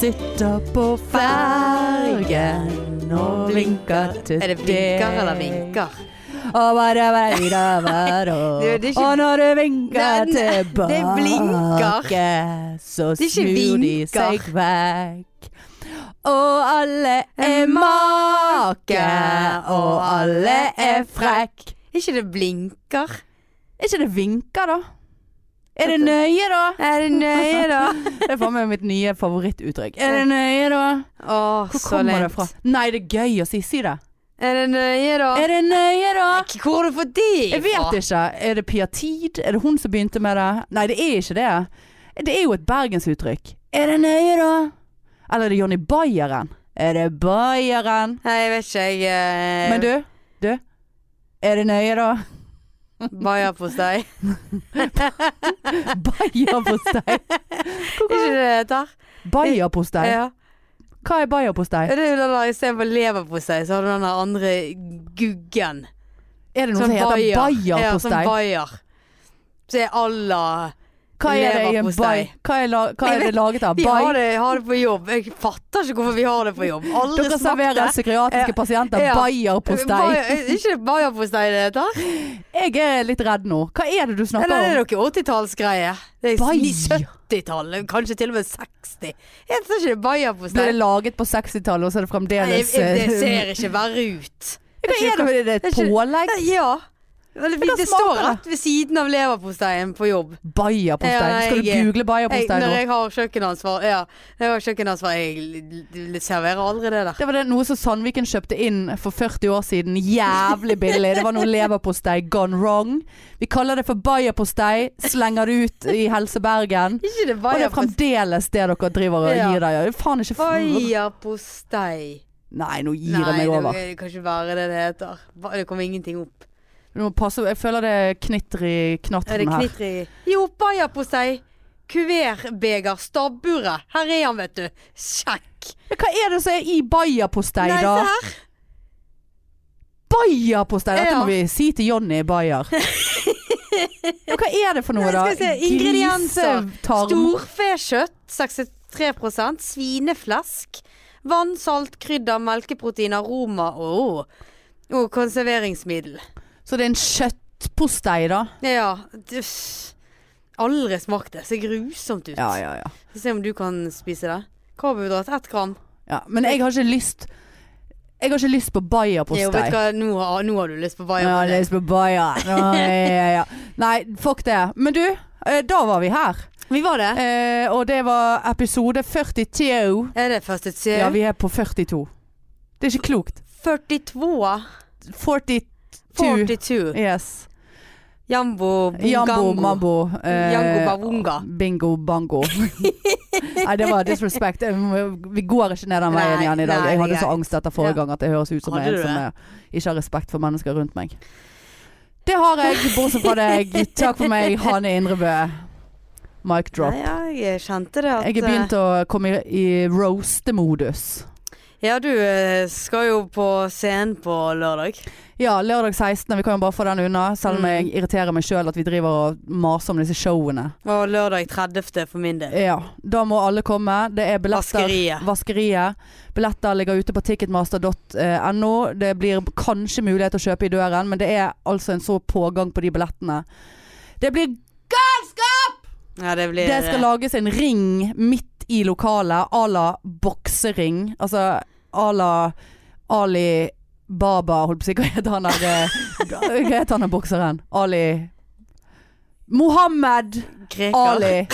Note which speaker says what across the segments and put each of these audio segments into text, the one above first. Speaker 1: sitter på fergen og blinker til
Speaker 2: Er det vinker eller vinker?
Speaker 1: Og bare veier over og
Speaker 2: Du, det er ikke-
Speaker 1: Og når du vinker
Speaker 2: Nei, nei, det
Speaker 1: tilbake,
Speaker 2: blinker.
Speaker 1: så
Speaker 2: Det er ikke
Speaker 1: snur de
Speaker 2: vinker.
Speaker 1: seg vekk. Og alle er make, og alle er frekk.
Speaker 2: Er ikke det blinker?
Speaker 1: Er ikke det vinker, da? Er det nøye, da?
Speaker 2: Er det nøye, da?
Speaker 1: Det er faen meg mitt nye favorittuttrykk. Er det nøye, da?
Speaker 2: Å,
Speaker 1: Hvor
Speaker 2: så
Speaker 1: kommer det
Speaker 2: lent.
Speaker 1: fra? Nei, det er gøy å si. Si det.
Speaker 2: Er det nøye, da?
Speaker 1: Er det nøye, da?
Speaker 2: Hvor har du fått det
Speaker 1: Jeg vet ikke. Er det Pia Tid? Er det hun som begynte med det? Nei, det er ikke det. Det er jo et bergensuttrykk. Er det nøye, da? Eller er det Jonny Bayeren? Er det Bayeren?
Speaker 2: Nei, jeg vet ikke, jeg eh,
Speaker 1: Men du, du. Er det nøye, da?
Speaker 2: Bayerpostei.
Speaker 1: Bayerpostei.
Speaker 2: Er ikke det det heter?
Speaker 1: Bayerpostei?
Speaker 2: Ja.
Speaker 1: Hva er bayerpostei?
Speaker 2: Det er jo den der istedenfor leverpostei, så har du den der andre guggen. Sånn
Speaker 1: Er det noe som heter
Speaker 2: Ja, som
Speaker 1: bayerpostei?
Speaker 2: bayer. Så er alla
Speaker 1: Hva er det i en
Speaker 2: leverpostei.
Speaker 1: bay? Hva er, la, hva
Speaker 2: Jeg
Speaker 1: er
Speaker 2: vet-
Speaker 1: det laget av?
Speaker 2: Vi har
Speaker 1: Bay?
Speaker 2: det, har det på jobb. Jeg fatter ikke hvorfor vi har det på jobb. Aldri
Speaker 1: Dere serverer psykiatriske
Speaker 2: Ja.
Speaker 1: pasienter
Speaker 2: Ja.
Speaker 1: bayerpostei.
Speaker 2: Er ikke det bayerpostei det heter?
Speaker 1: Jeg er litt redd nå. Hva er det du
Speaker 2: Eller
Speaker 1: snakker
Speaker 2: er
Speaker 1: om?
Speaker 2: det noe 80-tallsgreie? Det er
Speaker 1: Bayer.
Speaker 2: 70-tallet, kanskje til og med 60. Heter ikke det
Speaker 1: Ble
Speaker 2: bayerpostei?
Speaker 1: det laget på 60-tallet, og så er det
Speaker 2: Nei, jeg-
Speaker 1: fremdeles
Speaker 2: jeg- Det
Speaker 1: eh,
Speaker 2: ser ikke verre ut.
Speaker 1: Hva er det? Er det
Speaker 2: det
Speaker 1: et
Speaker 2: er ikke-
Speaker 1: pålegg?
Speaker 2: Nei, Ja. Vel,
Speaker 1: Men da
Speaker 2: Det
Speaker 1: smaker
Speaker 2: står
Speaker 1: det.
Speaker 2: rett ved siden av leverposteien på jobb.
Speaker 1: Bayerpostei?
Speaker 2: Ja,
Speaker 1: Skal du
Speaker 2: jeg-
Speaker 1: google
Speaker 2: Jeg,
Speaker 1: bayerpostei nå?
Speaker 2: når jeg har kjøkkenansvar, ja. Når jeg har kjøkkenansvar, jeg l- l- serverer aldri det der.
Speaker 1: Det var det, noe som Sandviken kjøpte inn for 40 år siden. Jævlig billig. Det var noe leverpostei gone wrong. Vi kaller det for bayerpostei. Slenger det ut i Helse Bergen.
Speaker 2: Ikke det
Speaker 1: Og det er
Speaker 2: bayerpostei?
Speaker 1: fremdeles det dere driver og
Speaker 2: Ja.
Speaker 1: gir dere. Det er faen ikke f-
Speaker 2: Bayerpostei.
Speaker 1: Nei, nå gir jeg
Speaker 2: Nei,
Speaker 1: meg over.
Speaker 2: det kan ikke være det det heter. Ba- Det kom ingenting opp.
Speaker 1: Du må passe, jeg føler det knitrer i
Speaker 2: Er det
Speaker 1: knatteren Sånn her.
Speaker 2: knitri? Jo, bayerpostei. Kuverbeger, stabburet. Her er han, vet du. Sjekk.
Speaker 1: Men hva er det som er i bayerpostei,
Speaker 2: Nei,
Speaker 1: da?
Speaker 2: se her.
Speaker 1: Bayerpostei! Dette
Speaker 2: Ja.
Speaker 1: må vi si til Jonny Bayer. Ja, hva er det for noe,
Speaker 2: Nei,
Speaker 1: da?
Speaker 2: skal vi se. Ingredienser.
Speaker 1: Grisetarm.
Speaker 2: Storfekjøtt 63 Svineflesk. Vann, salt, krydder, melkeprotein, aroma og, og konserveringsmiddel.
Speaker 1: Så det er en kjøttpostei, da?
Speaker 2: Ja, døff. Aldri smakt det. Ser grusomt ut.
Speaker 1: Ja, ja, ja.
Speaker 2: Se om du kan spise det. Karbohydrat 1 gram.
Speaker 1: ja. Men jeg har ikke lyst Jeg har ikke lyst på
Speaker 2: Jo, vet
Speaker 1: bayerpostei.
Speaker 2: du hva? Nå har, nå har du lyst på
Speaker 1: Jeg har
Speaker 2: bayer.
Speaker 1: lyst på bayer. Nå, ja, ja, ja. Nei, fuck det. Men du, eh, da var vi her.
Speaker 2: Vi var det.
Speaker 1: Eh, og det var episode 42.
Speaker 2: Er det første til
Speaker 1: Ja, vi er på 42. Det er ikke klokt.
Speaker 2: 42?
Speaker 1: 42.
Speaker 2: 42.
Speaker 1: Yes.
Speaker 2: Jambo
Speaker 1: Jambo,
Speaker 2: bongango.
Speaker 1: mambo. eh,
Speaker 2: Jango bavunga.
Speaker 1: bingo, bango. nei, det var disrespect. Eh, Vi går ikke ned den veien
Speaker 2: Nei,
Speaker 1: igjen i dag.
Speaker 2: nei,
Speaker 1: jeg hadde
Speaker 2: det er
Speaker 1: så angst etter forrige gang at det høres ut som
Speaker 2: Hadde
Speaker 1: en
Speaker 2: du
Speaker 1: som
Speaker 2: det?
Speaker 1: eh, ikke har respekt for mennesker rundt meg. Det har jeg, bortsett fra deg. Takk for meg, Hanne Indrebø. Mic drop.
Speaker 2: Nei, ja, jeg kjente det at
Speaker 1: Jeg er begynt å komme i, i roast-modus.
Speaker 2: eh, Ja, du eh, skal jo på scenen på lørdag.
Speaker 1: Ja, lørdag 16. Vi kan jo bare få den unna, selv om
Speaker 2: Mm.
Speaker 1: jeg irriterer meg sjøl at vi driver og maser om disse showene.
Speaker 2: Og lørdag 30. for min del.
Speaker 1: Ja, da må alle komme. Det er billetter.
Speaker 2: Vaskeriet.
Speaker 1: Vaskeriet. Billetter ligger ute på ticketmaster.no. Det blir kanskje mulighet til å kjøpe i døren, men det er altså en så pågang på de billettene. Det blir
Speaker 2: Ja, det blir
Speaker 1: Det skal
Speaker 2: eh,
Speaker 1: lages en ring midt i lokalet à la boksering. Altså à la Ali Baba, holdt på å si. Hva heter han der eh, Hva heter han der bokseren? Ali Mohammed
Speaker 2: Krekar.
Speaker 1: Ali.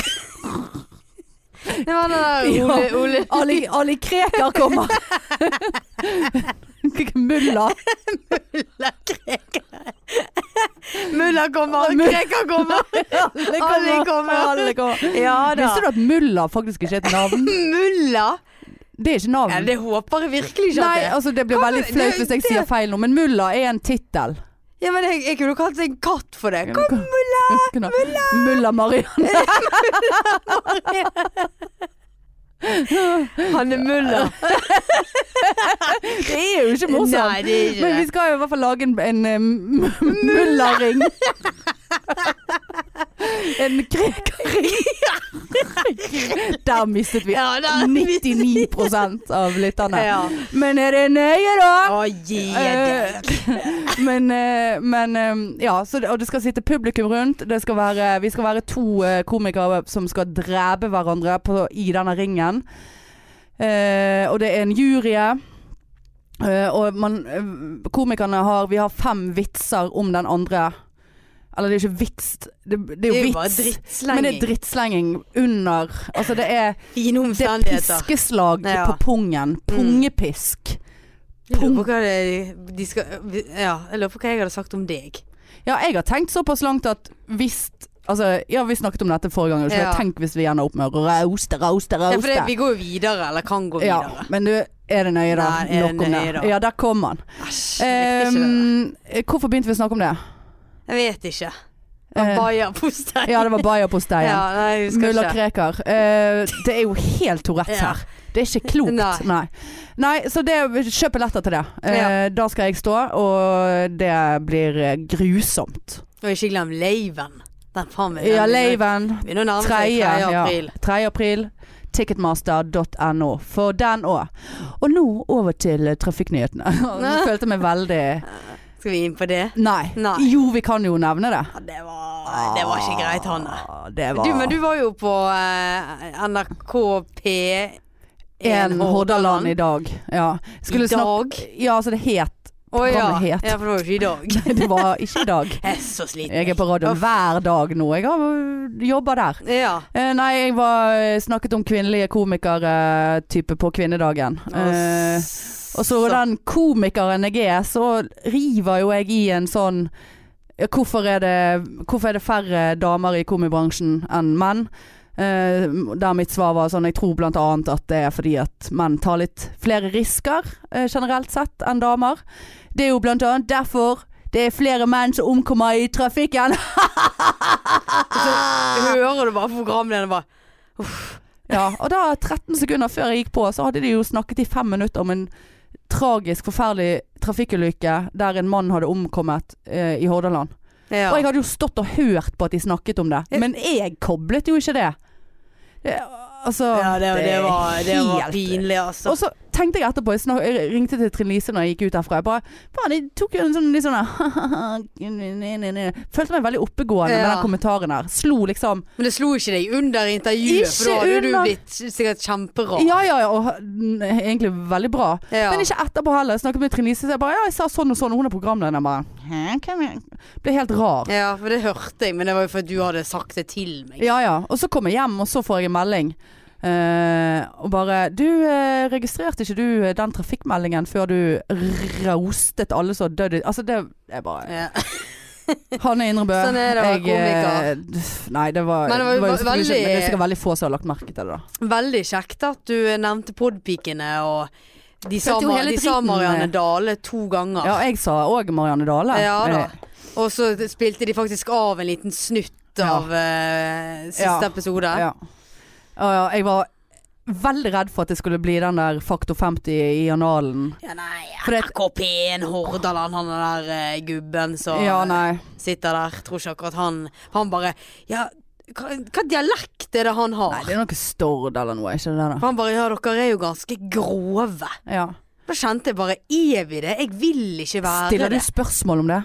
Speaker 2: Det var det der Ole, Ole.
Speaker 1: Ali, Ali Krekar kommer. Mulla.
Speaker 2: Mulla kommer,
Speaker 1: Mulla-
Speaker 2: Krekar kommer.
Speaker 1: Alle
Speaker 2: kommer.
Speaker 1: Alle kommer.
Speaker 2: Ja da.
Speaker 1: Visste du at mulla faktisk ikke er et navn?
Speaker 2: Mulla?
Speaker 1: Det er ikke navn.
Speaker 2: Ja, det håper jeg virkelig ikke
Speaker 1: Nei,
Speaker 2: at det er.
Speaker 1: altså det blir
Speaker 2: Hva
Speaker 1: veldig
Speaker 2: med-
Speaker 1: flaut
Speaker 2: det-
Speaker 1: hvis jeg
Speaker 2: det-
Speaker 1: sier feil nå, men mulla er en tittel.
Speaker 2: Ja, men jeg, jeg kunne kalt det en katt for det. Kom,
Speaker 1: mulla!
Speaker 2: Ah,
Speaker 1: Mulla, Marianne.
Speaker 2: han er mulla.
Speaker 1: Det er jo ikke morsomt.
Speaker 2: Nei, det er ikke
Speaker 1: Men vi
Speaker 2: det.
Speaker 1: skal jo i hvert fall lage en, en eh, m- mullaring. en grekering. Der mistet vi
Speaker 2: Ja, der
Speaker 1: 99 av lytterne.
Speaker 2: Ja.
Speaker 1: Men er det nøye, da?
Speaker 2: Å, gi deg.
Speaker 1: Eh, men, eh, men eh, ja, så, det- og det skal sitte publikum rundt. Det skal være, vi skal være to eh, komikere som skal drepe hverandre på, i denne ringen. Eh, og det er en jury. Eh, og man, eh, komikerne har Vi har fem vitser om den andre. Eller det er ikke vits. Det, det er
Speaker 2: Det
Speaker 1: jo
Speaker 2: er jo bare
Speaker 1: vits. men det er
Speaker 2: drittslenging.
Speaker 1: drittslenging under. Altså det er,
Speaker 2: Fine
Speaker 1: det er
Speaker 2: omstendigheter.
Speaker 1: piskeslag
Speaker 2: Ja. Mm.
Speaker 1: på pungen. Pungepisk.
Speaker 2: Jeg lurer på hva det- de skal Ja, jeg lurer på hva jeg hadde sagt om deg.
Speaker 1: Ja, jeg har tenkt såpass langt at hvis Altså, ja, vi snakket om dette forrige gang. Så
Speaker 2: Ja.
Speaker 1: jeg tenk hvis vi ender opp med å roaste, roaste,
Speaker 2: Ja, for
Speaker 1: roaste.
Speaker 2: det, vi går jo videre, eller kan gå
Speaker 1: Ja,
Speaker 2: videre.
Speaker 1: men du, er det nøye da?
Speaker 2: Nei, er det
Speaker 1: Nok om
Speaker 2: nøye da?
Speaker 1: Ja, der kom han.
Speaker 2: Æsj. jeg likte ikke det.
Speaker 1: Ehm, hvorfor begynte vi å snakke om det?
Speaker 2: Jeg vet ikke.
Speaker 1: Eh,
Speaker 2: Bajapostein.
Speaker 1: ja, det var bajaposteien.
Speaker 2: Ja, nei, jeg husker
Speaker 1: Mulla
Speaker 2: ikke.
Speaker 1: Krekar. Eh, det er jo helt Tourettes
Speaker 2: Ja.
Speaker 1: her. Det er ikke klokt.
Speaker 2: Nei.
Speaker 1: Nei. Nei. så det, kjøp billetter til det. Eh,
Speaker 2: Ja.
Speaker 1: Da skal jeg stå, og det blir eh, grusomt.
Speaker 2: Og ikke glem Leiven. Den faen meg.
Speaker 1: Ja, Leiven.
Speaker 2: Begynner å nærme seg
Speaker 1: 3.
Speaker 2: 3.
Speaker 1: ja.
Speaker 2: april.
Speaker 1: 3. april. Ticketmaster.no for den òg. Og nå over til eh, trafikknyhetene. Nå følte jeg meg veldig
Speaker 2: Skal vi inn på det?
Speaker 1: Nei.
Speaker 2: Nei.
Speaker 1: Jo, vi kan jo nevne det.
Speaker 2: Ja, det var, det var ikke greit, Hanne.
Speaker 1: Ah, Det var
Speaker 2: Du, men du var jo på eh, NRK P1
Speaker 1: en Hordaland i dag. Ja. Skulle
Speaker 2: I dag?
Speaker 1: snakke- Ja, altså det het
Speaker 2: Å ja.
Speaker 1: programmet het.
Speaker 2: ja, for det var jo ikke i dag.
Speaker 1: Det var ikke i dag.
Speaker 2: Jeg er så sliten.
Speaker 1: Jeg er på radioen hver dag nå. Jeg har jobba der.
Speaker 2: Ja.
Speaker 1: Eh, nei, jeg var, øh, snakket om kvinnelige komikere type på kvinnedagen. Eh, og så den komikeren jeg er, så river jo jeg i en sånn ja, Hvorfor er det, hvorfor er det færre damer i komibransjen enn menn? Eh, der mitt svar var sånn Jeg tror blant annet at det er fordi at menn tar litt flere risker eh, generelt sett enn damer. Det er jo blant annet derfor det er flere menn som omkommer i trafikken.
Speaker 2: Hører du bare programlederen bare
Speaker 1: Ja, og da 13 sekunder før jeg gikk på, så hadde de jo snakket i fem minutter om en tragisk, forferdelig trafikkulykke der en mann hadde omkommet eh, i Hordaland.
Speaker 2: ja.
Speaker 1: Og jeg hadde jo stått og hørt på at de snakket om det, men jeg koblet jo ikke det. det altså
Speaker 2: ja, det, det,
Speaker 1: er
Speaker 2: var, det var
Speaker 1: helt-
Speaker 2: pinlig, altså.
Speaker 1: Og så tenkte jeg etterpå, jeg, snak, jeg ringte til Trine Lise når jeg gikk ut derfra. Jeg bare, faen, jeg tok jo en sånn litt sånn der, Følte meg veldig oppegående med
Speaker 2: Ja.
Speaker 1: den kommentaren her. Slo liksom
Speaker 2: Men det slo ikke deg under intervjuet, for da
Speaker 1: Ikke
Speaker 2: hadde jo du
Speaker 1: under.
Speaker 2: blitt sikkert kjemperar.
Speaker 1: Ja ja ja, og mm, egentlig veldig bra.
Speaker 2: Ja.
Speaker 1: Men ikke etterpå heller. Jeg snakket med Trine Lise, så jeg bare ja, jeg sa sånn og sånn, og hun er programleder. Jeg bare «Hæ, hvem er- Ble helt rar.
Speaker 2: Ja, for det hørte jeg, men det var jo fordi du hadde sagt det til meg.
Speaker 1: Ja ja. Og så kom jeg hjem, og så får jeg en melding. Eh, og bare Du, eh, registrerte ikke du eh, den trafikkmeldingen før du roastet alle som døde Altså, det er bare
Speaker 2: Ja.
Speaker 1: Hanne Indrebø.
Speaker 2: Sånn er det å være
Speaker 1: eh, Nei, det var,
Speaker 2: Men det var jo
Speaker 1: jo selvfølgelig
Speaker 2: veldig-
Speaker 1: ikke, Men det er sikkert veldig få som har lagt merke til det, da.
Speaker 2: Veldig kjekt at du nevnte podpikene og de sa,
Speaker 1: Følte jo
Speaker 2: Mar-
Speaker 1: hele
Speaker 2: de sa
Speaker 1: dritten,
Speaker 2: Marianne
Speaker 1: eh.
Speaker 2: Dale to ganger.
Speaker 1: Ja, jeg sa òg Marianne Dale.
Speaker 2: Ja da.
Speaker 1: Eh,
Speaker 2: Og så spilte de faktisk av en liten snutt
Speaker 1: Ja.
Speaker 2: av eh, siste
Speaker 1: Ja.
Speaker 2: episode.
Speaker 1: Ja. Ja, ja, jeg var veldig redd for at det skulle bli den der faktor 50 i analen.
Speaker 2: Ja, nei,
Speaker 1: For det-
Speaker 2: RKP1 Hordaland, han er der eh, gubben som
Speaker 1: Ja, nei.
Speaker 2: sitter der. Tror ikke akkurat han Han bare Ja, hva, hva dialekt er det han har?
Speaker 1: nei. Det er noe Stord eller noe, ikke det der? da?
Speaker 2: han bare Ja, dere er jo ganske grove.
Speaker 1: Ja.
Speaker 2: Da kjente jeg bare Er vi det? Jeg vil ikke være
Speaker 1: Stiller du
Speaker 2: det.
Speaker 1: spørsmål om det?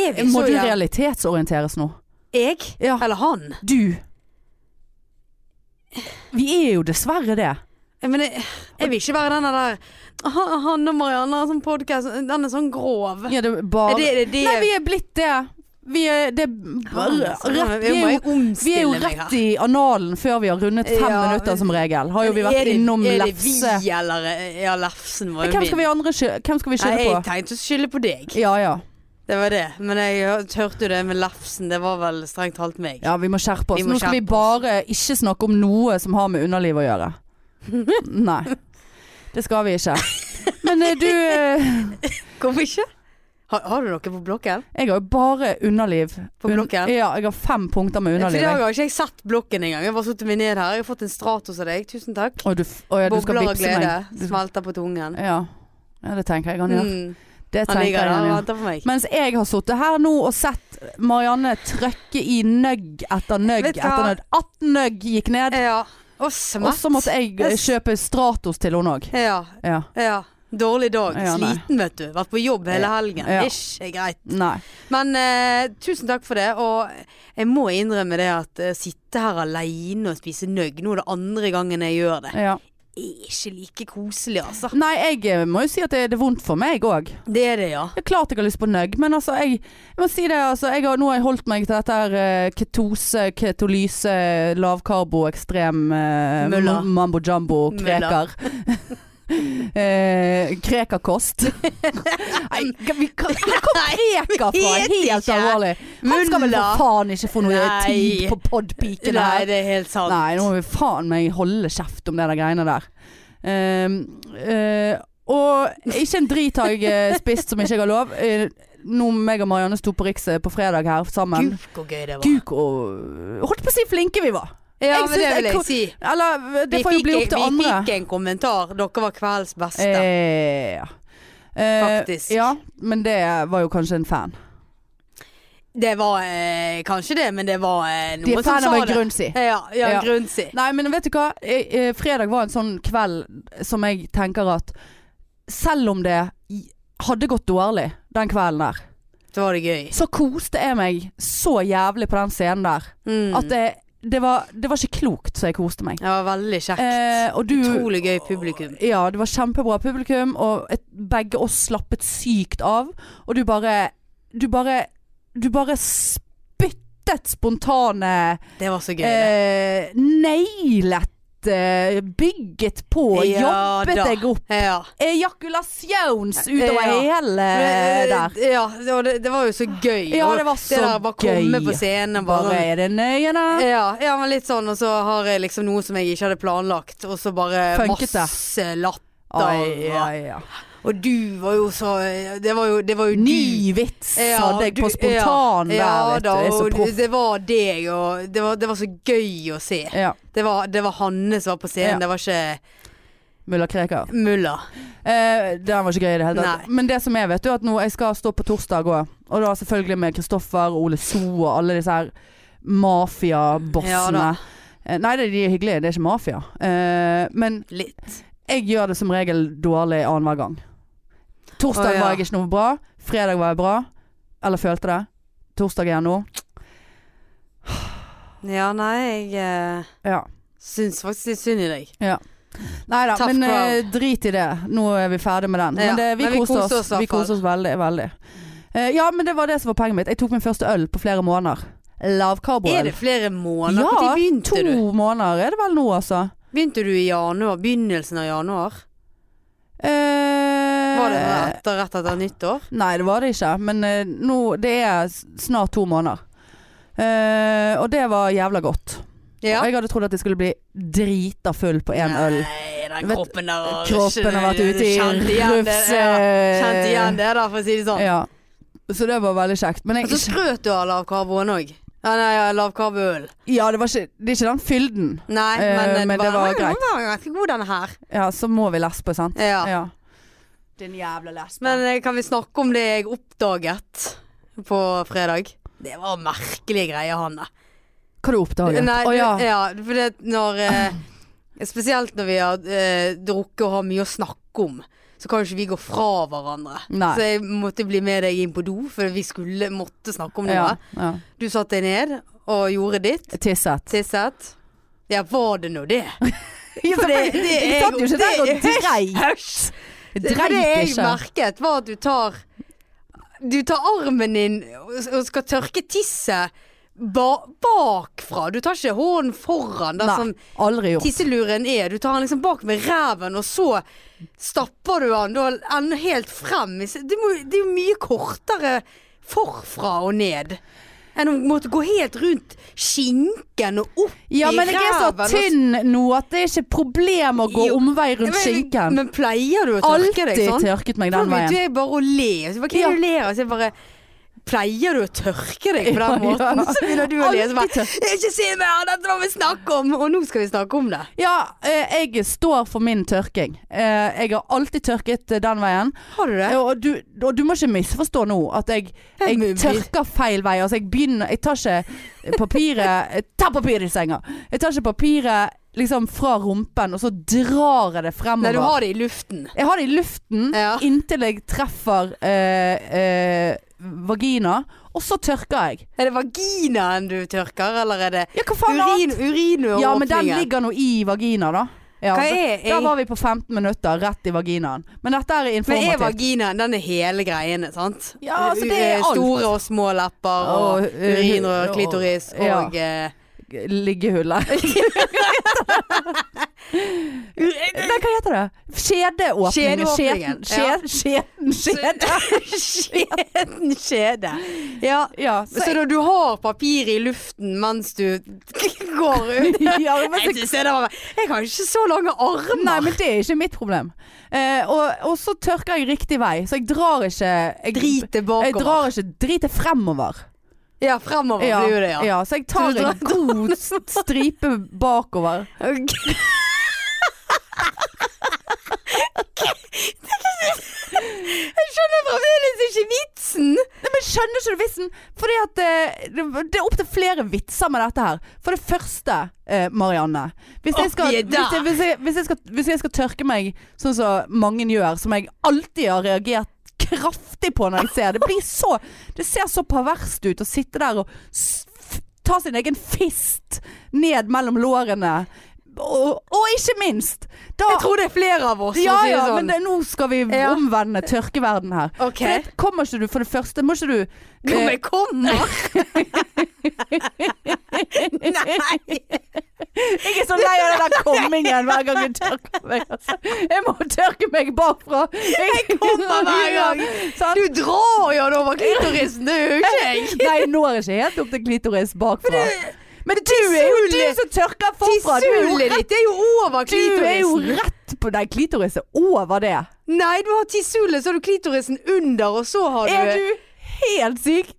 Speaker 2: Er vi
Speaker 1: Må
Speaker 2: så
Speaker 1: du
Speaker 2: jævla-
Speaker 1: realitetsorienteres nå?
Speaker 2: Jeg?
Speaker 1: Ja.
Speaker 2: Eller han?
Speaker 1: Du. Vi er jo dessverre det.
Speaker 2: Jeg, mener, jeg vil ikke være denne der «Ha- Han og Marianne har sånn podkast, den er sånn grov.
Speaker 1: Ja, det er
Speaker 2: Er
Speaker 1: bare
Speaker 2: det, er det, det
Speaker 1: Nei, vi er blitt det. Vi er det
Speaker 2: Faen,
Speaker 1: rett,
Speaker 2: altså.
Speaker 1: vi,
Speaker 2: Jeg må
Speaker 1: er jo,
Speaker 2: omstille
Speaker 1: vi er jo
Speaker 2: meg her.
Speaker 1: rett i analen før vi har rundet fem
Speaker 2: Ja.
Speaker 1: minutter som regel. Har jo vi
Speaker 2: Er
Speaker 1: vært
Speaker 2: det-
Speaker 1: innom
Speaker 2: Er
Speaker 1: lefse.
Speaker 2: det vi eller eh, Ja, lefsen var jo
Speaker 1: Hvem skal vi
Speaker 2: min.
Speaker 1: andre sky- hvem skal vi
Speaker 2: Nei,
Speaker 1: skylde
Speaker 2: jeg
Speaker 1: på?
Speaker 2: tenkte å skylde på deg.
Speaker 1: Ja ja.
Speaker 2: Det var det. Men jeg hør- hørte jo det med lefsen. Det var vel strengt talt meg.
Speaker 1: Ja, vi må skjerpe oss.
Speaker 2: Vi må
Speaker 1: Nå skal vi
Speaker 2: skjerpe
Speaker 1: bare ikke snakke om noe som har med underlivet å gjøre. Nei. Det skal vi ikke. Men eh, du eh,
Speaker 2: Hvorfor ikke? Har, har du noe på blokken?
Speaker 1: Jeg har jo bare underliv.
Speaker 2: På blokken?
Speaker 1: Un ja, jeg har fem punkter med
Speaker 2: For i
Speaker 1: underliv.
Speaker 2: dag
Speaker 1: jeg.
Speaker 2: har ikke jeg sett blokken engang. Jeg har bare satt meg ned her. Jeg har fått en Stratos av deg. Tusen takk.
Speaker 1: Å, du, f- å, ja, du skal
Speaker 2: Bobler av
Speaker 1: vippse
Speaker 2: glede
Speaker 1: meg. Du,
Speaker 2: smelter på tungen.
Speaker 1: ja. ja, det tenker jeg han gjør.
Speaker 2: Mm.
Speaker 1: Det
Speaker 2: Han
Speaker 1: tenker
Speaker 2: ligger
Speaker 1: jeg
Speaker 2: der
Speaker 1: han
Speaker 2: og
Speaker 1: gjør.
Speaker 2: venter på meg.
Speaker 1: Mens jeg har sittet her nå og sett Marianne trøkke i nøgg etter nøgg
Speaker 2: Vet du hva?
Speaker 1: etter nøgg. 18 nøgg gikk ned.
Speaker 2: Ja. Og
Speaker 1: Og
Speaker 2: smett.
Speaker 1: så måtte jeg eh,
Speaker 2: Yes.
Speaker 1: kjøpe Stratos til henne òg.
Speaker 2: Ja.
Speaker 1: Ja.
Speaker 2: ja. Dårlig dag.
Speaker 1: Ja, nei.
Speaker 2: Sliten, vet du. Vært på jobb hele helgen.
Speaker 1: Ja.
Speaker 2: Ikke greit.
Speaker 1: Nei.
Speaker 2: Men eh, tusen takk for det. Og jeg må innrømme det at eh, sitte her aleine og spise nøgg, nå er det andre gangen jeg gjør det,
Speaker 1: Ja.
Speaker 2: er ikke like koselig, altså.
Speaker 1: Nei, jeg eh, må jo si at det det er vondt for meg òg.
Speaker 2: Det er det, ja.
Speaker 1: Det er klart jeg har lyst på nøgg, men altså, jeg, jeg må si det, altså, jeg har, nå har jeg holdt meg til dette her eh, ketose, ketolyse, lavkarbo, ekstrem eh,
Speaker 2: Mølla.
Speaker 1: ma- mambo jumbo,
Speaker 2: Mølla.
Speaker 1: kreker. eh, krekerkost. Nei, kan vi kan Hvor kom kreker fra?
Speaker 2: vet
Speaker 1: Helt
Speaker 2: ikke.
Speaker 1: alvorlig. Han skal vel
Speaker 2: Mølla.
Speaker 1: for faen ikke få noe
Speaker 2: Nei.
Speaker 1: tid på podpiken
Speaker 2: Nei,
Speaker 1: her.
Speaker 2: det er helt sant.
Speaker 1: Nei, nå må vi faen meg holde kjeft om det der greiene der. Ehm, eh, og ikke en drit har jeg eh, spist som ikke jeg har lov. Eh, nå meg og Marianne sto på Riks eh, på fredag her sammen.
Speaker 2: Gud, hvor gøy det var.
Speaker 1: Guk og Holdt på å si flinke vi var.
Speaker 2: Ja,
Speaker 1: Jeg
Speaker 2: men
Speaker 1: synes
Speaker 2: det
Speaker 1: jeg
Speaker 2: vil jeg
Speaker 1: kom-
Speaker 2: si.
Speaker 1: Eller eh, det
Speaker 2: Vi
Speaker 1: får jo
Speaker 2: fikk,
Speaker 1: bli opp til
Speaker 2: vi
Speaker 1: andre.
Speaker 2: fikk en kommentar. Dere var kveldens beste.
Speaker 1: Eh, ja. Eh,
Speaker 2: Faktisk.
Speaker 1: Ja, men det var jo kanskje en fan.
Speaker 2: Det var eh, kanskje det, men det var eh,
Speaker 1: De
Speaker 2: noen
Speaker 1: er
Speaker 2: som
Speaker 1: fan
Speaker 2: sa
Speaker 1: av en
Speaker 2: det.
Speaker 1: grunn, si.
Speaker 2: Ja, ja,
Speaker 1: Ja.
Speaker 2: en grunn si.
Speaker 1: Nei, men vet du hva? Eh, eh, Fredag var en sånn kveld som jeg tenker at selv om det i- hadde gått dårlig den kvelden der,
Speaker 2: Da var det gøy.
Speaker 1: så koste jeg meg så jævlig på den scenen der
Speaker 2: Mm.
Speaker 1: at det, det, var, det var ikke klokt så jeg koste meg.
Speaker 2: det var veldig kjekt.
Speaker 1: Eh, og du
Speaker 2: Utrolig gøy publikum.
Speaker 1: Ja, det var kjempebra publikum, og et, begge oss slappet sykt av. Og du bare Du bare Du bare spyttet spontane
Speaker 2: Det var så gøy. det.
Speaker 1: eh, nailet eh, Bygget på,
Speaker 2: Ja,
Speaker 1: jobbet
Speaker 2: da.
Speaker 1: deg opp.
Speaker 2: Ja.
Speaker 1: Ejakulasjons utover
Speaker 2: Ja. Eh,
Speaker 1: hele Eh, der.
Speaker 2: Ja, det var, det var jo så gøy.
Speaker 1: Ja,
Speaker 2: Og
Speaker 1: det var
Speaker 2: det
Speaker 1: så
Speaker 2: der bare komme på
Speaker 1: gøy.
Speaker 2: scenen og
Speaker 1: Bare
Speaker 2: bare Eh,
Speaker 1: er det nøye, da?
Speaker 2: ja, ja, men litt sånn, og så har jeg liksom noe som jeg ikke hadde planlagt, og så bare
Speaker 1: Funket det.
Speaker 2: masse latter.
Speaker 1: Ai, ai, ai.
Speaker 2: Og du var jo så Det var jo, det var jo du.
Speaker 1: Ny vits hadde jeg på spontan
Speaker 2: ja,
Speaker 1: der, vet du.
Speaker 2: da,
Speaker 1: Jeg er så
Speaker 2: og
Speaker 1: proff.
Speaker 2: Det var deg, og det var, det var så gøy å se.
Speaker 1: Ja.
Speaker 2: Det var, det var Hanne som var på scenen,
Speaker 1: Ja.
Speaker 2: det var ikke
Speaker 1: Mulla Krekar.
Speaker 2: Mulla.
Speaker 1: Eh, den var ikke gøy i det hele
Speaker 2: Nei.
Speaker 1: tatt. Men det som er, vet du, at nå jeg skal stå på torsdag òg. Og da selvfølgelig med Kristoffer, Ole So og alle disse her
Speaker 2: Ja
Speaker 1: mafiabossene.
Speaker 2: da.
Speaker 1: Eh, Nei, det- de er hyggelige, det er ikke mafia. Eh, men
Speaker 2: Litt.
Speaker 1: jeg gjør det som regel dårlig annenhver gang. Torsdag
Speaker 2: Å, ja.
Speaker 1: var jeg ikke noe bra. Fredag var jeg bra. Eller følte det. Torsdag igjen nå.
Speaker 2: Ja, nei, jeg eh,
Speaker 1: Ja.
Speaker 2: syns faktisk litt synd i deg.
Speaker 1: Nei da,
Speaker 2: Tough
Speaker 1: men
Speaker 2: crowd.
Speaker 1: eh, drit i det. Nå er vi ferdig med den.
Speaker 2: Ja,
Speaker 1: Men det, vi,
Speaker 2: men vi
Speaker 1: koste
Speaker 2: koste
Speaker 1: oss.
Speaker 2: oss i hvert
Speaker 1: vi koste
Speaker 2: fall.
Speaker 1: oss veldig, veldig. Eh, ja, men det var det som var poenget mitt. Jeg tok min første øl på flere måneder.
Speaker 2: Er
Speaker 1: Lavkarboøl.
Speaker 2: det flere måneder?
Speaker 1: Ja,
Speaker 2: Når begynte
Speaker 1: To
Speaker 2: du?
Speaker 1: måneder er det vel nå, altså.
Speaker 2: Begynte du i januar? Begynnelsen av januar?
Speaker 1: Eh,
Speaker 2: Var det etter, rett etter nyttår?
Speaker 1: Nei, det var det ikke. Men eh, nå Det er s- snart to måneder. Eh, og det var jævla godt.
Speaker 2: Ja.
Speaker 1: Og jeg hadde trodd at jeg skulle bli drita full på én øl.
Speaker 2: Nei, den
Speaker 1: Vet-
Speaker 2: kroppen der var-
Speaker 1: Kroppen har vært ute i
Speaker 2: Kjente igjen det,
Speaker 1: rufse...
Speaker 2: ja. Kjente igjen det, da, for å si det sånn.
Speaker 1: Ja. Så det var veldig kjekt. Men
Speaker 2: Og
Speaker 1: jeg
Speaker 2: så skrøt du av lavkarboen òg. Ja, nei, ja, lavkarboøl.
Speaker 1: Ja, det, var ikke, det er ikke den fylden.
Speaker 2: Nei,
Speaker 1: Eh,
Speaker 2: men,
Speaker 1: men det var greit.
Speaker 2: Den var ganske god, denne her.
Speaker 1: Ja, så må vi lesbe, sant?
Speaker 2: Ja.
Speaker 1: Din jævla lesbe.
Speaker 2: Men eh, kan vi snakke om det jeg oppdaget på fredag? Det var merkelige greier, Hanne.
Speaker 1: Hva du oppdaget?
Speaker 2: Nei,
Speaker 1: Å ja.
Speaker 2: du- ja for det at når eh, Spesielt når vi har eh, drukket og har mye å snakke om, så kan jo ikke vi gå fra hverandre.
Speaker 1: Nei.
Speaker 2: Så jeg måtte bli med deg inn på do, for vi skulle måtte snakke om noe.
Speaker 1: ja, ja.
Speaker 2: Du satte deg ned og gjorde ditt.
Speaker 1: Tisset.
Speaker 2: Tisset. Ja, var det nå det? For det- det
Speaker 1: jeg
Speaker 2: er
Speaker 1: satt jo
Speaker 2: jo-
Speaker 1: ikke der og
Speaker 2: det er-
Speaker 1: dreit.
Speaker 2: Hysj!
Speaker 1: Jeg
Speaker 2: Det, for det
Speaker 1: Dreit
Speaker 2: jeg
Speaker 1: ikke.
Speaker 2: merket var at du tar Du tar armen din og og skal tørke tisset ba bakfra. Du tar ikke hånden foran, der
Speaker 1: Nei,
Speaker 2: som
Speaker 1: aldri gjort.
Speaker 2: tisseluren er. Du tar den liksom bak med ræven, og så stapper du den da enda helt frem. i se- Det, må, det er jo mye kortere forfra og ned. Enn å måtte gå helt rundt skinken og opp
Speaker 1: Ja,
Speaker 2: i
Speaker 1: men jeg er så
Speaker 2: ræven, og så-
Speaker 1: tynn nå at det er ikke problem å gå
Speaker 2: Jo,
Speaker 1: omvei rundt
Speaker 2: Men-
Speaker 1: skinken.
Speaker 2: Men pleier du å tørke deg
Speaker 1: Alltid
Speaker 2: sånn?
Speaker 1: tørket meg
Speaker 2: Da
Speaker 1: den
Speaker 2: begynte
Speaker 1: veien.
Speaker 2: Altså, jeg bare å le. Så jeg bare, Hva er det du ler av? Så jeg bare Pleier du å tørke deg på den
Speaker 1: Ja, ja.
Speaker 2: måten? Så begynner du å lese bare
Speaker 1: Alltid tørk.
Speaker 2: 'Ikke si mer! Dette må vi snakke om!' Og nå skal vi snakke om det.
Speaker 1: Ja, eh, jeg står for min tørking. Eh, Jeg har alltid tørket eh, den veien.
Speaker 2: Har du det?
Speaker 1: Og du, og du må ikke misforstå nå at jeg,
Speaker 2: Jeg
Speaker 1: jeg
Speaker 2: må-
Speaker 1: tørker feil vei. Altså jeg begynner Jeg tar ikke papiret Jeg tar papiret i senga! Jeg tar ikke papiret liksom fra rumpen, og så drar jeg det fremover.
Speaker 2: Nei, du har det i luften.
Speaker 1: Jeg har det i luften
Speaker 2: Ja.
Speaker 1: inntil jeg treffer eh, eh, vagina, og så tørker jeg.
Speaker 2: Er det vaginaen du tørker, eller er det
Speaker 1: Ja, hva faen annet?
Speaker 2: urin, urin og
Speaker 1: Ja, men den
Speaker 2: åpningen?
Speaker 1: ligger nå i vagina, da. Ja,
Speaker 2: Hva
Speaker 1: så-
Speaker 2: er- er-
Speaker 1: Der var vi på 15 minutter, rett i vaginaen. Men dette er
Speaker 2: Men er
Speaker 1: informativt.
Speaker 2: vaginaen den er hele greiene, sant?
Speaker 1: Ja, altså, det er
Speaker 2: Eh,
Speaker 1: alt.
Speaker 2: Store og små lepper og,
Speaker 1: Og, eh,
Speaker 2: urinrør,
Speaker 1: og-
Speaker 2: klitoris
Speaker 1: ja.
Speaker 2: og eh,
Speaker 1: Liggehullet. Nei, hva heter det? Skjedeåpningen.
Speaker 2: Skjedeåpningen,
Speaker 1: Skjeden. Skjeden. Skjede.
Speaker 2: Skjeden kjede. Ja.
Speaker 1: Ja,
Speaker 2: Så, da du har papir i luften mens du går ut?
Speaker 1: ja, men
Speaker 2: Jeg, synes det var, jeg har ikke så lange armer.
Speaker 1: Nei, men det er ikke mitt problem. Eh, og, og så tørker jeg riktig vei, så jeg drar ikke jeg,
Speaker 2: Drite
Speaker 1: Jeg
Speaker 2: bakover.
Speaker 1: drar ikke dritet fremover.
Speaker 2: Ja, fremover blir det, ja.
Speaker 1: ja, så jeg tar
Speaker 2: Så du
Speaker 1: en god stripe bakover.
Speaker 2: Ok. Jeg skjønner fremdeles ikke vitsen.
Speaker 1: Nei, men skjønner ikke du vitsen? Fordi at eh, det, det er opptil flere vitser med dette her. For det første, eh, Marianne. Hvis jeg, skal,
Speaker 2: Oppi der.
Speaker 1: hvis, jeg, hvis, jeg, hvis, jeg skal, hvis jeg skal tørke meg sånn som mange gjør, som jeg alltid har reagert kraftig på når jeg ser det. Blir så, det ser så perverst ut å sitte der og s- f- ta sin egen fist ned mellom lårene. Og, og ikke minst da,
Speaker 2: Jeg tror det er flere av oss
Speaker 1: ja,
Speaker 2: som sier
Speaker 1: ja,
Speaker 2: sånn.
Speaker 1: men det, nå skal vi
Speaker 2: Ja.
Speaker 1: omvende tørkeverden her.
Speaker 2: Ok.
Speaker 1: For det kommer ikke du, for det første må ikke du eh,
Speaker 2: Kom, jeg kommer! Nei!
Speaker 1: Jeg er så lei av den der kommingen hver gang jeg tørker meg. Altså. Jeg må tørke meg bakfra. Jeg
Speaker 2: Kommer hver gang.
Speaker 1: Sant?
Speaker 2: Du drar jo den over klitorisen, det gjør jo ikke jeg.
Speaker 1: Nei, jeg når ikke helt opp til klitoris bakfra. Men du er jo du
Speaker 2: tisshullet-
Speaker 1: som tørker forfra. Du er jo
Speaker 2: Tisshullet
Speaker 1: rett,
Speaker 2: ditt er jo over
Speaker 1: du er jo
Speaker 2: klitorisen.
Speaker 1: rett på Nei, klitoris er over det.
Speaker 2: Nei, du har tisshullet, så har du klitorisen under, og så har du
Speaker 1: Er du helt syk?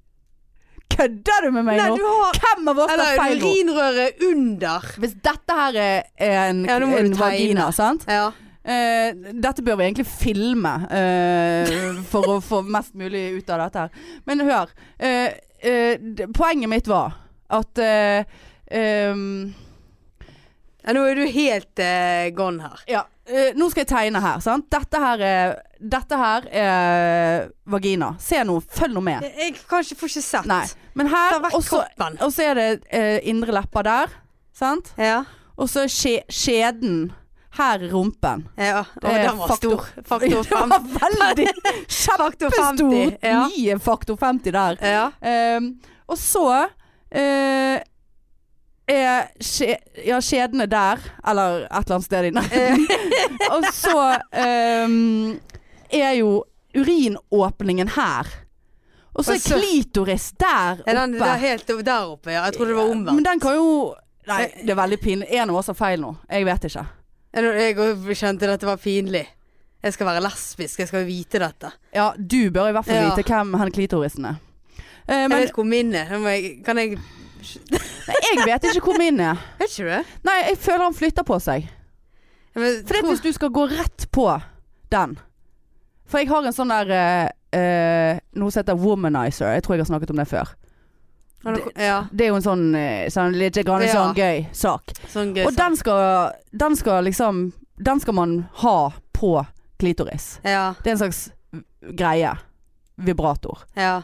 Speaker 1: Kødder du med meg
Speaker 2: Nei,
Speaker 1: nå?
Speaker 2: du har
Speaker 1: Hvem av oss tar
Speaker 2: Eller
Speaker 1: feil nå?
Speaker 2: urinrøret under.
Speaker 1: Hvis dette her er en,
Speaker 2: Ja, nå må du
Speaker 1: en
Speaker 2: tegne.
Speaker 1: vagina, sant?
Speaker 2: Ja.
Speaker 1: Eh, dette bør vi egentlig filme eh, for å få mest mulig ut av dette her. Men hør. eh, eh, d- poenget mitt var at eh, ehm,
Speaker 2: Ja, nå er du helt eh, gone her.
Speaker 1: Ja, eh, nå skal jeg tegne her. Sant? Dette her er, dette her er vagina. Se nå, følg nå med.
Speaker 2: Jeg kan ikke, får ikke sett.
Speaker 1: Nei. Men her,
Speaker 2: Ta vekk
Speaker 1: og så-
Speaker 2: kroppen.
Speaker 1: og så er det eh, indre lepper der. Sant?
Speaker 2: Ja.
Speaker 1: Og så er skje, skjeden. Her er rumpen.
Speaker 2: ja. Og
Speaker 1: Eh,
Speaker 2: den var
Speaker 1: faktor-
Speaker 2: stor. Faktor
Speaker 1: Det
Speaker 2: 5.
Speaker 1: var veldig
Speaker 2: Faktor 50.
Speaker 1: kjempestort.
Speaker 2: Ja.
Speaker 1: Nye faktor 50 der.
Speaker 2: Ja.
Speaker 1: Ehm, og så eh, er skje, ja, skjedene der, eller et eller annet sted inne.
Speaker 2: Eh.
Speaker 1: og så ehm, er jo urinåpningen her. Og så
Speaker 2: Og
Speaker 1: er
Speaker 2: så-
Speaker 1: klitoris der oppe.
Speaker 2: Er den der helt over- der oppe? Ja. Jeg trodde det var
Speaker 1: Men
Speaker 2: omvendt. Eh.
Speaker 1: den kan jo Nei, det er veldig pinlig. En av oss har feil nå. Jeg vet ikke.
Speaker 2: Ja, nå- Jeg også kjente dette var pinlig. Jeg skal være lesbisk, jeg skal vite dette.
Speaker 1: Ja, du bør i hvert fall
Speaker 2: Ja.
Speaker 1: vite hvem han klitorisen er. Eh,
Speaker 2: jeg
Speaker 1: men
Speaker 2: vet hvor min er. Nå må jeg- Kan jeg
Speaker 1: jeg vet ikke hvor min er.
Speaker 2: Vet ikke du det?
Speaker 1: Nei, jeg føler han flytter på seg.
Speaker 2: Ja, men-
Speaker 1: For det, at hvis du skal gå rett på den For jeg har en sånn der eh, eh, Noe som heter womanizer. Jeg tror jeg har snakket om det før.
Speaker 2: Har du- Ja,
Speaker 1: Det er jo en sånn, eh, sånn litt grann
Speaker 2: Ja.
Speaker 1: sånn gøy sak.
Speaker 2: sånn gøy
Speaker 1: Og den skal, den skal liksom Den skal man ha på klitoris.
Speaker 2: sak. Ja,
Speaker 1: Det er en slags greie. Vibrator.
Speaker 2: ja.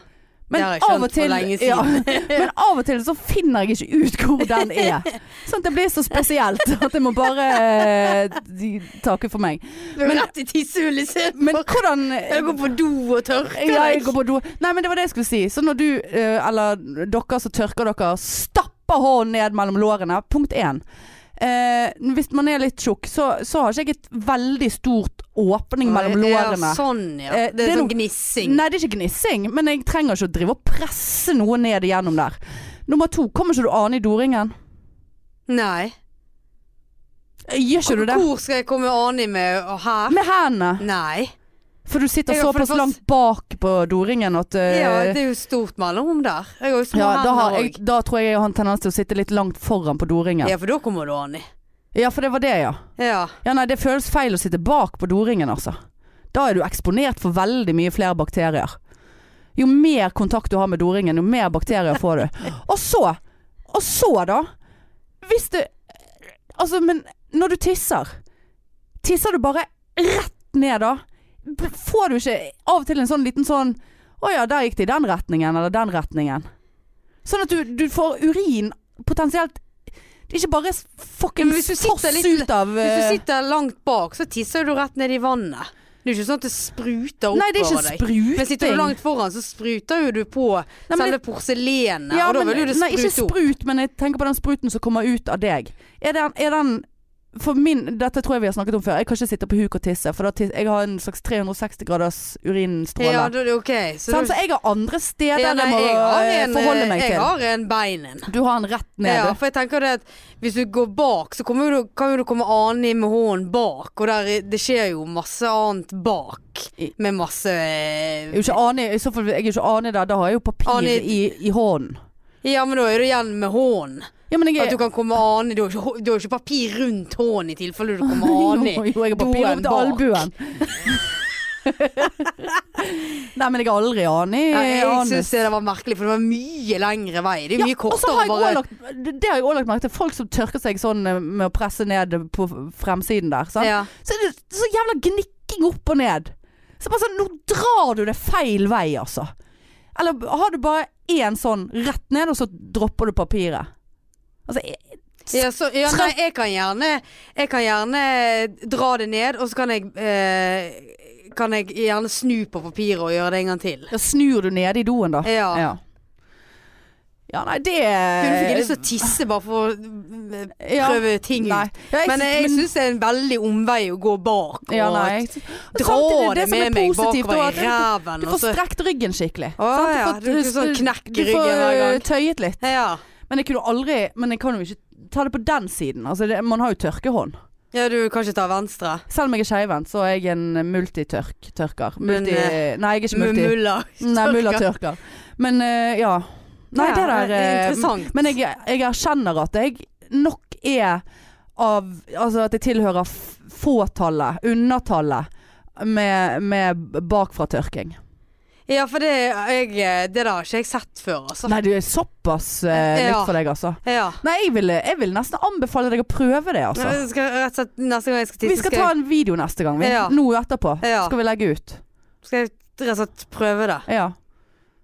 Speaker 1: Men
Speaker 2: Det har jeg
Speaker 1: av, og
Speaker 2: skjønt for
Speaker 1: til,
Speaker 2: lenge
Speaker 1: ja,
Speaker 2: siden.
Speaker 1: men av og til så finner jeg ikke ut hvor den er. Sånn at det blir så spesielt at jeg må bare eh, takke for meg.
Speaker 2: Du er rett i tissehullet, se
Speaker 1: Men
Speaker 2: på.
Speaker 1: hvordan
Speaker 2: Jeg går på do og tørker
Speaker 1: Ja, jeg
Speaker 2: deg.
Speaker 1: går på do. Nei, men det var det jeg skulle si. Så når du, eh, eller dere som tørker dere, stapper hånden ned mellom lårene, punkt én. Eh, hvis man er litt tjukk, så, så har ikke jeg et veldig stort åpning mellom
Speaker 2: Ja,
Speaker 1: lårene.
Speaker 2: sånn, ja.
Speaker 1: Eh,
Speaker 2: Det er
Speaker 1: det er
Speaker 2: sånn
Speaker 1: noe-
Speaker 2: gnissing.
Speaker 1: Nei, det er ikke gnissing, men jeg trenger ikke å drive og presse noe ned igjennom der. Nummer to, kommer ikke du ane i doringen?
Speaker 2: Nei.
Speaker 1: Gjør ikke du det?
Speaker 2: Eh, Hvor skal jeg komme an i med og her?
Speaker 1: Med hendene.
Speaker 2: Nei.
Speaker 1: For du sitter
Speaker 2: Jeg har for det
Speaker 1: såpass
Speaker 2: første-
Speaker 1: langt bak på doringen at eh,
Speaker 2: Ja, det er jo stort mellomrom der. Jeg har jo små
Speaker 1: ja, da, har
Speaker 2: hender
Speaker 1: jeg,
Speaker 2: òg.
Speaker 1: da tror jeg jeg har en tendens til å sitte litt langt foran på doringen.
Speaker 2: Ja, for da kommer du an i.
Speaker 1: Ja, for det var det, ja.
Speaker 2: Ja.
Speaker 1: Ja, nei, det føles feil å sitte bak på doringen, altså. Da er du eksponert for veldig mye flere bakterier. Jo mer kontakt du har med doringen, jo mer bakterier får du. Og så, og så da, hvis du Altså, men når du tisser, tisser du bare rett ned da? B- Får du ikke av og til en sånn liten sånn Å ja, der gikk det i den retningen, eller den retningen. Sånn at du, du får urin potensielt Ikke bare s-
Speaker 2: Men
Speaker 1: fuckings
Speaker 2: hvis du
Speaker 1: foss
Speaker 2: sitter litt-
Speaker 1: ut av
Speaker 2: Hvis
Speaker 1: eh,
Speaker 2: du sitter langt bak, så tisser du rett ned i vannet. Det er jo ikke sånn at det spruter
Speaker 1: Nei, det er
Speaker 2: oppover
Speaker 1: ikke
Speaker 2: deg. Men sitter du
Speaker 1: spruting.
Speaker 2: langt foran, så spruter jo du på
Speaker 1: Nei, men
Speaker 2: selve porselenet.
Speaker 1: Ja,
Speaker 2: og da
Speaker 1: men-
Speaker 2: vil jo det
Speaker 1: nei, ikke
Speaker 2: sprute opp.
Speaker 1: sprut, men jeg tenker på den spruten som kommer ut av deg. Er den, er den for min, Dette tror jeg vi har snakket om før. Jeg kan ikke sitte på huk og tisse, for da tis, jeg har en slags 360 graders urinstråle.
Speaker 2: Ja, da, ok. Så
Speaker 1: Sant?
Speaker 2: du-
Speaker 1: så jeg har andre steder
Speaker 2: ja, nei,
Speaker 1: jeg må
Speaker 2: jeg har en,
Speaker 1: eh, forholde meg
Speaker 2: jeg
Speaker 1: til.
Speaker 2: har en beinen.
Speaker 1: Du har den rett ned,
Speaker 2: Ja,
Speaker 1: du.
Speaker 2: for jeg tenker det at hvis du går bak, så kommer jo du, kan jo du komme an i med hånden bak, og der, er- det skjer jo masse annet bak.
Speaker 1: I-
Speaker 2: Med masse øh,
Speaker 1: Jeg er jo ikke anig, I så fall jeg er jo ikke anig der. Da har jeg jo papir
Speaker 2: Anig-
Speaker 1: i, i hånden.
Speaker 2: Ja, men da er det igjen med hånden.
Speaker 1: Ja, men jeg
Speaker 2: At
Speaker 1: er
Speaker 2: du kan komme an i. Du har jo ikke, du har jo ikke papir rundt hånden i tilfelle du kommer an i.
Speaker 1: Jo, jo, jeg har papir
Speaker 2: doen
Speaker 1: opp til
Speaker 2: bak.
Speaker 1: albuen. Nei, men jeg har aldri anig.
Speaker 2: Ja, jeg
Speaker 1: anus.
Speaker 2: syns det var merkelig, for det var mye lengre vei. Det er
Speaker 1: Ja,
Speaker 2: jo mye
Speaker 1: og så
Speaker 2: kortere
Speaker 1: har jeg
Speaker 2: å bare
Speaker 1: også lagt, det- det har jeg òg lagt merke til. Folk som tørker seg sånn eh, med å presse ned på fremsiden der. Sant?
Speaker 2: ja.
Speaker 1: Så er det så jævla gnikking opp og ned. Så bare sånn, Nå drar du det feil vei, altså. Eller har du bare én sånn rett ned, og så dropper du papiret? Altså, jeg-
Speaker 2: Ja, så, ja, nei, jeg kan gjerne Jeg kan gjerne eh, dra det ned, og så kan jeg eh, Kan jeg gjerne snu på papiret og gjøre det en gang til.
Speaker 1: ja, snur du nede i doen, da?
Speaker 2: Ja.
Speaker 1: Ja, Ja, nei, det
Speaker 2: Du nå fikk jeg lyst til å tisse bare for å eh,
Speaker 1: Eh, Ja.
Speaker 2: prøve ting
Speaker 1: Nei.
Speaker 2: ut.
Speaker 1: Ja, jeg
Speaker 2: Men
Speaker 1: synes-
Speaker 2: jeg syns det er en veldig omvei å gå bak og
Speaker 1: ja,
Speaker 2: dra
Speaker 1: nei. Samtidig,
Speaker 2: det,
Speaker 1: som er
Speaker 2: med meg
Speaker 1: positivt, da,
Speaker 2: bakover
Speaker 1: at
Speaker 2: i ræven.
Speaker 1: Du
Speaker 2: og
Speaker 1: får
Speaker 2: så-
Speaker 1: strekt ryggen skikkelig.
Speaker 2: Å,
Speaker 1: sant?
Speaker 2: ja,
Speaker 1: får-
Speaker 2: du får sånn knekk i
Speaker 1: du får,
Speaker 2: ryggen hver gang.
Speaker 1: øh, tøyet litt.
Speaker 2: Ja.
Speaker 1: Men jeg kunne aldri Men jeg kan jo ikke ta det på den siden. Altså, det, man har jo tørkehånd.
Speaker 2: ja, du kan ikke ta venstre.
Speaker 1: Selv om jeg er skeivhendt, så er jeg en multitørker.
Speaker 2: Men,
Speaker 1: Multi,
Speaker 2: eh,
Speaker 1: nei, jeg er ikke multi.
Speaker 2: Mulla.
Speaker 1: Nei, mullatørker. Men øh, ja. Nei,
Speaker 2: Ja,
Speaker 1: det der
Speaker 2: det er
Speaker 1: eh,
Speaker 2: interessant.
Speaker 1: Men jeg, jeg erkjenner at jeg nok er av Altså at jeg tilhører f- fåtallet, undertallet, med, med bakfra-tørking.
Speaker 2: Ja, for det, jeg, det der har ikke jeg sett før, altså.
Speaker 1: Nei, du er såpass eh,
Speaker 2: Ja.
Speaker 1: nytt for deg, altså.
Speaker 2: Ja.
Speaker 1: Nei, jeg vil, jeg vil nesten anbefale deg å prøve det, altså.
Speaker 2: Jeg skal, rett og slett, neste gang jeg skal tisse,
Speaker 1: Vi skal ta en video neste gang, vi.
Speaker 2: eh, Ja.
Speaker 1: Nå etterpå.
Speaker 2: Ja.
Speaker 1: Skal vi legge ut.
Speaker 2: Skal jeg rett og slett prøve det?
Speaker 1: Ja.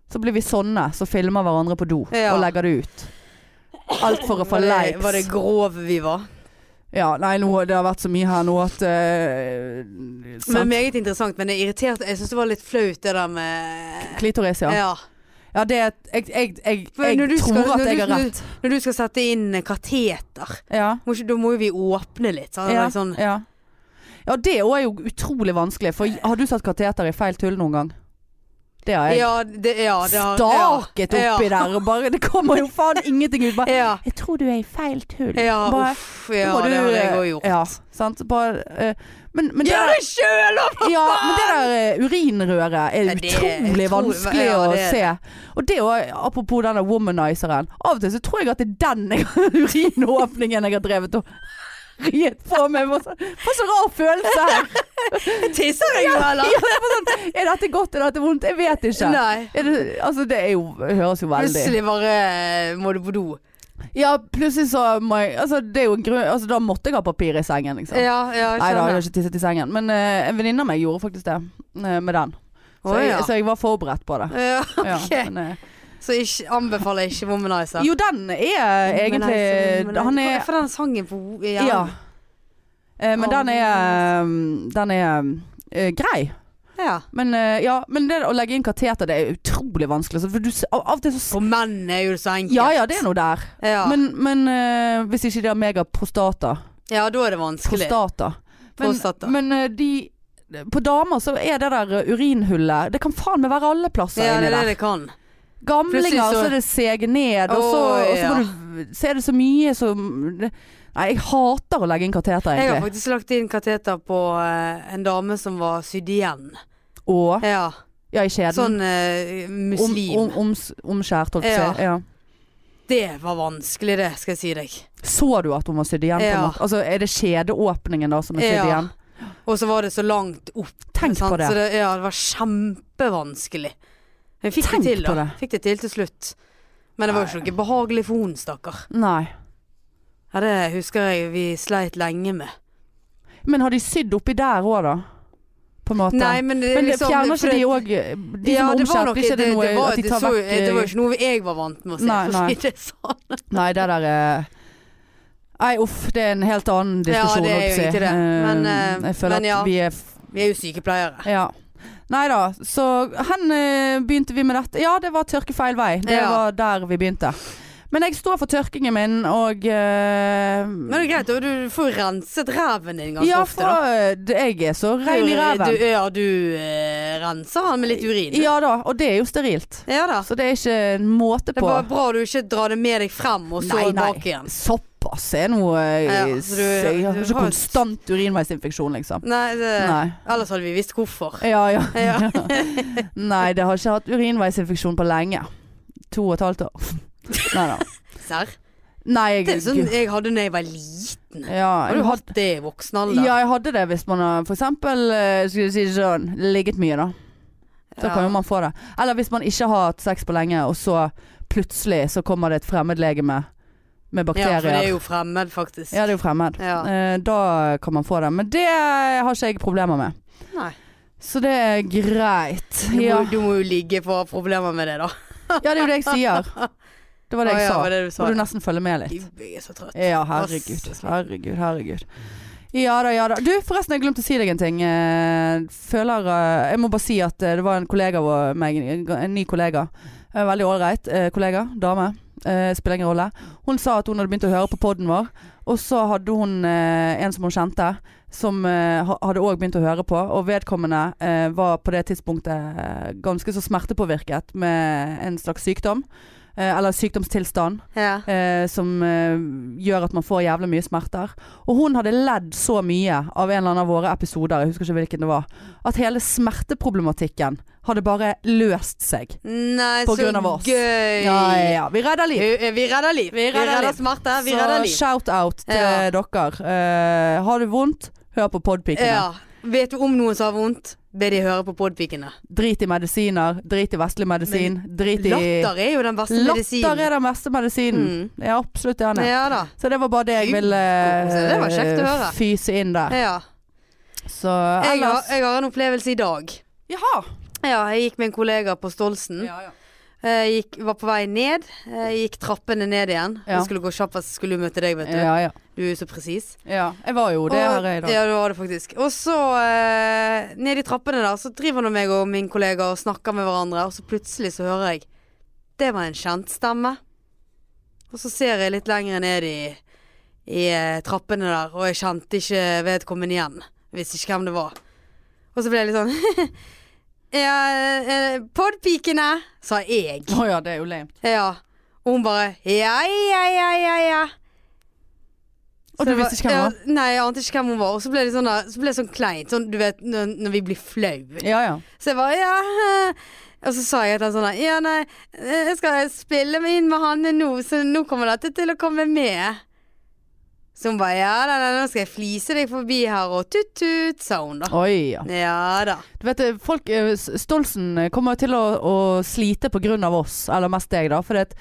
Speaker 1: Så blir vi sånne som så filmer hverandre på do
Speaker 2: Ja.
Speaker 1: og legger det ut. Alt for å få
Speaker 2: Var det-
Speaker 1: likes.
Speaker 2: Var det grove vi var?
Speaker 1: Ja, nei, nå, det har vært så mye her nå at eh, sant?
Speaker 2: Men meget interessant, men det irriterte Jeg syns det var litt flaut det der med
Speaker 1: Klitoris, ja.
Speaker 2: Ja.
Speaker 1: Ja, det er Jeg, jeg, jeg,
Speaker 2: For
Speaker 1: jeg
Speaker 2: når du
Speaker 1: tror
Speaker 2: skal- når
Speaker 1: at jeg
Speaker 2: du-
Speaker 1: har rett.
Speaker 2: Når du skal sette inn kateter,
Speaker 1: Ja.
Speaker 2: må ikke, da må jo vi åpne litt. Sånn,
Speaker 1: Ja.
Speaker 2: sånn,
Speaker 1: ja. ja, det òg er jo utrolig vanskelig. For har du satt kateter i feil tull noen gang? Det har jeg.
Speaker 2: ja, det, ja, det har,
Speaker 1: Staket
Speaker 2: ja,
Speaker 1: oppi der og bare Det kommer jo faen ingenting ut. Bare,
Speaker 2: Ja.
Speaker 1: Jeg tror du er i feil tull.
Speaker 2: ja, ja
Speaker 1: Bare,
Speaker 2: uff. Ja,
Speaker 1: må du, eh,
Speaker 2: det har jeg òg gjort.
Speaker 1: Ja, sant? Bare, eh, men, men, det
Speaker 2: Gjør
Speaker 1: der,
Speaker 2: det sjøl, da!
Speaker 1: ja, men det der eh, urinrøret er
Speaker 2: Ja, det er
Speaker 1: utrolig
Speaker 2: utrolig-
Speaker 1: vanskelig
Speaker 2: ja,
Speaker 1: å
Speaker 2: det er
Speaker 1: se. Og det òg, apropos denne womanizeren. Av og til så tror jeg at det er den jeg, urinåpningen jeg har drevet og riet på meg. Hva så- hva så rar følelse her.
Speaker 2: Tisser jeg jo, eller?
Speaker 1: Ja, det er bare sånn, Er dette godt, er dette vondt? Jeg vet ikke.
Speaker 2: Nei.
Speaker 1: Er det, altså det er jo, høres jo veldig
Speaker 2: Plutselig bare eh, må du på do.
Speaker 1: Ja, plutselig så må jeg Altså, det er jo en grunn Altså, da måtte jeg ha papir i sengen, liksom.
Speaker 2: Ja, ja, jeg
Speaker 1: Nei da, jeg har
Speaker 2: skjønner.
Speaker 1: ikke tisset i sengen. Men eh, en venninne av meg gjorde faktisk det. eh, med den. Så,
Speaker 2: Å, ja.
Speaker 1: jeg, så jeg var forberedt på det.
Speaker 2: Ja,
Speaker 1: Ja,
Speaker 2: ok.
Speaker 1: men, eh,
Speaker 2: Så ikke, anbefaler jeg ikke Womanizer.
Speaker 1: jo, den er
Speaker 2: Men altså,
Speaker 1: egentlig
Speaker 2: men
Speaker 1: Han
Speaker 2: jeg-
Speaker 1: er
Speaker 2: For den sangen på ja.
Speaker 1: Ja. Eh, men den er eh, Den er eh, grei.
Speaker 2: ja.
Speaker 1: Men, eh, ja, men det å legge inn kateter, det er utrolig vanskelig. så For du, s- av av og til så
Speaker 2: For menn er jo det så enkelt.
Speaker 1: Ja ja, det er noe der.
Speaker 2: Ja.
Speaker 1: Men, men eh, hvis ikke de har megaprostata
Speaker 2: ja, da er det vanskelig.
Speaker 1: Prostata. Men,
Speaker 2: Prostata.
Speaker 1: men eh, de På damer så er det der eh, urinhullet Det kan faen meg være alle plasser
Speaker 2: ja, det
Speaker 1: inni
Speaker 2: er det
Speaker 1: der.
Speaker 2: det kan. Plutselig
Speaker 1: Gamlinger,
Speaker 2: så-
Speaker 1: så er det seg ned, og så,
Speaker 2: Åh,
Speaker 1: og så,
Speaker 2: ja.
Speaker 1: må du, så er det så mye som Nei, jeg hater å legge inn kateter,
Speaker 2: Jeg har
Speaker 1: egentlig.
Speaker 2: faktisk lagt inn kateter på eh, en dame som var sydd igjen.
Speaker 1: og
Speaker 2: Ja.
Speaker 1: Ja, i skjeden.
Speaker 2: Sånn eh,
Speaker 1: om,
Speaker 2: muslim.
Speaker 1: om, oms- omskjært, holdt jeg på å si. Ja.
Speaker 2: Det var vanskelig, det, skal jeg si deg.
Speaker 1: Så du at hun var sydd igjen? På en
Speaker 2: Ja.
Speaker 1: måte? Altså, er det skjedeåpningen da som er sydd
Speaker 2: Ja.
Speaker 1: igjen?
Speaker 2: Og så var det så langt opp.
Speaker 1: Tenk
Speaker 2: sant?
Speaker 1: på det.
Speaker 2: Så det ja, det var kjempevanskelig. Men jeg fikk
Speaker 1: Tenk
Speaker 2: det til,
Speaker 1: på
Speaker 2: da.
Speaker 1: det.
Speaker 2: Fikk det til til slutt. Men det var jo ikke noe behagelig for hun, stakkar.
Speaker 1: Nei.
Speaker 2: Ja, det husker jeg vi sleit lenge med.
Speaker 1: Men har de sydd oppi der òg, da? På en måte.
Speaker 2: Nei, men det,
Speaker 1: men det
Speaker 2: liksom,
Speaker 1: fjerner
Speaker 2: for
Speaker 1: ikke de
Speaker 2: det-
Speaker 1: òg De som
Speaker 2: Ja,
Speaker 1: er
Speaker 2: det var
Speaker 1: omskjært,
Speaker 2: nok-
Speaker 1: blir ikke det noe
Speaker 2: var-
Speaker 1: at de
Speaker 2: det
Speaker 1: tar
Speaker 2: så-
Speaker 1: vekk eh.
Speaker 2: Det var ikke noe jeg var vant med å se,
Speaker 1: Nei,
Speaker 2: for å
Speaker 1: nei.
Speaker 2: si det sånn.
Speaker 1: Nei, det der er Nei, uff, det er en helt annen diskusjon.
Speaker 2: det er jo
Speaker 1: holdt jeg på å
Speaker 2: ikke det.
Speaker 1: si.
Speaker 2: Men,
Speaker 1: Eh,
Speaker 2: eh,
Speaker 1: jeg føler
Speaker 2: men ja.
Speaker 1: at vi er f-
Speaker 2: Vi er jo sykepleiere.
Speaker 1: Ja. Nei da, så hen eh, begynte vi med dette. Ja, det var tørke feil vei. Det
Speaker 2: Ja.
Speaker 1: var der vi begynte. Men jeg står for tørkingen min, og eh,
Speaker 2: Men det er greit, og du får jo renset ræven din ganske
Speaker 1: Ja,
Speaker 2: ofte,
Speaker 1: for
Speaker 2: da.
Speaker 1: eh, jeg er så rein i
Speaker 2: Du,
Speaker 1: ræven.
Speaker 2: ja, du eh, renser han med litt urin.
Speaker 1: Ja da, og det er jo sterilt.
Speaker 2: Ja da.
Speaker 1: Så det er ikke en måte
Speaker 2: Det er
Speaker 1: på.
Speaker 2: bare bra du ikke drar det med deg frem og så
Speaker 1: Nei, nei.
Speaker 2: bak igjen.
Speaker 1: Såpass er noe eh,
Speaker 2: Ja, ja,
Speaker 1: Jeg
Speaker 2: så du-
Speaker 1: har
Speaker 2: du
Speaker 1: ikke
Speaker 2: har et- Eh,
Speaker 1: konstant urinveisinfeksjon, liksom.
Speaker 2: Nei, det,
Speaker 1: Nei.
Speaker 2: ellers hadde vi visst hvorfor.
Speaker 1: Ja, ja.
Speaker 2: Ja.
Speaker 1: Nei, det har ikke hatt urinveisinfeksjon på lenge. To og et halvt år. Nei da.
Speaker 2: Serr?
Speaker 1: Nei, jeg,
Speaker 2: Det er sånn jeg hadde da jeg var liten.
Speaker 1: ja,
Speaker 2: Har
Speaker 1: jeg
Speaker 2: du
Speaker 1: had-
Speaker 2: hatt det i voksen alder?
Speaker 1: ja, jeg hadde det hvis man har for eksempel eh, Skal vi si det sånn, ligget mye, da. Så kan jo man få det. Eller hvis man ikke har hatt sex på lenge, og så plutselig så kommer det et fremmedlegeme med
Speaker 2: Ja, for det er
Speaker 1: bakterier.
Speaker 2: jo fremmed, faktisk.
Speaker 1: Ja, det er jo fremmed.
Speaker 2: Ja.
Speaker 1: Eh, Da kan man få det. Men det har ikke jeg problemer med.
Speaker 2: Nei.
Speaker 1: Så det er greit.
Speaker 2: Du, må,
Speaker 1: Ja,
Speaker 2: du må jo ligge for å ha problemer med det, da.
Speaker 1: ja det er jo det jeg sier. Det var det
Speaker 2: Å,
Speaker 1: jeg
Speaker 2: ja,
Speaker 1: sa.
Speaker 2: var det du sa.
Speaker 1: Må du nesten følge med litt.
Speaker 2: Jeg er så trøtt.
Speaker 1: Ja, herregud. Herregud, herregud. Ja da, ja da. Du, forresten, jeg glemte å si deg en ting. Eh, Føler eh, Jeg må bare si at eh, det var en kollega av meg, en en ny kollega. Eh, Veldig ålreit eh, kollega. Dame. Eh, Spiller ingen rolle. Hun sa at hun hadde begynt å høre på poden vår, og så hadde hun eh, en som hun kjente, som eh, ha- hadde òg begynt å høre på, og vedkommende eh, var på det tidspunktet eh, ganske så smertepåvirket med en slags sykdom. eh, Eller sykdomstilstand
Speaker 2: Ja.
Speaker 1: eh, som eh, gjør at man får jævlig mye smerter. Og hun hadde ledd så mye av en eller annen av våre episoder, jeg husker ikke hvilken det var, at hele smerteproblematikken hadde bare løst seg.
Speaker 2: Nei,
Speaker 1: På
Speaker 2: så
Speaker 1: grunn av oss.
Speaker 2: gøy.
Speaker 1: Ja, ja, ja. Vi redder liv.
Speaker 2: Eh, Vi redder liv. Vi
Speaker 1: redder
Speaker 2: redder
Speaker 1: liv.
Speaker 2: smerte. Vi redder
Speaker 1: Så
Speaker 2: liv.
Speaker 1: shout-out til
Speaker 2: Ja.
Speaker 1: dere. Eh, har du vondt, hør på podpikene.
Speaker 2: Ja. Vet du om noen som har vondt, be de høre på podpikene.
Speaker 1: Drit i medisiner, drit i vestlig medisin, drit i
Speaker 2: Latter er jo den beste
Speaker 1: Latter
Speaker 2: medisinen. Mm.
Speaker 1: er den beste medisinen. Ja, absolutt det er det.
Speaker 2: Ja da.
Speaker 1: Så det var bare det jeg ville
Speaker 2: Gud, det var kjekt å høre.
Speaker 1: fyse inn der.
Speaker 2: Ja.
Speaker 1: Så
Speaker 2: Jeg, har,
Speaker 1: ellers
Speaker 2: jeg har en opplevelse i dag.
Speaker 1: Jaha.
Speaker 2: Ja, jeg gikk med en kollega på Stolsen.
Speaker 1: Ja, ja.
Speaker 2: Jeg gikk, var på vei ned. Jeg gikk trappene ned igjen.
Speaker 1: Ja.
Speaker 2: Jeg skulle gå kjappest, skulle jo møte deg, vet du.
Speaker 1: Ja, ja.
Speaker 2: Du er jo så presis.
Speaker 1: ja. Jeg var jo det
Speaker 2: Og-
Speaker 1: her i dag.
Speaker 2: Ja, det var det faktisk. Og så eh, ned i trappene der, så driver nå meg og min kollega og snakker med hverandre, og så plutselig så hører jeg Det var en kjent stemme. Og så ser jeg litt lenger ned i, i eh, trappene der, og jeg kjente ikke vedkommende igjen. Jeg visste ikke hvem det var. Og så ble jeg litt sånn ja, eh, Podpikene, sa jeg.
Speaker 1: Å ja, det er jo lame.
Speaker 2: Ja. Og hun bare Ja, ja, ja, ja, ja.
Speaker 1: Og du
Speaker 2: Så jeg
Speaker 1: visste ikke hvem hun
Speaker 2: ja, Nei, jeg ante ikke hvem hun var. Og så ble det sånn, der- så ble det sånn kleint. Sånn, du vet når, når vi blir flau.
Speaker 1: Ja, ja.
Speaker 2: Så jeg bare ja. eh. Og så sa jeg til han sånn der, Ja, nei, eh, jeg skal spille meg inn med Hanne nå, så nå kommer dette til å komme med. Så hun bare ja da, da, nå skal jeg flise deg forbi her og tut-tut, sa hun da.
Speaker 1: Oi, ja.
Speaker 2: Ja da.
Speaker 1: Du vet, eh, folk eh, S- Stolsen eh, kommer til å, å slite på grunn av oss, eller mest deg, da. Fordi at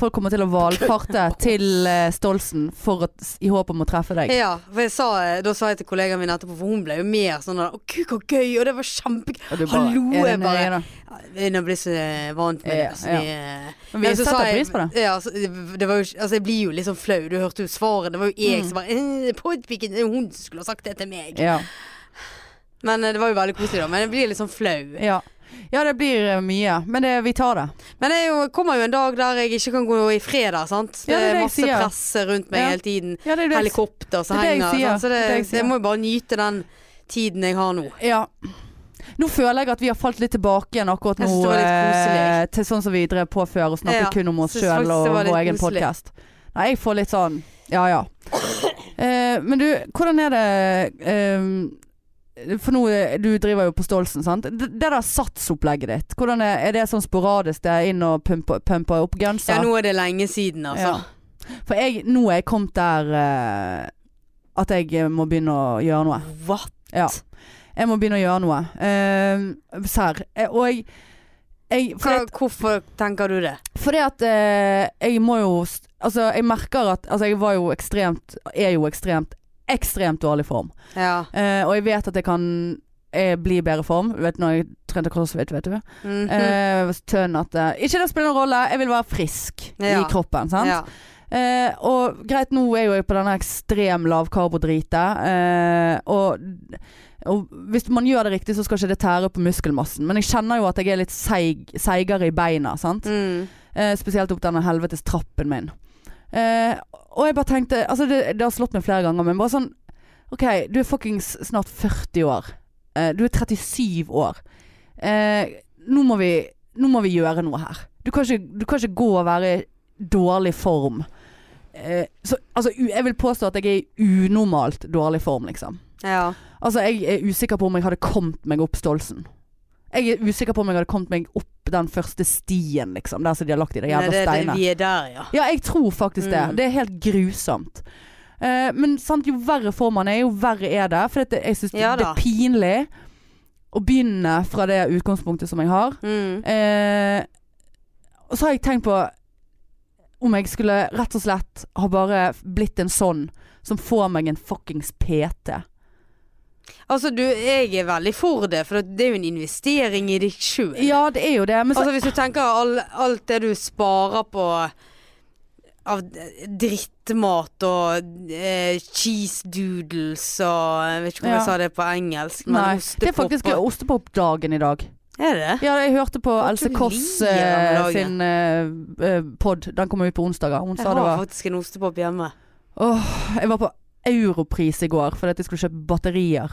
Speaker 1: folk kommer til å valfarte til eh, Stolsen for å, i håp om å treffe deg.
Speaker 2: Ja, for jeg sa, da sa jeg til kollegaen min etterpå, for hun ble jo mer sånn der, Å, gud, så gøy, og det var kjempegøy.
Speaker 1: Og du
Speaker 2: Hallo,
Speaker 1: er det
Speaker 2: jeg bare-
Speaker 1: nøye, da?
Speaker 2: Nå blir jeg så eh, vant med
Speaker 1: Ja,
Speaker 2: det. Så
Speaker 1: ja.
Speaker 2: vi, eh,
Speaker 1: Men vi
Speaker 2: Ja, så sa
Speaker 1: setter
Speaker 2: jeg-
Speaker 1: pris på det.
Speaker 2: Ja, så, det- det var jo, ikke- altså, jeg blir jo litt sånn flau. Du hørte jo svaret. Det var jo jeg som bare «Eh, Podpiken, det er hun som skulle ha sagt det til meg.
Speaker 1: Mm. Ja.
Speaker 2: Men eh, det var jo veldig koselig, da. Men jeg blir litt sånn flau.
Speaker 1: Ja. ja, det blir eh, mye. Men det, vi tar det.
Speaker 2: Men det er jo, kommer jo en dag der jeg ikke kan gå i fred, da. Sant?
Speaker 1: Ja, det er det jeg
Speaker 2: masse
Speaker 1: sier.
Speaker 2: press rundt meg
Speaker 1: Ja.
Speaker 2: hele tiden.
Speaker 1: Ja, det er jo det.
Speaker 2: Helikopter som
Speaker 1: det er det jeg
Speaker 2: henger.
Speaker 1: sier.
Speaker 2: sant? Så det,
Speaker 1: Det er det jeg
Speaker 2: jeg
Speaker 1: sier.
Speaker 2: må jo bare nyte den tiden jeg har nå.
Speaker 1: Ja. Nå føler jeg at vi har falt litt tilbake igjen akkurat nå.
Speaker 2: Jeg synes det var litt
Speaker 1: eh,
Speaker 2: koselig.
Speaker 1: til sånn som vi drev på før og snakket
Speaker 2: Ja,
Speaker 1: kun om oss
Speaker 2: synes
Speaker 1: sjøl
Speaker 2: faktisk
Speaker 1: og
Speaker 2: det var
Speaker 1: vår
Speaker 2: litt
Speaker 1: egen
Speaker 2: koselig.
Speaker 1: podkast. Nei, jeg får litt sånn ja ja. Eh, men du, hvordan er det eh, For nå, eh, du driver jo på Stolsen, sant. D- Det der satsopplegget ditt, hvordan er, er det sånn sporadisk det er inn og pumpe, pumpe opp
Speaker 2: Ja,
Speaker 1: genser?
Speaker 2: nå er det lenge siden, altså.
Speaker 1: For jeg, nå er jeg kommet der eh, at jeg må begynne å gjøre noe.
Speaker 2: What?
Speaker 1: Ja. Jeg må begynne å gjøre noe. Eh, serr. Eh, Og jeg, jeg for
Speaker 2: Hva,
Speaker 1: jeg-
Speaker 2: hvorfor tenker du det?
Speaker 1: Fordi at eh, jeg må jo s- Altså, jeg merker at Altså, jeg var jo ekstremt Er jo ekstremt Ekstremt dårlig form.
Speaker 2: Ja.
Speaker 1: Eh, og jeg vet at jeg kan eh, bli i bedre form. Du vet når jeg trente crossfit, vet du.
Speaker 2: Mhm.
Speaker 1: Eh, var så tønn at eh, Ikke det spiller noen rolle, jeg vil være frisk i
Speaker 2: Ja.
Speaker 1: kroppen. Sant?
Speaker 2: Ja.
Speaker 1: Eh, og greit, nå er jo jeg på denne ekstrem lavkarbodritet. Eh, og, og hvis man gjør det riktig, så skal ikke det tære på muskelmassen. Men jeg kjenner jo at jeg er litt seig, seigere i beina. Sant?
Speaker 2: Mm.
Speaker 1: Eh, spesielt opp denne helvetes trappen min. Eh, og jeg bare tenkte Altså, det, det har slått meg flere ganger, men bare sånn OK, du er fuckings snart 40 år. Eh, du er 37 år. Eh, nå, må vi, nå må vi gjøre noe her. Du kan ikke, du kan ikke gå og være i dårlig form. Eh, så, altså, u- jeg vil påstå at jeg er i unormalt dårlig form, liksom.
Speaker 2: ja.
Speaker 1: Altså, jeg er usikker på om jeg hadde kommet meg opp Stolsen. Jeg er usikker på om jeg hadde kommet meg opp den første stien, liksom. Der som de har lagt i det
Speaker 2: Nei,
Speaker 1: jævla
Speaker 2: det, det,
Speaker 1: steinet.
Speaker 2: vi er der, ja.
Speaker 1: Ja, jeg tror faktisk det.
Speaker 2: Mm.
Speaker 1: Det er helt grusomt. Eh, men sant, jo verre får man er, jo verre er det. For dette, jeg syns
Speaker 2: Ja
Speaker 1: det
Speaker 2: da.
Speaker 1: er pinlig å begynne fra det utgangspunktet som jeg har.
Speaker 2: Mm.
Speaker 1: Eh, og så har jeg tenkt på om jeg skulle rett og slett ha bare blitt en sånn som får meg en fuckings PT.
Speaker 2: Altså, du, jeg er veldig for det, for det er jo en investering i deg sjøl.
Speaker 1: Ja, det er jo det. Men så
Speaker 2: Altså, hvis du tenker all, alt det du sparer på av d- drittmat og eh, cheese doodles og Jeg vet ikke om
Speaker 1: Ja.
Speaker 2: jeg sa det på engelsk, men
Speaker 1: Nei,
Speaker 2: ostepop
Speaker 1: det er faktisk
Speaker 2: og-
Speaker 1: ostepopdagen i dag.
Speaker 2: Er det det?
Speaker 1: Ja, jeg hørte på
Speaker 2: Hva
Speaker 1: Else
Speaker 2: du
Speaker 1: Kåss
Speaker 2: lirer
Speaker 1: eh,
Speaker 2: om dagen.
Speaker 1: sin eh, pod. Den kommer ut på onsdager. Hun
Speaker 2: Jeg
Speaker 1: sa det
Speaker 2: har
Speaker 1: var
Speaker 2: faktisk en ostepop hjemme.
Speaker 1: Åh, jeg var på Europris i går fordi at jeg skulle kjøpe batterier.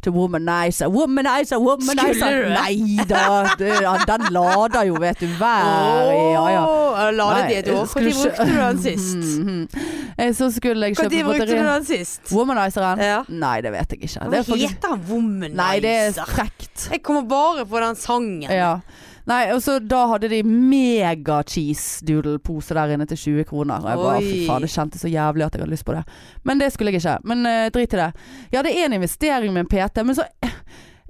Speaker 1: Til Womanizer, Womanizer, Womanizer.
Speaker 2: Skulle du det?
Speaker 1: Nei da, det, ja, den lader jo, vet du. Hver ja, ja.
Speaker 2: Åh, Ladet i et
Speaker 1: Nei,
Speaker 2: år.
Speaker 1: skulle
Speaker 2: Når brukte du den sist?
Speaker 1: Mhm. Eh, Så skulle jeg
Speaker 2: Når
Speaker 1: kjøpe
Speaker 2: brukte du
Speaker 1: batterier.
Speaker 2: den sist?
Speaker 1: Womanizeren?
Speaker 2: Ja.
Speaker 1: Nei, det vet jeg ikke. Det
Speaker 2: Hva
Speaker 1: er faktisk
Speaker 2: heter han
Speaker 1: Nei, det er
Speaker 2: Womanizer?
Speaker 1: frekt.
Speaker 2: Jeg kommer bare på den sangen.
Speaker 1: Ja. Nei, og så da hadde de mega cheese doodle-pose der inne til 20 kroner. Og jeg bare,
Speaker 2: Oi.
Speaker 1: fy faen, det kjentes så jævlig at jeg hadde lyst på det. Men det skulle jeg ikke. Men eh, drit i det. Ja, det er en investering med en PT, men så eh,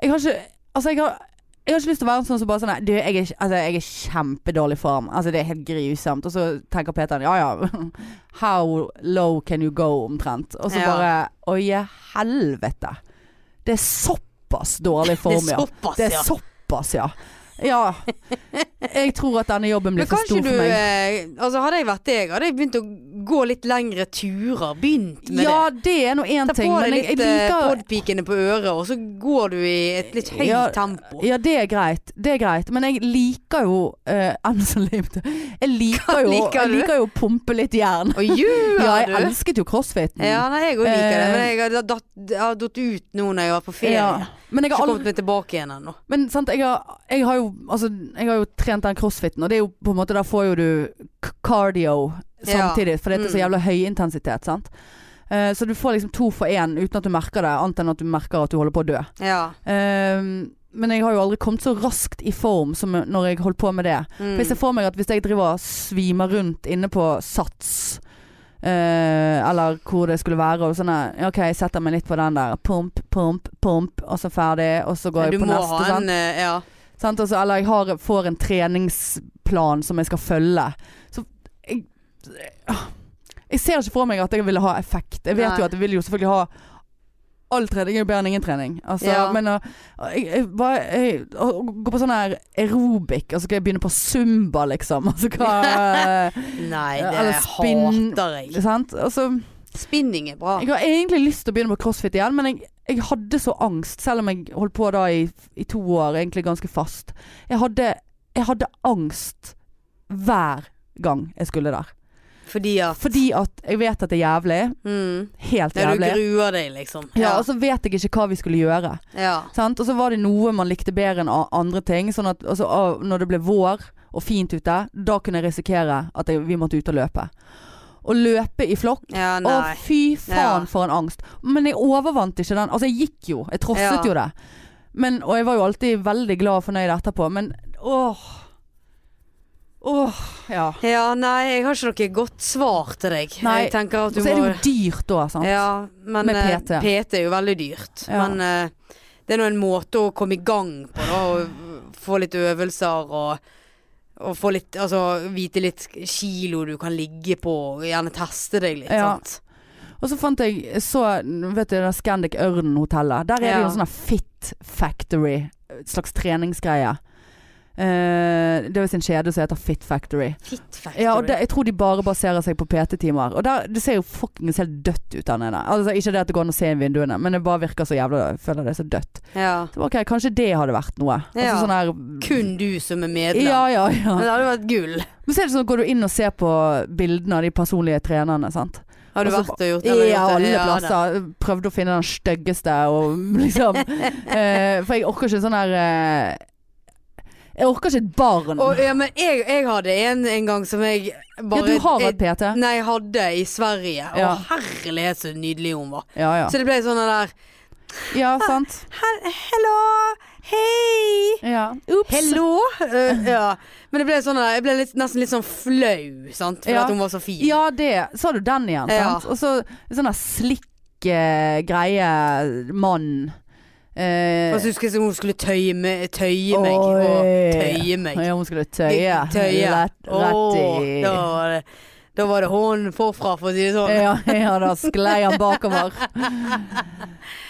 Speaker 1: Jeg har ikke Altså, jeg har jeg har ikke lyst til å være en sånn som bare sånn nei, Du, jeg er, altså, jeg er kjempedårlig form. Altså, det er helt grusomt. Og så tenker Peter ja ja, how low can you go, omtrent. Og så
Speaker 2: Ja.
Speaker 1: bare Oi, helvete. Det er såpass dårlig
Speaker 2: Det er
Speaker 1: form, ja.
Speaker 2: såpass, ja.
Speaker 1: Det er sånn såpass, ja. Ja. Jeg tror at denne jobben blir
Speaker 2: Men
Speaker 1: for
Speaker 2: kanskje
Speaker 1: stor
Speaker 2: du
Speaker 1: for meg.
Speaker 2: eh, Altså Hadde jeg vært deg, hadde jeg begynt å gå litt lengre turer. Begynt med
Speaker 1: Ja,
Speaker 2: det.
Speaker 1: det er nå én
Speaker 2: Ta på
Speaker 1: ting, men
Speaker 2: deg
Speaker 1: jeg, jeg
Speaker 2: litt eh,
Speaker 1: liker
Speaker 2: podpikene på øret, og så går du i et litt høyt
Speaker 1: Ja,
Speaker 2: tempo.
Speaker 1: Ja, det er greit. Det er greit. Men jeg liker jo eh, Enn så lenge Jeg liker
Speaker 2: Hva
Speaker 1: jo,
Speaker 2: liker
Speaker 1: jeg
Speaker 2: du?
Speaker 1: liker jo å pumpe litt jern.
Speaker 2: Og gjør
Speaker 1: Ja, jeg
Speaker 2: du?
Speaker 1: elsket jo crossfiten.
Speaker 2: Ja, nei, jeg òg liker det,
Speaker 1: Eh,
Speaker 2: men jeg har datt, jeg har datt ut nå når jeg var på ferie.
Speaker 1: Ja. Men, jeg
Speaker 2: Ikke
Speaker 1: har aldri,
Speaker 2: kommet meg tilbake igjen ennå.
Speaker 1: men sant, jeg har, jeg har jo Altså, jeg har jo trent den crossfiten, og det er jo på en måte Da får jo du k- cardio
Speaker 2: Ja.
Speaker 1: samtidig, for dette er så
Speaker 2: Mm.
Speaker 1: jævla høy intensitet, sant. Eh, så du får liksom to for én uten at du merker det, annet enn at du merker at du holder på å dø.
Speaker 2: Ja.
Speaker 1: Eh, men jeg har jo aldri kommet så raskt i form som når jeg holdt på med det. For jeg ser
Speaker 2: Mm.
Speaker 1: for meg at hvis jeg driver og svimer rundt inne på Sats eh, eller hvor det skulle være og sånn eh, OK, jeg setter meg litt på den der. Pump, pump, pump, og så ferdig. Og så går
Speaker 2: Du
Speaker 1: jeg på
Speaker 2: må
Speaker 1: neste.
Speaker 2: ha en
Speaker 1: sant?
Speaker 2: eh, Ja.
Speaker 1: Sant? Og så- eller jeg har, får en treningsplan som jeg skal følge. Så jeg, jeg ser ikke for meg at jeg ville ha effekt. Jeg vet
Speaker 2: Nei.
Speaker 1: jo at jeg vil jo selvfølgelig ha All trening er jo bedre enn ingen trening. Altså,
Speaker 2: Ja.
Speaker 1: Men å, jeg, jeg, bare- jeg, å å gå på sånn her aerobic, og så skal jeg begynne på zumba, liksom. Altså hva
Speaker 2: Nei, det
Speaker 1: Eller spinn-
Speaker 2: hater jeg.
Speaker 1: Sant? Altså,
Speaker 2: Spinning er bra.
Speaker 1: jeg har egentlig lyst til å begynne på crossfit igjen, men jeg, jeg hadde så angst, selv om jeg holdt på da i, i to år, egentlig ganske fast. Jeg hadde, jeg hadde angst hver gang jeg skulle der.
Speaker 2: Fordi at
Speaker 1: Fordi at jeg vet at det er jævlig.
Speaker 2: mm,
Speaker 1: Helt
Speaker 2: ja, Du
Speaker 1: jævlig.
Speaker 2: gruer deg, liksom.
Speaker 1: Ja, og så vet jeg ikke hva vi skulle gjøre.
Speaker 2: ja.
Speaker 1: Sant? Og så var det noe man likte bedre enn a- andre ting. Sånn at altså, av- når det ble vår og fint ute, da kunne jeg risikere at jeg, vi måtte ut og løpe. Å løpe i flokk.
Speaker 2: Ja,
Speaker 1: Å,
Speaker 2: nei.
Speaker 1: fy faen
Speaker 2: Ja.
Speaker 1: for en angst. Men jeg overvant ikke den. Altså, jeg gikk jo. Jeg trosset
Speaker 2: Ja.
Speaker 1: jo det. Men, og jeg var jo alltid veldig glad og fornøyd etterpå, men åh. Åh, ja.
Speaker 2: Ja, nei, jeg har ikke noe godt svar til deg.
Speaker 1: Nei,
Speaker 2: Jeg tenker at
Speaker 1: Og
Speaker 2: du
Speaker 1: så er det
Speaker 2: må
Speaker 1: jo dyrt da, sant.
Speaker 2: Ja, men
Speaker 1: Med
Speaker 2: eh,
Speaker 1: PT.
Speaker 2: PT er jo veldig dyrt.
Speaker 1: Ja.
Speaker 2: Men eh, det er nå en måte å komme i gang på, da. Og få litt øvelser og, og få litt Altså vite litt kilo du kan ligge på, og gjerne teste deg litt.
Speaker 1: Ja.
Speaker 2: Sant?
Speaker 1: Og så fant jeg så, vet du, det Scandic Ørnen-hotellet. Der er det jo
Speaker 2: Ja.
Speaker 1: en sånn her Fit Factory, et slags treningsgreie. Eh, det er visst en kjede som heter Fit Factory.
Speaker 2: Fit factory.
Speaker 1: Ja, og det, jeg tror de bare baserer seg på PT-timer. Og der, det ser jo fuckings helt dødt ut der nede. Altså, ikke det at det går an å se inn vinduene, men det bare virker så jævla Jeg føler det er så dødt.
Speaker 2: Ja.
Speaker 1: Så, ok, kanskje det hadde vært noe. Altså
Speaker 2: Ja.
Speaker 1: sånn her
Speaker 2: Kun du som er medlem.
Speaker 1: Ja, ja, ja.
Speaker 2: Men det hadde vært gull.
Speaker 1: Men så er det sånn, går du inn og ser på bildene av de personlige trenerne, sant.
Speaker 2: Har du
Speaker 1: Og så
Speaker 2: vært og gjort eller
Speaker 1: I
Speaker 2: gjort det?
Speaker 1: Altså, alle
Speaker 2: Ja, da.
Speaker 1: plasser. Prøvde å finne den styggeste og liksom eh, For jeg orker ikke sånn her eh, Jeg orker ikke et barn.
Speaker 2: Og, ja, men jeg, jeg hadde en en gang som jeg
Speaker 1: ja,
Speaker 2: bare
Speaker 1: du har
Speaker 2: jeg-
Speaker 1: hatt PT.
Speaker 2: Nei, jeg hadde i Sverige.
Speaker 1: Ja.
Speaker 2: Og herlighet så nydelig hun var.
Speaker 1: Ja, ja.
Speaker 2: Så det ble sånn den der
Speaker 1: ja, sant.
Speaker 2: Hello! Hei!
Speaker 1: Ja. Ups.
Speaker 2: Hello! Eh, ja. Men det ble sånn, jeg ble litt, nesten litt sånn flau, sant? Fordi
Speaker 1: Ja.
Speaker 2: at hun var så fin.
Speaker 1: Ja, det. Så har du den igjen,
Speaker 2: Ja.
Speaker 1: sant. Og så sånn der slikk eh, greie mann. Eh,
Speaker 2: Og så husker jeg som hun skulle tøye, me, tøye meg.
Speaker 1: Oi.
Speaker 2: Og tøye meg.
Speaker 1: ja, hun skulle tøye.
Speaker 2: Tøye.
Speaker 1: Rett, rett
Speaker 2: Åh,
Speaker 1: i
Speaker 2: da var det, da var det hånden forfra, for å si det sånn.
Speaker 1: ja, ja, da sklei han bakover.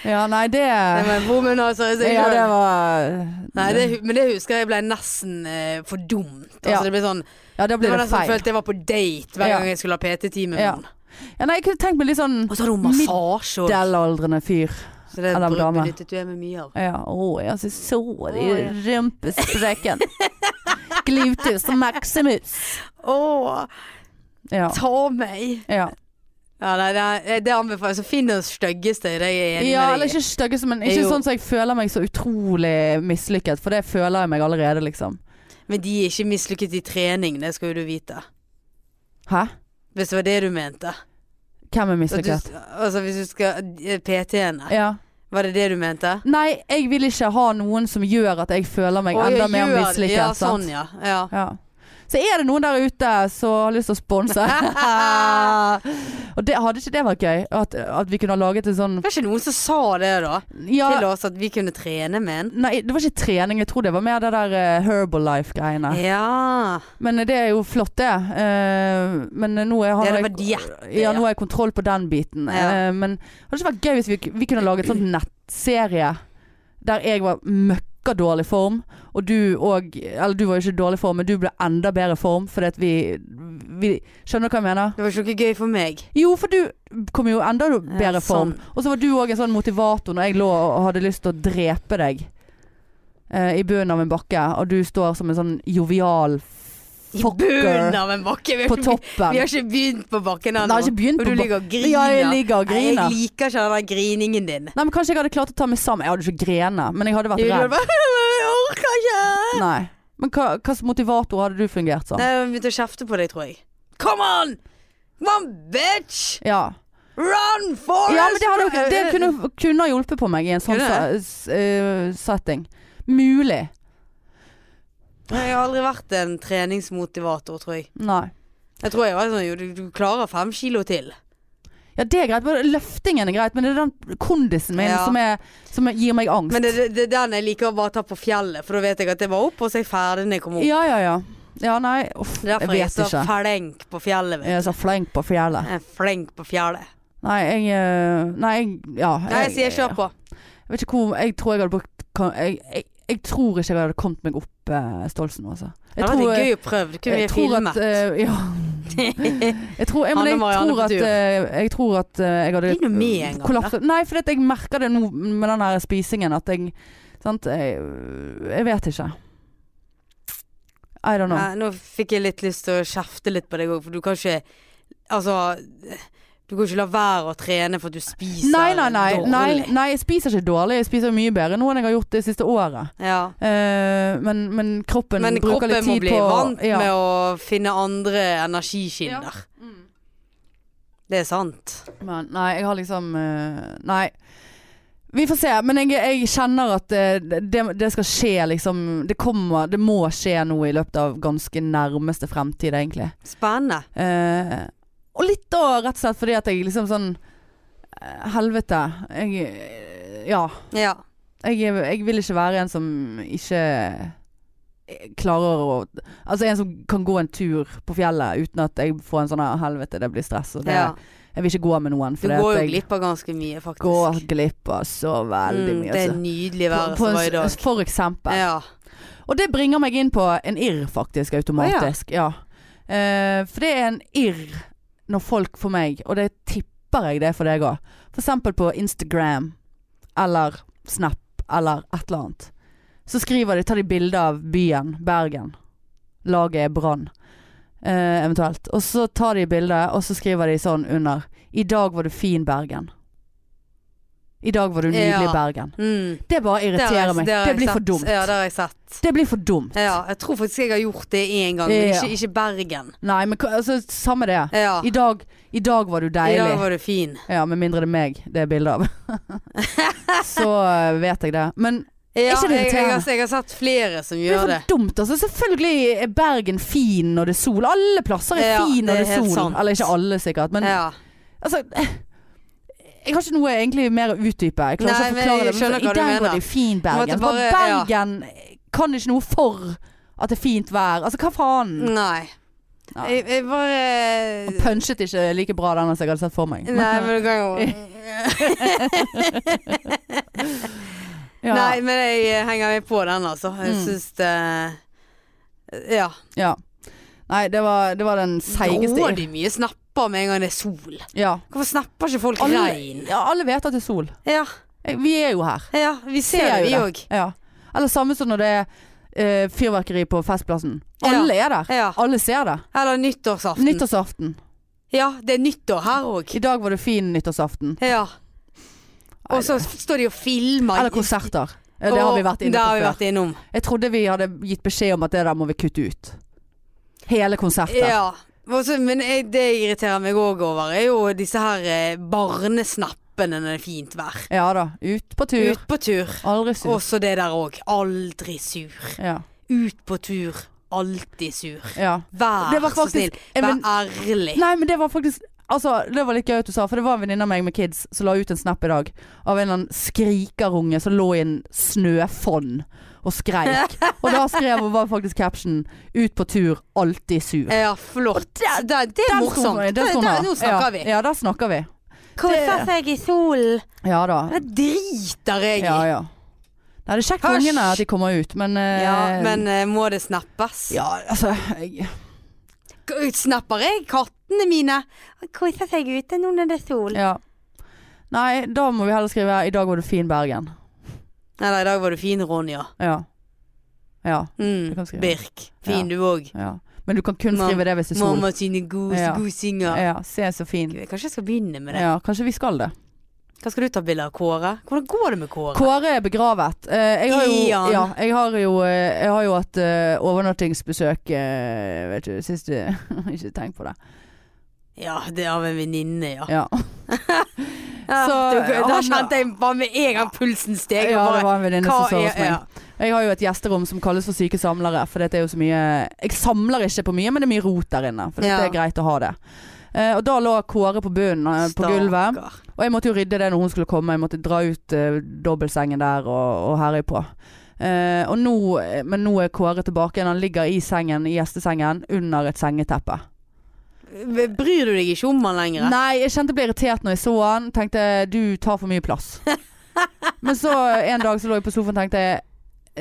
Speaker 1: Ja, nei, det
Speaker 2: Nei, men woman, altså. Jeg,
Speaker 1: Ja, det var
Speaker 2: Nei, det, hu- men det husker jeg ble nesten eh, for dumt. Altså,
Speaker 1: Ja.
Speaker 2: Det ble sånn
Speaker 1: Ja, da
Speaker 2: Det
Speaker 1: blir
Speaker 2: var
Speaker 1: det
Speaker 2: nesten
Speaker 1: feil.
Speaker 2: følt jeg var på date hver
Speaker 1: Ja.
Speaker 2: gang jeg skulle ha PT-time med
Speaker 1: Ja.
Speaker 2: noen.
Speaker 1: Ja, nei, jeg kunne tenkt meg litt sånn
Speaker 2: Og så hadde hun massasje og
Speaker 1: middelaldrende fyr.
Speaker 2: Så det
Speaker 1: eller dame.
Speaker 2: benyttet du er med mye av.
Speaker 1: Ja, å, jeg altså, så det
Speaker 2: Å, ja.
Speaker 1: i rumpesprekken. Glutus maximus.
Speaker 2: Åh,
Speaker 1: Ja.
Speaker 2: ta meg!
Speaker 1: Ja,
Speaker 2: Ja, nei, det, det anbefaler jeg. Så finn den styggeste, det er jeg enig
Speaker 1: ja
Speaker 2: med
Speaker 1: eller
Speaker 2: deg i.
Speaker 1: ikke styggeste, men ikke
Speaker 2: Jo.
Speaker 1: sånn så jeg føler meg så utrolig mislykket. For det føler jeg meg allerede, liksom.
Speaker 2: Men de er ikke mislykket i trening, det skal jo du vite.
Speaker 1: Hæ?
Speaker 2: Hvis det var det du mente.
Speaker 1: Hvem er
Speaker 2: At Du,
Speaker 1: mislykket?
Speaker 2: altså hvis du skal PT-ene.
Speaker 1: Ja.
Speaker 2: Var det det du mente?
Speaker 1: Nei, jeg vil ikke ha noen som gjør at jeg føler meg
Speaker 2: Å, ja,
Speaker 1: enda mer
Speaker 2: gjør-
Speaker 1: mislykket.
Speaker 2: Ja,
Speaker 1: sant?
Speaker 2: sånn, ja. ja.
Speaker 1: Ja. Så er det noen der ute som har lyst til å sponse.
Speaker 2: Ah.
Speaker 1: og det, hadde ikke det vært gøy? At, at vi kunne ha laget en sånn
Speaker 2: Det var ikke noen som sa det, da. Til
Speaker 1: ja,
Speaker 2: oss at vi kunne trene med en.
Speaker 1: Nei, det var ikke trening. Jeg tror det var mer det der eh, Herbalife-greiene.
Speaker 2: Ja.
Speaker 1: Men eh, det er jo flott, det. Eh, men eh, nå er han
Speaker 2: Ja, det var diett.
Speaker 1: Ja, nå har jeg kontroll på den biten.
Speaker 2: Ja.
Speaker 1: Eh, men hadde det ikke vært gøy hvis vi, vi kunne laget en sånn nettserie der jeg var møkka dårlig form, og du òg Eller du var jo ikke i dårlig form, men du ble enda bedre form fordi at vi, vi Skjønner du hva jeg mener?
Speaker 2: Det var ikke noe gøy for meg.
Speaker 1: Jo, for du kom jo enda bedre
Speaker 2: Ja,
Speaker 1: form.
Speaker 2: sånn.
Speaker 1: Og så var du òg en sånn motivator når jeg lå og hadde lyst til å drepe deg eh, i bunnen av en bakke, og du står som en sånn jovial
Speaker 2: I
Speaker 1: fucker
Speaker 2: bunnen av en bakke. Vi har,
Speaker 1: eh, på
Speaker 2: ikke,
Speaker 1: toppen.
Speaker 2: vi har ikke begynt på bakken
Speaker 1: Nei, jeg har ikke begynt
Speaker 2: Og
Speaker 1: på
Speaker 2: du
Speaker 1: bak-
Speaker 2: ligger og griner.
Speaker 1: Ja, jeg ligger og
Speaker 2: Nei,
Speaker 1: griner.
Speaker 2: Jeg liker ikke den der griningen din.
Speaker 1: Nei, men Kanskje jeg hadde klart å ta meg sammen. Jeg hadde ikke grene, men jeg hadde
Speaker 2: Du,
Speaker 1: vært
Speaker 2: du
Speaker 1: redd.
Speaker 2: bare Jeg orker ikke!
Speaker 1: Nei. Men hva slags motivator hadde du fungert som?
Speaker 2: Nei, jeg begynte å kjefte på deg, tror jeg. Come on! Come on, bitch!
Speaker 1: Ja.
Speaker 2: Run, Forest!
Speaker 1: ja, men det, hadde, jo- det kunne, kunne ha hjulpet på meg i en sånn
Speaker 2: Kunne
Speaker 1: sa- s- eh, setting. Mulig.
Speaker 2: Jeg har aldri vært en treningsmotivator, tror jeg.
Speaker 1: Nei.
Speaker 2: Jeg tror jeg var sånn, jo, du, du klarer fem kilo til.
Speaker 1: Ja, det er greit. men Løftingen er greit, men det er den kondisen min
Speaker 2: Ja.
Speaker 1: som, er, som gir meg angst.
Speaker 2: Men det det- det er den jeg liker å bare ta på fjellet, for da vet jeg at det var opp, og så er jeg ferdig når jeg kommer opp.
Speaker 1: Ja, ja, ja. Ja, nei, uff,
Speaker 2: Det er
Speaker 1: jeg
Speaker 2: derfor jeg er
Speaker 1: vet
Speaker 2: så
Speaker 1: ikke.
Speaker 2: flenk på fjellet.
Speaker 1: Jeg
Speaker 2: Vet.
Speaker 1: er så flink på fjellet.
Speaker 2: Jeg er flenk på fjellet.
Speaker 1: Nei, jeg eh, Nei, jeg Ja.
Speaker 2: Nei, jeg sier kjør på.
Speaker 1: Jeg vet ikke hvor Jeg tror jeg hadde brukt kan- Jeg, jeg, jeg tror ikke jeg hadde kommet meg opp eh, Stolsen, altså. Jeg
Speaker 2: Det hadde
Speaker 1: tror-
Speaker 2: vært gøy å prøve. Det kunne vi
Speaker 1: jeg tror
Speaker 2: filmet.
Speaker 1: at eh, Ja. Jeg tror, jeg, men
Speaker 2: Hanne
Speaker 1: jeg
Speaker 2: Marianne
Speaker 1: tror
Speaker 2: på
Speaker 1: at
Speaker 2: tur.
Speaker 1: eh, Jeg tror at eh, jeg hadde
Speaker 2: Bli nå med en gang, da.
Speaker 1: kollapset. Nei, for jeg merker det nå med den her spisingen at jeg Sant? Jeg, jeg vet ikke. I don't know.
Speaker 2: Nei, nå fikk jeg litt lyst til å kjefte litt på deg òg, for du kan ikke Altså Du kan ikke la være å trene for at du spiser
Speaker 1: Nei, nei, nei,
Speaker 2: dårlig.
Speaker 1: nei, nei. Jeg spiser ikke dårlig. Jeg spiser mye bedre nå enn jeg har gjort det siste året.
Speaker 2: Ja.
Speaker 1: Eh, men, men kroppen
Speaker 2: Men
Speaker 1: bruker
Speaker 2: kroppen
Speaker 1: litt
Speaker 2: må
Speaker 1: tid
Speaker 2: bli
Speaker 1: på
Speaker 2: vant
Speaker 1: ja. mm.
Speaker 2: med å finne andre energikilder. Det er sant.
Speaker 1: Men nei, jeg har liksom eh, Nei. Vi får se. Men jeg, jeg kjenner at eh, det, det skal skje, liksom. Det kommer Det må skje noe i løpet av ganske nærmeste fremtid, egentlig.
Speaker 2: Spennende.
Speaker 1: Eh, og litt da rett og slett fordi at jeg liksom sånn eh, Helvete. Jeg eh, Ja.
Speaker 2: Ja.
Speaker 1: Jeg, jeg vil ikke være en som ikke eh, klarer å Altså en som kan gå en tur på fjellet uten at jeg får en sånn her helvete, det blir stress. Og det,
Speaker 2: ja.
Speaker 1: Jeg vil ikke gå med noen.
Speaker 2: Du
Speaker 1: fordi at
Speaker 2: går jo
Speaker 1: jeg-
Speaker 2: glipp av ganske mye, faktisk.
Speaker 1: går glipp av så veldig
Speaker 2: Mm,
Speaker 1: mye.
Speaker 2: det er
Speaker 1: altså.
Speaker 2: nydelig
Speaker 1: På-
Speaker 2: vær
Speaker 1: på
Speaker 2: som
Speaker 1: en
Speaker 2: var i
Speaker 1: s-
Speaker 2: dag.
Speaker 1: For eksempel.
Speaker 2: Ja.
Speaker 1: Og det bringer meg inn på en irr, faktisk, automatisk. ja. Eh, for det er en irr når folk for meg, og det tipper jeg det er for deg òg, for eksempel på Instagram eller Snap eller et eller annet, så skriver de, tar de bilde av byen, Bergen. Laget er Brann, eh, eventuelt. Og så tar de bilde, og så skriver de sånn under I dag var du fin, Bergen. I dag var du nydelig,
Speaker 2: Ja.
Speaker 1: Bergen.
Speaker 2: Mm.
Speaker 1: Det
Speaker 2: Det
Speaker 1: bare
Speaker 2: har jeg-
Speaker 1: irriterer meg.
Speaker 2: har
Speaker 1: Det
Speaker 2: jeg
Speaker 1: blir
Speaker 2: sett.
Speaker 1: for dumt.
Speaker 2: Ja, det har jeg sett.
Speaker 1: Det blir for dumt.
Speaker 2: Ja, jeg tror faktisk jeg har gjort det én gang, men
Speaker 1: Ja.
Speaker 2: ikke, ikke Bergen.
Speaker 1: Nei, men hva- altså, samme det.
Speaker 2: Ja.
Speaker 1: I dag, I dag var du
Speaker 2: I
Speaker 1: deilig.
Speaker 2: dag var du fin.
Speaker 1: Ja, Med mindre det er meg det er bilde av. så eh, vet jeg det. Men
Speaker 2: Ja,
Speaker 1: ikke det
Speaker 2: jeg, jeg, har,
Speaker 1: irriterende?
Speaker 2: jeg har sett flere som
Speaker 1: det er
Speaker 2: gjør
Speaker 1: for
Speaker 2: det.
Speaker 1: dumt. Altså. Selvfølgelig er Bergen fin når det er sol. Alle plasser er
Speaker 2: Ja,
Speaker 1: fin når
Speaker 2: det er
Speaker 1: det er
Speaker 2: helt
Speaker 1: sol.
Speaker 2: sant.
Speaker 1: Eller ikke alle, sikkert. Men
Speaker 2: Ja.
Speaker 1: altså eh, Jeg har ikke noe egentlig mer å utdype. Jeg klarer
Speaker 2: Nei,
Speaker 1: ikke å
Speaker 2: men
Speaker 1: forklare
Speaker 2: jeg
Speaker 1: det. Men
Speaker 2: skjønner hva
Speaker 1: I
Speaker 2: du
Speaker 1: dag
Speaker 2: mener.
Speaker 1: var det fin
Speaker 2: måtte
Speaker 1: Bergen. For
Speaker 2: bare- ja.
Speaker 1: Bergen kan ikke noe for at det er fint vær. Altså, hva faen?
Speaker 2: Nei.
Speaker 1: Ja.
Speaker 2: Jeg, jeg bare
Speaker 1: Punchet ikke like bra den som jeg hadde sett for meg.
Speaker 2: Nei, men du kan jo
Speaker 1: Ja.
Speaker 2: Nei, men jeg eh, henger meg på den, altså. Jeg
Speaker 1: Mm.
Speaker 2: syns det Ja.
Speaker 1: Ja. Nei, det var, det var den seigeste
Speaker 2: Grådig mye snapper med en gang det er sol.
Speaker 1: ja.
Speaker 2: Hvorfor snapper ikke folk
Speaker 1: Alle,
Speaker 2: regn?
Speaker 1: ja, alle vet at det er sol.
Speaker 2: Ja,
Speaker 1: Eh, Vi er jo her.
Speaker 2: ja, vi ser,
Speaker 1: Ser
Speaker 2: det, vi
Speaker 1: jo det.
Speaker 2: òg.
Speaker 1: Ja. Eller samme som når det er eh, fyrverkeri på Festplassen. Alle er der.
Speaker 2: Ja.
Speaker 1: Alle ser det.
Speaker 2: Eller nyttårsaften.
Speaker 1: Nyttårsaften.
Speaker 2: Ja, det er nyttår her òg.
Speaker 1: I dag var det fin nyttårsaften.
Speaker 2: Ja.
Speaker 1: Nei,
Speaker 2: Og så står de og filmer.
Speaker 1: Eller konserter. Ja, det har vi vært inne
Speaker 2: Det har
Speaker 1: på
Speaker 2: vi
Speaker 1: før.
Speaker 2: vært innom.
Speaker 1: Jeg trodde vi hadde gitt beskjed om at det der må vi kutte ut. Hele konserter.
Speaker 2: Ja. Og så- men jeg, det jeg irriterer meg òg over, er jo disse her eh, barnesnappene når det er fint vær.
Speaker 1: Ja da. Ut på tur.
Speaker 2: Ut på tur.
Speaker 1: Aldri sur.
Speaker 2: Også det der òg. Aldri sur.
Speaker 1: Ja.
Speaker 2: Ut på tur. Alltid sur.
Speaker 1: ja. Det
Speaker 2: Vær
Speaker 1: var
Speaker 2: så
Speaker 1: faktisk-
Speaker 2: snill.
Speaker 1: Jeg,
Speaker 2: Vær
Speaker 1: men,
Speaker 2: ærlig.
Speaker 1: Nei, men det var faktisk Altså, det var litt gøy at du sa, for det var en venninne av meg med kids som la ut en snap i dag av en eller annen skrikerunge som lå i en snøfonn og skreik. Og da skrev hun var faktisk caption 'Ut på tur, alltid sur'.
Speaker 2: Ja, flott. Det, det, er
Speaker 1: Den sto-
Speaker 2: morsomt.
Speaker 1: den sto
Speaker 2: Det-
Speaker 1: nå.
Speaker 2: det- nå snakker
Speaker 1: sånn ja,
Speaker 2: vi.
Speaker 1: Ja, der snakker vi.
Speaker 2: Hvorfor fikk jeg solen?
Speaker 1: Ja da.
Speaker 2: Det driter jeg i.
Speaker 1: Ja, ja. Nei, det er kjekt for
Speaker 2: Hysj!
Speaker 1: ungene at de kommer ut, men eh,
Speaker 2: Ja, men eh, må det snappes?
Speaker 1: Ja, altså jeg,
Speaker 2: K- Snapper jeg kattene mine? Koser seg ute nå når det er sol.
Speaker 1: Ja. Nei, da må vi heller skrive 'I dag var du fin, Bergen'.
Speaker 2: Nei, nei, i dag var du fin, Ronja.
Speaker 1: Ja. Ja.
Speaker 2: Mm.
Speaker 1: Det kan skrive.
Speaker 2: Birk. Fin du òg.
Speaker 1: ja. Men du kan kun
Speaker 2: Mam-
Speaker 1: skrive det hvis det er sol.
Speaker 2: Mamma sine gode,
Speaker 1: Ja.
Speaker 2: gode synger.
Speaker 1: Ja, se så fin.
Speaker 2: Gud, Kanskje jeg skal begynne med det.
Speaker 1: Ja, kanskje vi skal det.
Speaker 2: Hva skal du ta bilde av, Kåre? Hvordan går det med Kåre?
Speaker 1: Kåre er begravet. Eh, Jeg har jo,
Speaker 2: I han.
Speaker 1: ja, jeg har jo, eh, jeg har jo hatt eh, overnattingsbesøk eh, Vet du, sist Ikke tenk på det.
Speaker 2: Ja, det er av en venninne, ja. eh,
Speaker 1: Ja.
Speaker 2: ja
Speaker 1: Så,
Speaker 2: det-
Speaker 1: ja,
Speaker 2: Ah, da
Speaker 1: han-
Speaker 2: kjente jeg bare med en gang pulsen steg.
Speaker 1: ja,
Speaker 2: og
Speaker 1: det
Speaker 2: bare,
Speaker 1: var en venninne som
Speaker 2: hva
Speaker 1: sa
Speaker 2: er-
Speaker 1: hos meg. Jeg har jo et gjesterom som kalles for syke samlere, for det er jo så mye Jeg samler ikke på mye, men det er mye rot der inne, for
Speaker 2: Ja.
Speaker 1: det er greit å ha det. Eh, Og da lå Kåre på bunnen eh, på gulvet.
Speaker 2: Stakkar.
Speaker 1: Og jeg måtte jo rydde det når hun skulle komme. Jeg måtte dra ut eh, dobbeltsengen der og, og herje på. Eh, og nå, men nå er Kåre tilbake igjen. Han ligger i sengen, i gjestesengen, under et sengeteppe.
Speaker 2: Bryr du deg ikke om han lenger?
Speaker 1: Nei, jeg kjente jeg ble irritert når jeg så han. Tenkte du tar for mye plass. men så en dag så lå jeg på sofaen og tenkte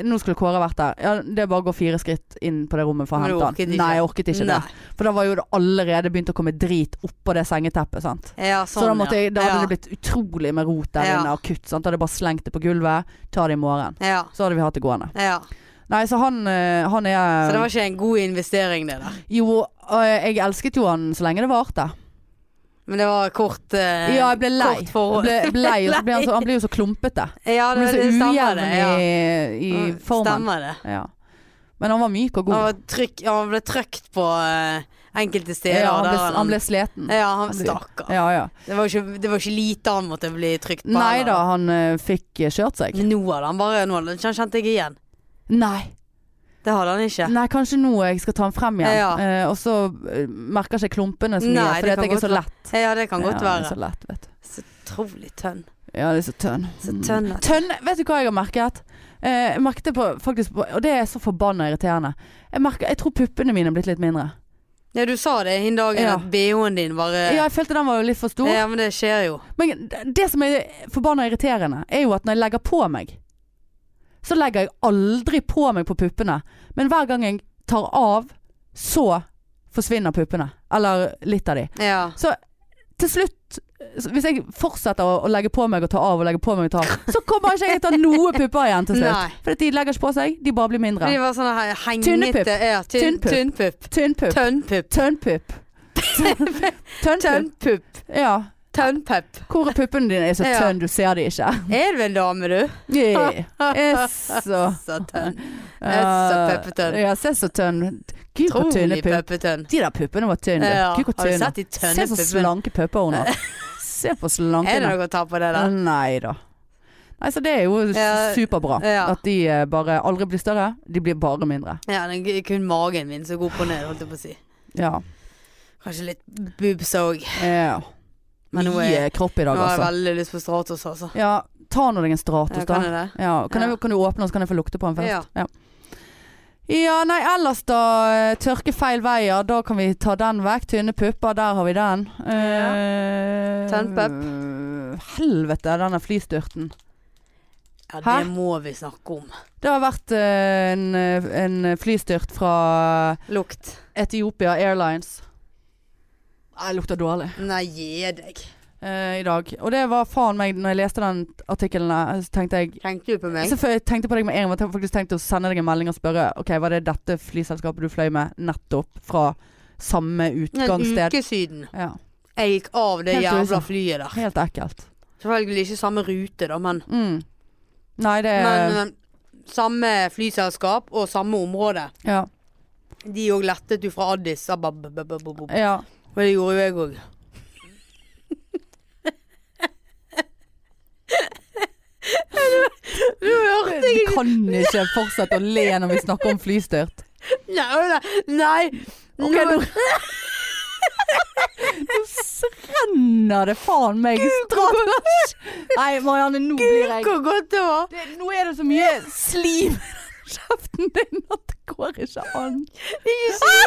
Speaker 1: nå skulle Kåre vært der. Ja, det er bare å gå fire skritt inn på det rommet for å
Speaker 2: Men du
Speaker 1: hente
Speaker 2: orket
Speaker 1: han.
Speaker 2: ikke.
Speaker 1: Nei, jeg orket ikke
Speaker 2: Nei.
Speaker 1: det. For da var jo det allerede begynt å komme drit oppå det sengeteppet. sant?
Speaker 2: Ja, sånn,
Speaker 1: Så da, måtte jeg, da hadde
Speaker 2: ja.
Speaker 1: det blitt utrolig med rot der
Speaker 2: Ja.
Speaker 1: inne, akutt. Sant? Da hadde jeg bare slengt det på gulvet. Ta det i morgen.
Speaker 2: Ja.
Speaker 1: Så hadde vi hatt det gående.
Speaker 2: ja.
Speaker 1: Nei, så han, eh, han er
Speaker 2: Så det var ikke en god investering, det der.
Speaker 1: Jo, eh, jeg elsket jo han så lenge det varte.
Speaker 2: Men det var kort eh,
Speaker 1: Ja, jeg ble lei.
Speaker 2: Kort
Speaker 1: Jeg
Speaker 2: forhold.
Speaker 1: ble, ble lei, og så ble han, så, han blir jo så klumpete.
Speaker 2: Ja, det,
Speaker 1: Han blir så
Speaker 2: det stemmer
Speaker 1: ujevn
Speaker 2: det.
Speaker 1: i,
Speaker 2: Ja.
Speaker 1: i
Speaker 2: Mm,
Speaker 1: formen.
Speaker 2: Stemmer det.
Speaker 1: Ja. Men han var myk
Speaker 2: Han,
Speaker 1: og god.
Speaker 2: var trykk, ja, han ble trøkt på eh, enkelte steder.
Speaker 1: Ja, han
Speaker 2: der
Speaker 1: ble, han ble sliten.
Speaker 2: Ja, han stakkar.
Speaker 1: Ja, ja.
Speaker 2: Det, var ikke- det var ikke lite han måtte bli trykt på.
Speaker 1: Nei
Speaker 2: heller.
Speaker 1: da, han eh, fikk eh, kjørt seg.
Speaker 2: Men nå hadde han bare Nå hadde han kjente jeg igjen.
Speaker 1: Nei.
Speaker 2: Det hadde han ikke.
Speaker 1: Nei, kanskje nå jeg skal ta den frem igjen.
Speaker 2: Ja.
Speaker 1: Eh, og så eh, merker ikke jeg klumpene så mye,
Speaker 2: Nei,
Speaker 1: fordi
Speaker 2: det
Speaker 1: at
Speaker 2: kan
Speaker 1: jeg er
Speaker 2: godt
Speaker 1: så
Speaker 2: være.
Speaker 1: lett.
Speaker 2: Ja, det kan godt
Speaker 1: ja, liksom. jeg er
Speaker 2: være.
Speaker 1: Så lett, vet du.
Speaker 2: Så utrolig tønn.
Speaker 1: Ja, det er så tønn. Mm.
Speaker 2: Så tønn altså. at-
Speaker 1: Tønn, vet du hva jeg har merket? Eh, jeg merket det på, faktisk på, og det er så forbanna irriterende. Jeg, merker, jeg tror puppene mine er blitt litt mindre.
Speaker 2: Ja, du sa det den dagen
Speaker 1: Ja.
Speaker 2: at BH-en din bare
Speaker 1: Ja, jeg følte den var jo litt for stor.
Speaker 2: Ja, men det skjer jo.
Speaker 1: Men det- det som er forbanna irriterende, er jo at når jeg legger på meg, så legger jeg aldri på meg på puppene. Men hver gang jeg tar av, så forsvinner puppene. Eller litt av de.
Speaker 2: Ja.
Speaker 1: Til slutt, så hvis jeg fortsetter å, å legge på meg og ta av og legge på meg og ta av, så kommer ikke jeg til å ha noe pupper igjen til slutt.
Speaker 2: Nei.
Speaker 1: For de legger ikke på seg, de bare blir mindre.
Speaker 2: De var sånn her
Speaker 1: Tynnepupp.
Speaker 2: hengete ja, tynn- Tynnpupp.
Speaker 1: Tynnpupp. Tynnpupp.
Speaker 2: Tønnpupp.
Speaker 1: Tønnpupp. Tønnpupp.
Speaker 2: Tønnpupp.
Speaker 1: Ja.
Speaker 2: Tønnpupp.
Speaker 1: Hvor er puppene dine? Er så
Speaker 2: Ja.
Speaker 1: tønn, du ser de ikke.
Speaker 2: Er du en dame, du?
Speaker 1: Yeah. Er så
Speaker 2: Så tønn. Jeg er så puppetønn.
Speaker 1: eh, Ja, se så tønn. Gud, hvor tynne
Speaker 2: Utrolig
Speaker 1: pupper.
Speaker 2: puppetønn.
Speaker 1: De der puppene var tynne.
Speaker 2: Ja,
Speaker 1: Gud, hvor
Speaker 2: har du
Speaker 1: tynne.
Speaker 2: sett de
Speaker 1: Se
Speaker 2: tønne
Speaker 1: så
Speaker 2: puppene?
Speaker 1: slanke pupper hun har. Se på
Speaker 2: Er det
Speaker 1: slankene.
Speaker 2: noe å ta på det, da?
Speaker 1: Mm. Nei da. Nei, så det er jo
Speaker 2: Ja,
Speaker 1: superbra.
Speaker 2: ja.
Speaker 1: At de eh, bare aldri blir større. De blir bare mindre.
Speaker 2: Ja, det er kun magen min som går opp og ned, holdt jeg på å si.
Speaker 1: Ja.
Speaker 2: Kanskje litt boobs òg.
Speaker 1: ja.
Speaker 2: Men nå er-
Speaker 1: Mye kropp i
Speaker 2: Nå
Speaker 1: dag,
Speaker 2: har jeg
Speaker 1: altså.
Speaker 2: veldig lyst på Stratos, altså.
Speaker 1: Ja, ta nå deg en
Speaker 2: Ja,
Speaker 1: Stratos, da.
Speaker 2: kan jeg det?
Speaker 1: Ja, kan,
Speaker 2: Ja.
Speaker 1: Jeg, kan du åpne den, så kan jeg få lukte på den
Speaker 2: Ja.
Speaker 1: først? Ja. ja. nei, ellers da eh, Tørke feil veier, da kan vi ta den vekk. Tynne pupper, der har vi den. Eh, Helvete, denne flystyrten.
Speaker 2: Ja, det
Speaker 1: Hæ?
Speaker 2: må vi snakke om.
Speaker 1: Det har vært eh, en, en flystyrt fra
Speaker 2: Lukt.
Speaker 1: Etiopia Airlines. Jeg lukter dårlig
Speaker 2: Nei, gi deg.
Speaker 1: eh, i dag. Og det var faen meg, når jeg leste den artikkelen, der, så tenkte jeg
Speaker 2: Tenkte du på meg?
Speaker 1: Selvfølgelig tenkte jeg på deg med en gang. men Jeg hadde faktisk tenkt å sende deg en melding og spørre Ok, var det dette flyselskapet du fløy med nettopp fra samme
Speaker 2: En
Speaker 1: utgangssted.
Speaker 2: uke siden
Speaker 1: Ja,
Speaker 2: jeg gikk av det
Speaker 1: Helt
Speaker 2: jævla
Speaker 1: grusomt.
Speaker 2: flyet der.
Speaker 1: helt ekkelt.
Speaker 2: Selvfølgelig ikke samme rute, da, men,
Speaker 1: Mm. Nei, det
Speaker 2: men eh, samme flyselskap og samme område.
Speaker 1: ja,
Speaker 2: De òg lettet jo fra Addis Abab. bab- bab- bab-
Speaker 1: ja.
Speaker 2: Og det gjorde jo jeg òg. Du hørte
Speaker 1: Vi
Speaker 2: ikke
Speaker 1: kan ikke fortsette å le når vi snakker om flystyrt.
Speaker 2: Nei! nei.
Speaker 1: Ok,
Speaker 2: Nå-
Speaker 1: nå Nå renner det faen meg straff. Nei, Marianne, nå blir jeg
Speaker 2: Hvor godt det var.
Speaker 1: det, Nå er det så mye slim i kjeften din at det går ikke an.
Speaker 2: Ikke si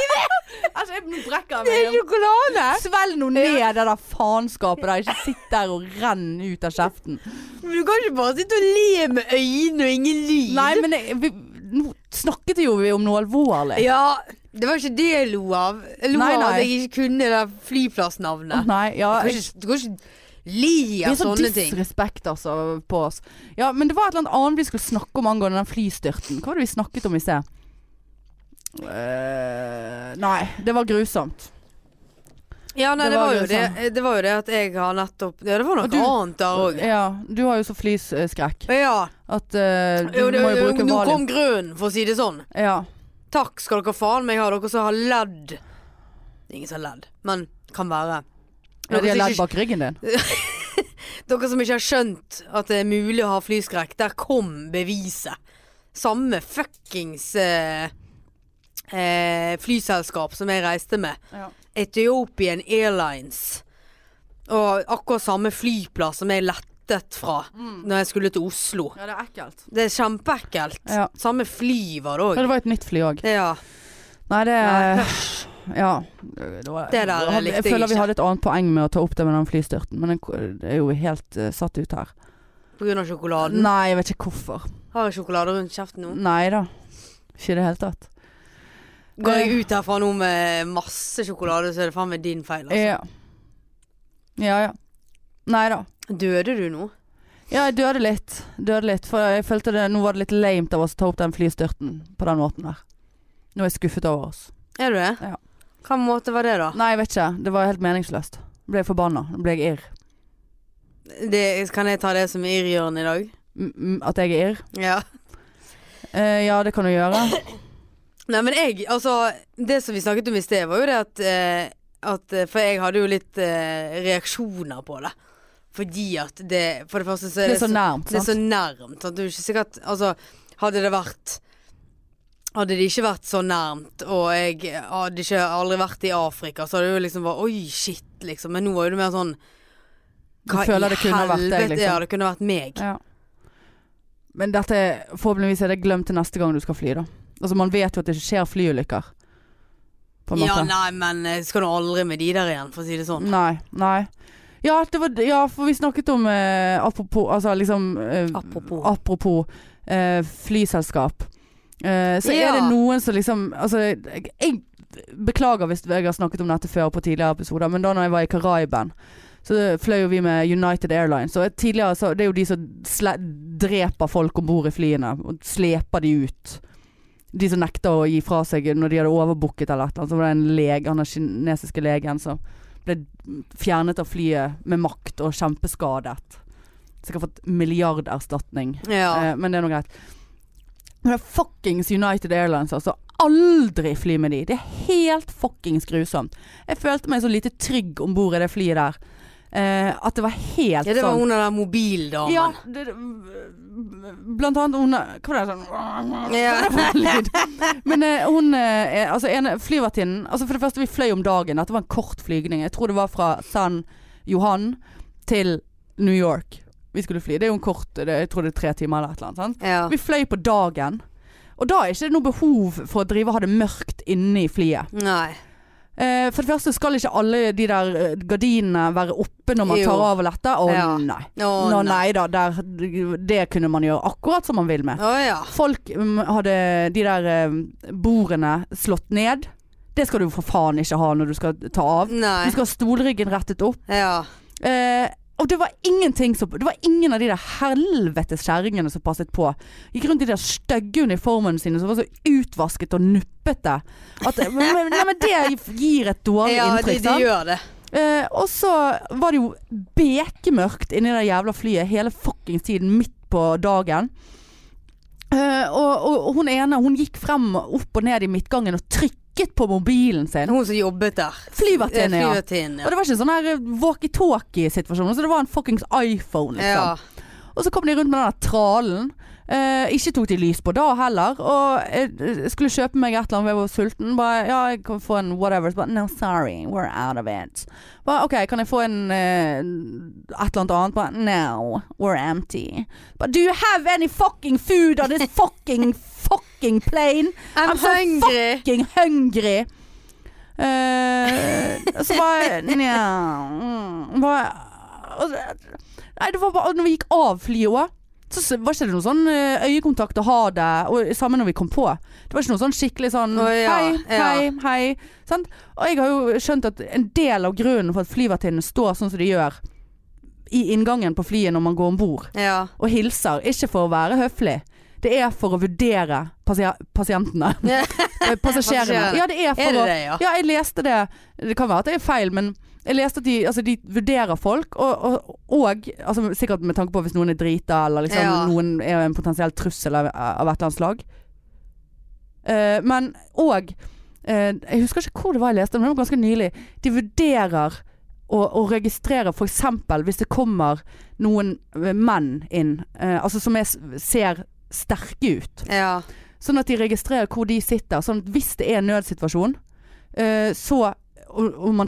Speaker 1: Altså, jeg, nå brekker
Speaker 2: det
Speaker 1: jeg
Speaker 2: er
Speaker 1: meg.
Speaker 2: sjokolade!
Speaker 1: Svelg nå ned det der faenskapet der. Ikke sitt der og renn ut av kjeften.
Speaker 2: Men du kan ikke bare sitte og le med øynene og ingen lyd.
Speaker 1: Nei, men jeg, vi, nå snakket jo vi om noe alvorlig.
Speaker 2: Ja, det var ikke det jeg lo av. Jeg lo
Speaker 1: Nei,
Speaker 2: av
Speaker 1: nei.
Speaker 2: at jeg ikke kunne det der
Speaker 1: Å,
Speaker 2: flyplassnavnet.
Speaker 1: Nei, ja.
Speaker 2: Du kan
Speaker 1: jeg-
Speaker 2: ikke, du kan ikke le
Speaker 1: Vi er
Speaker 2: av
Speaker 1: så
Speaker 2: sånne ting.
Speaker 1: disrespekt altså, på oss. Ja, men det var et eller annet annet vi skulle snakke om angående den flystyrten. Hva var det vi snakket om i sted? Eh, nei, det var grusomt.
Speaker 2: Ja, nei,
Speaker 1: Det
Speaker 2: det
Speaker 1: var
Speaker 2: var,
Speaker 1: jo
Speaker 2: jo det, det var jo det at jeg har nettopp Ja, det var noe
Speaker 1: Og du-
Speaker 2: annet der òg.
Speaker 1: Ja, du har jo så flyskrekk
Speaker 2: Ja.
Speaker 1: at eh, du
Speaker 2: Jo, det,
Speaker 1: må jo
Speaker 2: jo,
Speaker 1: bruke
Speaker 2: nå
Speaker 1: valium.
Speaker 2: kom grunnen, for å si det sånn.
Speaker 1: Ja.
Speaker 2: Takk skal dere faen meg ha, dere som har ledd. Det er ingen som har ledd, men kan være.
Speaker 1: Ja,
Speaker 2: Dere
Speaker 1: de har
Speaker 2: som
Speaker 1: ledd
Speaker 2: ikke,
Speaker 1: bak ryggen din.
Speaker 2: dere som ikke har skjønt at det er mulig å ha flyskrekk, der kom beviset. Samme fuckings eh, eh, flyselskap som jeg reiste med.
Speaker 1: Ja.
Speaker 2: Ethiopian Airlines. Og akkurat samme flyplass som jeg lettet fra når jeg skulle til Oslo.
Speaker 1: ja, det er ekkelt.
Speaker 2: Det er kjempeekkelt.
Speaker 1: Ja.
Speaker 2: Samme fly var
Speaker 1: Ja,
Speaker 2: det òg.
Speaker 1: det var et nytt fly òg.
Speaker 2: Ja.
Speaker 1: Nei, det
Speaker 2: Nei,
Speaker 1: Ja. Det, var,
Speaker 2: Det der likte
Speaker 1: hadde- jeg
Speaker 2: jeg
Speaker 1: føler vi
Speaker 2: ikke.
Speaker 1: hadde et annet poeng med å ta opp det med den flystyrten, men den ko- det er jo helt eh, satt ut her.
Speaker 2: På grunn av sjokoladen.
Speaker 1: Nei, jeg vet ikke hvorfor.
Speaker 2: Har jeg sjokolade rundt kjeften nå?
Speaker 1: Nei da. Ikke i det hele tatt.
Speaker 2: Går jeg ut herfra nå med masse sjokolade, så er det faen meg din feil. Altså.
Speaker 1: Ja. Ja ja. Nei da.
Speaker 2: Døde du nå?
Speaker 1: Ja, jeg døde litt. Døde litt. For jeg følte det Nå var det litt lamet av oss å ta opp den flystyrten på den måten der. Nå er jeg skuffet over oss.
Speaker 2: Er du det?
Speaker 1: Ja.
Speaker 2: Hva måte var det, da?
Speaker 1: Nei, jeg vet ikke. Det var helt meningsløst. Nå Ble jeg forbanna. Nå Ble jeg irr.
Speaker 2: Det, kan jeg ta det som irrgjørende i dag?
Speaker 1: M- m- At jeg er irr?
Speaker 2: Ja.
Speaker 1: Eh, ja, det kan du gjøre.
Speaker 2: Nei, men jeg, altså Det som vi snakket om i sted, var jo det at, eh, at eh, For jeg hadde jo litt eh, reaksjoner på det. Fordi at det For det første så er
Speaker 1: Det
Speaker 2: det,
Speaker 1: er så nærmt,
Speaker 2: det er
Speaker 1: sant?
Speaker 2: så nærmt. Sant? Det er jo ikke sikkert Altså, hadde det vært hadde det ikke vært så nærmt, og jeg hadde ikke aldri vært i Afrika, så hadde det jo liksom vært Oi, shit, liksom. Men nå var jo det mer sånn
Speaker 1: Du føler det kunne vært deg, liksom.
Speaker 2: Ja, det kunne vært meg.
Speaker 1: Ja. Men dette, forhåpentligvis er det glemt til neste gang du skal fly, da. Altså, man vet jo at det ikke skjer flyulykker. På en
Speaker 2: Ja,
Speaker 1: måte.
Speaker 2: nei, men eh, skal du aldri med de der igjen, for å si det sånn.
Speaker 1: Nei, nei. Ja, det var, ja, for vi snakket om eh, apropos Altså liksom eh,
Speaker 2: Apropos.
Speaker 1: apropos, eh, flyselskap. Eh, så
Speaker 2: Ja.
Speaker 1: er det noen som liksom Altså, jeg, jeg beklager hvis jeg har snakket om dette før på tidligere episoder, men da når jeg var i Karaiben, så fløy jo vi med United Airlines. Og tidligere så Det er jo de som sle dreper folk om bord i flyene, og sleper de ut. De som nekta å gi fra seg når de hadde overbooket eller et eller annet. Så var det en lege, han er kinesiske legen som ble fjernet av flyet med makt og kjempeskadet. Sikkert fått milliarderstatning.
Speaker 2: Ja.
Speaker 1: Eh, men det er noe greit. Men det er fuckings United Airlines, altså. Aldri fly med de. Det er helt fuckings grusomt. Jeg følte meg så lite trygg om bord i det flyet der. eh, at det var helt
Speaker 2: Ja, det var
Speaker 1: sånn
Speaker 2: hun der mobildamen.
Speaker 1: Ja, det, blant annet hun Hva var det sånn
Speaker 2: Ja.
Speaker 1: lyd. Men eh, hun eh, er- Altså ene flyvertinnen altså For det første, vi fløy om dagen. Dette var en kort flygning. Jeg tror det var fra San Johan til New York vi skulle fly. Det er jo en kort det, Jeg tror det er tre timer eller et eller annet. Sant?
Speaker 2: Ja.
Speaker 1: Vi fløy på dagen. Og da er ikke det noe behov for å drive og ha det mørkt inne i flyet.
Speaker 2: Nei.
Speaker 1: Eh, for det første skal ikke alle de der eh, gardinene være oppe når man
Speaker 2: Jo.
Speaker 1: tar av og letter. Å
Speaker 2: Ja.
Speaker 1: nei.
Speaker 2: Å
Speaker 1: Nå, nei da, der, det kunne man gjøre akkurat som man vil med.
Speaker 2: Å ja.
Speaker 1: Folk mm, hadde de der eh, bordene slått ned. Det skal du for faen ikke ha når du skal ta av. Du
Speaker 2: Nei.
Speaker 1: skal ha stolryggen rettet opp.
Speaker 2: Ja.
Speaker 1: Eh, og det var ingenting som Det var ingen av de der helvetes kjerringene som passet på. Gikk rundt i de der stygge uniformene sine som var så utvasket og nuppete. At, men, men, nei, men det gir et dårlig
Speaker 2: ja de,
Speaker 1: inntrykk.
Speaker 2: de
Speaker 1: sant?
Speaker 2: gjør det.
Speaker 1: Eh, og så var det jo bekemørkt inni det jævla flyet hele fuckings tiden midt på dagen. Eh, og, og, og hun ene hun gikk frem og opp og ned i midtgangen og trykket på mobilen sin.
Speaker 2: Hun som jobbet der.
Speaker 1: Flyvertinne, ja.
Speaker 2: Flyvertinne,
Speaker 1: Og det var ikke en sånn her eh, walkietalkie-situasjon, så det var en fuckings iPhone,
Speaker 2: ja.
Speaker 1: liksom.
Speaker 2: ja.
Speaker 1: Og så kom de rundt med den der tralen. Eh, ikke tok de lys på da heller. Og jeg, jeg skulle kjøpe meg et eller annet, jeg var sulten. Bare ja, jeg kan få en whatever. Så bare no, sorry, we're out of it. Bare OK, kan jeg få en eh, et eller annet annet? Bare no, we're empty. Bare do you have any fucking food on this fucking fucking plane?
Speaker 2: I'm,
Speaker 1: I'm so
Speaker 2: hungry.
Speaker 1: Fucking hungry. Eh, så bare Nja mm, bare- og det- Nei, det var bare og Når vi gikk av flyet òg, så s- var ikke det noe sånn eh, øyekontakt og ha det, og samme når vi kom på. Det var ikke noe sånn skikkelig sånn
Speaker 2: Å, ja,
Speaker 1: hei,
Speaker 2: ja.
Speaker 1: hei, hei. Sant? Og jeg har jo skjønt at en del av grunnen for at flyvertinnene står sånn som de gjør i inngangen på flyet når man går om bord
Speaker 2: Ja.
Speaker 1: og hilser, ikke for å være høflig. Det er for å vurdere passia pasientene.
Speaker 2: Ja.
Speaker 1: Eh, Passasjerene.
Speaker 2: Passasjerene.
Speaker 1: Ja, det er for
Speaker 2: Er det
Speaker 1: å
Speaker 2: det, ja?
Speaker 1: Ja, jeg leste det. Det kan være at det er feil, men jeg leste at de, altså, de vurderer folk, og, og, og altså, sikkert med tanke på hvis noen er drita, eller liksom,
Speaker 2: Ja.
Speaker 1: noen er en potensiell trussel av, av et eller annet slag. Eh, men og eh, Jeg husker ikke hvor det var jeg leste, men det var ganske nylig. De vurderer å, å registrere f.eks. hvis det kommer noen eh, menn inn, eh, altså som er, ser sterke ut.
Speaker 2: Ja.
Speaker 1: Sånn at de registrerer hvor de sitter. Sånn at hvis det er en nødsituasjon, eh, så og, og man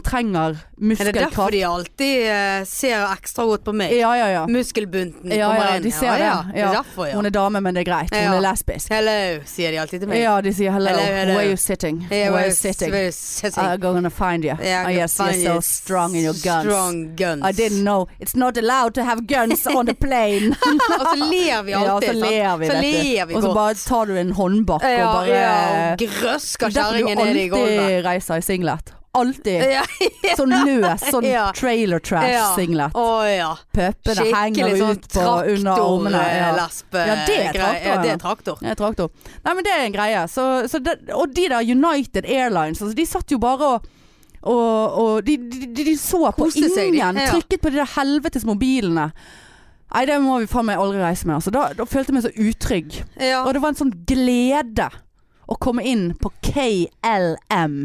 Speaker 2: Er
Speaker 1: trenger
Speaker 2: det derfor
Speaker 1: muskelkraft
Speaker 2: de alltid eh, ser ekstra godt på meg?
Speaker 1: Ja, ja, ja.
Speaker 2: Muskelbunten
Speaker 1: Ja,
Speaker 2: kommer
Speaker 1: ja,
Speaker 2: inn.
Speaker 1: de ser
Speaker 2: ja,
Speaker 1: det.
Speaker 2: ja.
Speaker 1: Ja.
Speaker 2: er derfor, ja.
Speaker 1: Hun er dame, men det er greit. Hun
Speaker 2: Ja.
Speaker 1: er lesbisk.
Speaker 2: Hello, sier de alltid til meg.
Speaker 1: Ja, de sier hello.
Speaker 2: Hello, hello.
Speaker 1: Where are you sitting?
Speaker 2: Yeah,
Speaker 1: Where are
Speaker 2: we're
Speaker 1: you sitting?
Speaker 2: we're sitting.
Speaker 1: I'm gonna find you.
Speaker 2: Yeah,
Speaker 1: Ah, yes,
Speaker 2: fine,
Speaker 1: you're so
Speaker 2: yes.
Speaker 1: strong in your guns.
Speaker 2: Strong guns.
Speaker 1: I didn't know. It's not allowed to have guns on the plane.
Speaker 2: Og så ler vi alltid.
Speaker 1: ja, og så
Speaker 2: sant?
Speaker 1: ler vi,
Speaker 2: så
Speaker 1: vet du.
Speaker 2: ler vi
Speaker 1: Og så
Speaker 2: godt.
Speaker 1: bare tar du en håndbak
Speaker 2: ja,
Speaker 1: og bare
Speaker 2: ja, og grøsker
Speaker 1: Derfor du
Speaker 2: kjerringen ned i gulvet.
Speaker 1: alltid reiser i singlet. Alltid.
Speaker 2: Ja,
Speaker 1: Sånn løs, sånn
Speaker 2: Ja. ja.
Speaker 1: trailer trash-singlet.
Speaker 2: Å ja.
Speaker 1: Puppene henger
Speaker 2: Skikkelig sånn eh,
Speaker 1: ut på under armene. Ja.
Speaker 2: traktorlespe
Speaker 1: Ja, det er traktor,
Speaker 2: Ja, det
Speaker 1: ja.
Speaker 2: er traktor.
Speaker 1: Ja, traktor. Nei, men det er en greie. Så, så det, og de der United Airlines, altså, de satt jo bare og og, og de, de, de, de så på
Speaker 2: Koste seg, de.
Speaker 1: ingen.
Speaker 2: Ja.
Speaker 1: Trykket på de der helvetes mobilene. Nei, det må vi faen meg aldri reise med. Altså, da, da følte jeg meg så utrygg.
Speaker 2: Ja.
Speaker 1: Og det var en sånn glede å komme inn på KLM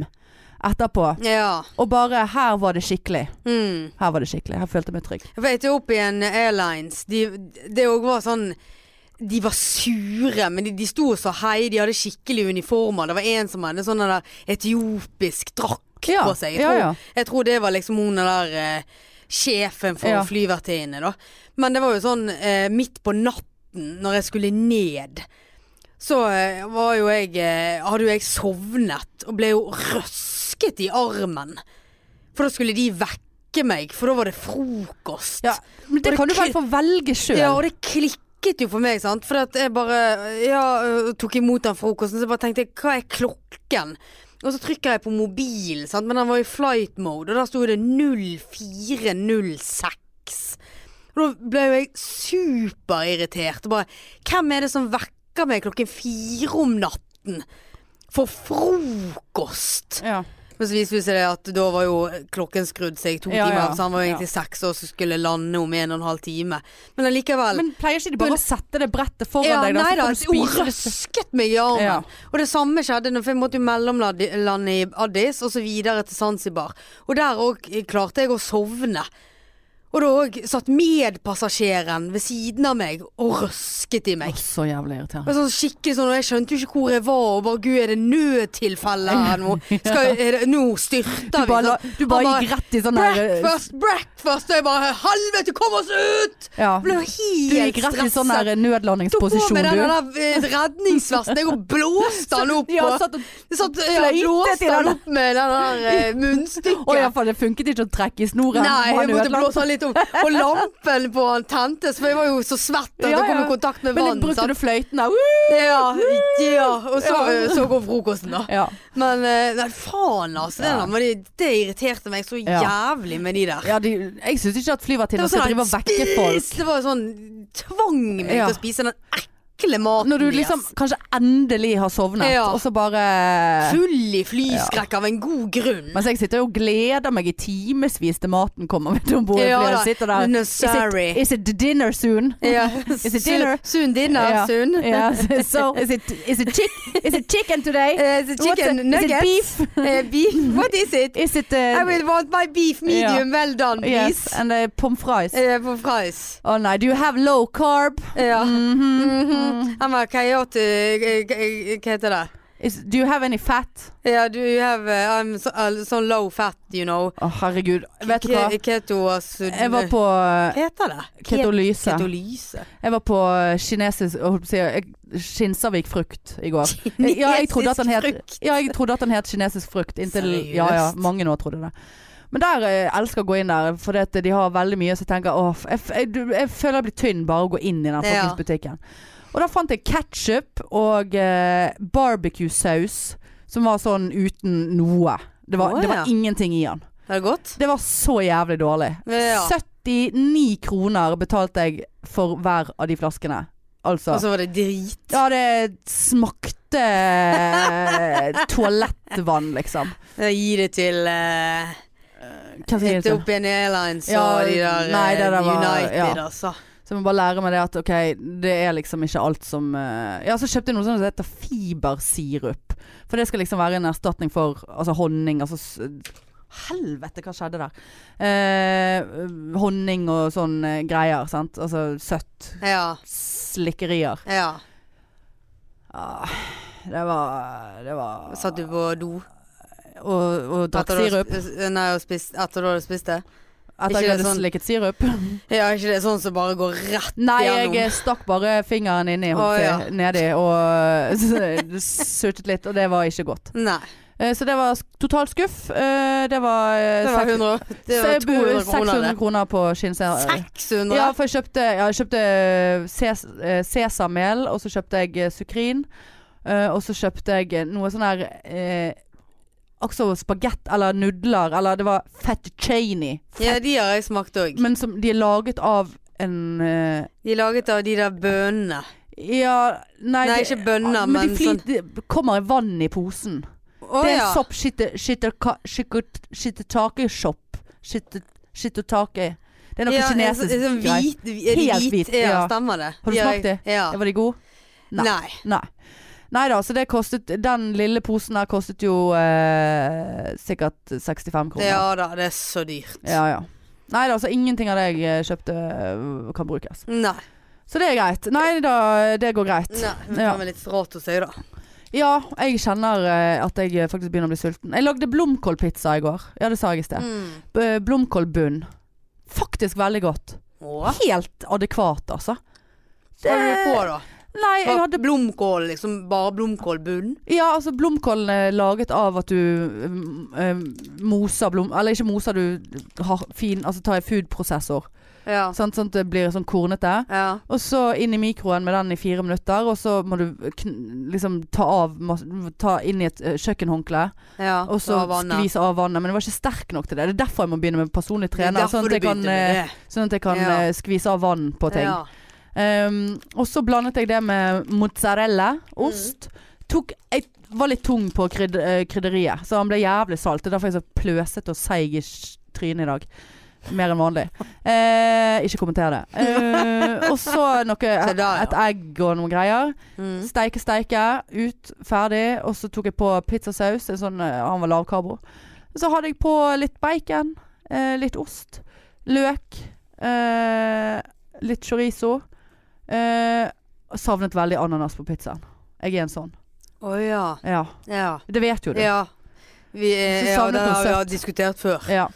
Speaker 1: etterpå.
Speaker 2: Ja.
Speaker 1: Og bare Her var det skikkelig.
Speaker 2: Mm.
Speaker 1: Her var det skikkelig. Her følte jeg meg trygg.
Speaker 2: Jeg var Ethiopian Airlines. De, det òg var sånn De var sure, men de, de sto og sa hei. De hadde skikkelige uniformer. Det var en som hadde sånn der etiopisk drakt
Speaker 1: Ja,
Speaker 2: på seg. Jeg
Speaker 1: ja,
Speaker 2: tror,
Speaker 1: ja.
Speaker 2: jeg tror det var liksom hun der eh, sjefen for
Speaker 1: Ja.
Speaker 2: flyvertinnene, da. Men det var jo sånn eh, midt på natten, når jeg skulle ned. Så eh, var jo jeg eh, Hadde jo jeg sovnet og ble jo røsket i armen. For da skulle de vekke meg, for da var det frokost.
Speaker 1: Ja, men det
Speaker 2: Og det
Speaker 1: kan du vel
Speaker 2: kli-
Speaker 1: få velge sjøl.
Speaker 2: Ja, og det klikket jo for meg, sant. For at jeg bare ja, øh, tok imot den frokosten, så bare tenkte jeg hva er klokken? Og så trykker jeg på mobilen, sant? men den var i flight mode, og der sto det 0406. Og da ble jo jeg superirritert. og Bare, hvem er det som vekker meg klokken fire om natten for frokost?
Speaker 1: Ja.
Speaker 2: Men så viste det seg at da var jo klokken skrudd seg to
Speaker 1: Ja,
Speaker 2: timer,
Speaker 1: ja,
Speaker 2: så han var jo egentlig seks år som skulle lande om en og en halv time. Men allikevel
Speaker 1: Men pleier ikke de bare å sette det brettet foran
Speaker 2: ja,
Speaker 1: deg?
Speaker 2: nei da,
Speaker 1: så
Speaker 2: hun
Speaker 1: kan du spise det?
Speaker 2: røsket meg i armen.
Speaker 1: Ja.
Speaker 2: Og det samme skjedde når for jeg måtte jo mellomlande i Addis, og så videre til Zanzibar. Og der òg klarte jeg å sovne. Og da òg satt medpassasjeren ved siden av meg og røsket i
Speaker 1: Å,
Speaker 2: meg.
Speaker 1: Så jævlig irriterende.
Speaker 2: Og sånn skikkelig sånn, og jeg skjønte jo ikke hvor jeg var, og bare gud, er det nødtilfelle her nå? Skal, er det, nå styrter
Speaker 1: Du
Speaker 2: vi.
Speaker 1: bare, la-
Speaker 2: sånn.
Speaker 1: du
Speaker 2: Han
Speaker 1: bare gikk rett i sånn der eh,
Speaker 2: Breakfast, breakfast! Og jeg bare helvete, kom oss ut!
Speaker 1: ja.
Speaker 2: Jeg ble jo helt
Speaker 1: Du gikk rett i
Speaker 2: stresset.
Speaker 1: sånn der eh,
Speaker 2: Tok på
Speaker 1: nødlandingsposisjon,
Speaker 2: meg den
Speaker 1: du.
Speaker 2: der eh, redningsvesten Jeg og blåste den opp.
Speaker 1: Ja,
Speaker 2: og-
Speaker 1: satt og
Speaker 2: satt, ja,
Speaker 1: fløyte
Speaker 2: blåste
Speaker 1: til den.
Speaker 2: den opp med den der eh,
Speaker 1: Å ja,
Speaker 2: munnstykket.
Speaker 1: for det funket ikke å trekke i snoren.
Speaker 2: Nei,
Speaker 1: Han
Speaker 2: jeg måtte
Speaker 1: ødela-
Speaker 2: blåse den litt opp. Og lampen på han tentes, for jeg var jo så svett at
Speaker 1: Ja,
Speaker 2: jeg kom
Speaker 1: ja.
Speaker 2: i kontakt med
Speaker 1: Men
Speaker 2: vann.
Speaker 1: brukte
Speaker 2: sant?
Speaker 1: du fløyten der? Woo!
Speaker 2: Ja, ja. Og så, eh,
Speaker 1: Ja.
Speaker 2: så går frokosten, da.
Speaker 1: Ja.
Speaker 2: Men eh, nei, faen altså. Det,
Speaker 1: Ja.
Speaker 2: der, men det, det irriterte meg så
Speaker 1: Ja.
Speaker 2: jævlig med de der.
Speaker 1: ja de, jeg syns ikke at
Speaker 2: Det
Speaker 1: flyvertinner
Speaker 2: var sånn
Speaker 1: skal drive og vekke folk.
Speaker 2: spis! Det var sånn tvang meg
Speaker 1: Ja.
Speaker 2: til å spise den ekle maten
Speaker 1: Når du
Speaker 2: deres.
Speaker 1: liksom kanskje endelig har sovnet,
Speaker 2: Ja.
Speaker 1: og så bare
Speaker 2: Full i flyskrekk av en god grunn.
Speaker 1: Mens jeg sitter jo og gleder meg i timevis til maten kommer. Vet du, om bordet
Speaker 2: Ja
Speaker 1: blir-
Speaker 2: da,
Speaker 1: jeg sitter der.
Speaker 2: no,
Speaker 1: Is it-
Speaker 2: sorry.
Speaker 1: Is it dinner soon?
Speaker 2: Ja.
Speaker 1: Is it dinner?
Speaker 2: Soon- Soon dinner,
Speaker 1: Ja.
Speaker 2: soon.
Speaker 1: Yeah, so- so is it, is it, chick, is it chicken today?
Speaker 2: Eh, the
Speaker 1: What's
Speaker 2: chicken
Speaker 1: it-
Speaker 2: nuggets.
Speaker 1: Is it beef?
Speaker 2: Eh, beef. What is it?
Speaker 1: Is it uh,
Speaker 2: I will want my beef medium well done, please.
Speaker 1: yes, and uh, pommes fries? Å
Speaker 2: Eh, på fries.
Speaker 1: nei, do you have low carb?
Speaker 2: Ja.
Speaker 1: Mhm.
Speaker 2: Mhm. Han var coyote eh, eh, Hva heter det?
Speaker 1: Is, do you have any fat?
Speaker 2: Ja, do you have eh, I'm so, uh, so low fat, you know.
Speaker 1: Å Oh, herregud, vet du hva?
Speaker 2: Ke- Keto altså,
Speaker 1: Jeg var på
Speaker 2: Hva heter det?
Speaker 1: ketolyse.
Speaker 2: Ketolyse.
Speaker 1: Jeg var på kinesisk jeg holdt på å si, jeg- Skinsavik frukt i går. Ja, jeg trodde at den het,
Speaker 2: Kinesisk frukt.
Speaker 1: ja, jeg trodde at den het kinesisk frukt. Inntil,
Speaker 2: Seriøst?
Speaker 1: ja, ja, mange nå trodde det. Men der eh, elsker å gå inn der, for det at de har veldig mye. Så jeg tenker åh, f- jeg, f- jeg, du- jeg føler jeg blir tynn bare å gå inn i den
Speaker 2: Ja.
Speaker 1: fuckings butikken. Og da fant jeg ketsjup og eh, barbecue-saus som var sånn uten noe. Det var,
Speaker 2: Å,
Speaker 1: det
Speaker 2: ja.
Speaker 1: var ingenting i den.
Speaker 2: Er det godt?
Speaker 1: Det var så jævlig dårlig.
Speaker 2: Ja.
Speaker 1: 79 kroner betalte jeg for hver av de flaskene. Altså.
Speaker 2: Og så var det drit.
Speaker 1: ja, det smakte toalettvann, liksom.
Speaker 2: Jeg gir det til eh,
Speaker 1: Hva sier du til?
Speaker 2: Ethiopian Airlines
Speaker 1: Ja,
Speaker 2: og de der,
Speaker 1: nei, det
Speaker 2: eh,
Speaker 1: der var-
Speaker 2: United,
Speaker 1: ja.
Speaker 2: altså.
Speaker 1: Så jeg må bare lære meg det at ok, det er liksom ikke alt som eh, Ja, så kjøpte jeg noe sånt som heter fibersirup. For det skal liksom være en erstatning for altså honning. Altså s- Helvete, hva skjedde der? Eh, honning og sånn eh, greier, sant. Altså søtt.
Speaker 2: Ja.
Speaker 1: Slikkerier.
Speaker 2: ja.
Speaker 1: Ah, det var Det var
Speaker 2: Satt du på do?
Speaker 1: Og, og drakk
Speaker 2: etter du har
Speaker 1: sirup.
Speaker 2: sp- Nei, og spist, etter du hadde spist det?
Speaker 1: Etter
Speaker 2: ikke
Speaker 1: jeg
Speaker 2: det
Speaker 1: hadde
Speaker 2: sånn-
Speaker 1: slikket sirup.
Speaker 2: Ja, ikke det sånn som bare går rett
Speaker 1: Nei,
Speaker 2: gjennom?
Speaker 1: jeg eh, stakk bare fingeren inni
Speaker 2: Å,
Speaker 1: holdt jeg
Speaker 2: ja.
Speaker 1: på å si, nedi og s- suttet litt, og det var ikke godt.
Speaker 2: Nei.
Speaker 1: Eh, Så det var s- totalt skuff. Eh, Det var, eh,
Speaker 2: Det var
Speaker 1: seks-
Speaker 2: 100 Det
Speaker 1: se-
Speaker 2: var 200 kroner.
Speaker 1: 600
Speaker 2: det.
Speaker 1: kroner på skinnserie.
Speaker 2: 600?
Speaker 1: Ja, for jeg kjøpte, ja, jeg kjøpte ses, eh, sesammel, og så kjøpte jeg eh, sukrin. eh, og så kjøpte jeg noe sånn her eh, Også spagett eller nudler, eller det var fettuccini.
Speaker 2: Ja, de har jeg smakt òg.
Speaker 1: Men som de er laget av en eh,
Speaker 2: De er laget av de der bønnene.
Speaker 1: Ja, nei,
Speaker 2: Nei,
Speaker 1: det-
Speaker 2: ikke bønner,
Speaker 1: ja,
Speaker 2: men sånn-
Speaker 1: de, flyter- de kommer i vann i posen.
Speaker 2: Å
Speaker 1: det er
Speaker 2: ja.
Speaker 1: en sopp shitte- shitte- ka- shikkut- shiitake-shop. Shitte- Shiitake. Det er noe
Speaker 2: ja, en
Speaker 1: kinesisk
Speaker 2: sånn- en sånn
Speaker 1: greier.
Speaker 2: hvit, er de
Speaker 1: Helt
Speaker 2: hvit?
Speaker 1: hvit,
Speaker 2: Ja,
Speaker 1: ja.
Speaker 2: stemmer det.
Speaker 1: Har du
Speaker 2: De
Speaker 1: smakt det?
Speaker 2: jeg- Ja.
Speaker 1: Var de gode? Nei.
Speaker 2: Nei.
Speaker 1: Nei. Nei da, så det kostet Den lille posen der kostet jo eh, sikkert 65 kroner.
Speaker 2: Ja da, det er så dyrt.
Speaker 1: ja, ja. Nei da, så ingenting av det jeg eh, kjøpte eh, kan brukes.
Speaker 2: Nei.
Speaker 1: Så det er greit. Nei da, det går greit.
Speaker 2: Nei, men
Speaker 1: Ja.
Speaker 2: det er litt rart hos deg, da.
Speaker 1: Ja, jeg kjenner eh, at jeg faktisk begynner å bli sulten. Jeg lagde blomkålpizza i går. Ja, det sa jeg i sted.
Speaker 2: Mm.
Speaker 1: B- Blomkålbunn. Faktisk veldig godt.
Speaker 2: Åh.
Speaker 1: Helt adekvat, altså.
Speaker 2: Hva hadde du på, da?
Speaker 1: Nei, jeg
Speaker 2: Bare
Speaker 1: hadde
Speaker 2: Blomkål, liksom? Bare blomkålbunn?
Speaker 1: Ja, altså blomkålen er laget av at du mm, eh, moser blom... Eller ikke moser, du har fin Altså tar i foodprosessor.
Speaker 2: Ja.
Speaker 1: Sånn, sånn at det blir sånn kornete.
Speaker 2: ja.
Speaker 1: Og så inn i mikroen med den i fire minutter, og så må du kn liksom ta av masse- Ta inn i et eh, kjøkkenhåndkle,
Speaker 2: ja.
Speaker 1: og så
Speaker 2: ta vannet.
Speaker 1: skvise av vannet. Men det var ikke sterk nok til det. Det er derfor jeg må begynne med personlig trener.
Speaker 2: Det er derfor
Speaker 1: Sånn at jeg
Speaker 2: du
Speaker 1: kan,
Speaker 2: begynte med
Speaker 1: eh,
Speaker 2: det.
Speaker 1: sånn at jeg kan
Speaker 2: Ja.
Speaker 1: eh, skvise av vann på ting.
Speaker 2: Ja.
Speaker 1: Ehm, og så blandet jeg det med mozzarella,
Speaker 2: Mm.
Speaker 1: ost. Tok, jeg var litt tung på krydd, eh, krydderiet, så han ble jævlig salt. Det er derfor jeg er så pløsete og seig i sj- trynet i dag. Mer enn vanlig. Eh, ikke kommenter det. Eh, og så noe,
Speaker 2: Se der, ja.
Speaker 1: et egg og noen greier.
Speaker 2: Mm.
Speaker 1: Steike, steike. Ut, ferdig. Og så tok jeg på pizzasaus. en Sånn, eh, han var lavkarbo. Så hadde jeg på litt bacon, eh, litt ost, løk, eh, litt chorizo. Eh, savnet veldig ananas på pizzaen. Jeg er en sånn.
Speaker 2: Å ja.
Speaker 1: Ja.
Speaker 2: Ja.
Speaker 1: Det vet jo du.
Speaker 2: ja. Vi, eh,
Speaker 1: Så
Speaker 2: ja,
Speaker 1: savnet
Speaker 2: det
Speaker 1: noe
Speaker 2: har vi
Speaker 1: søtt.
Speaker 2: har diskutert før.
Speaker 1: Ja.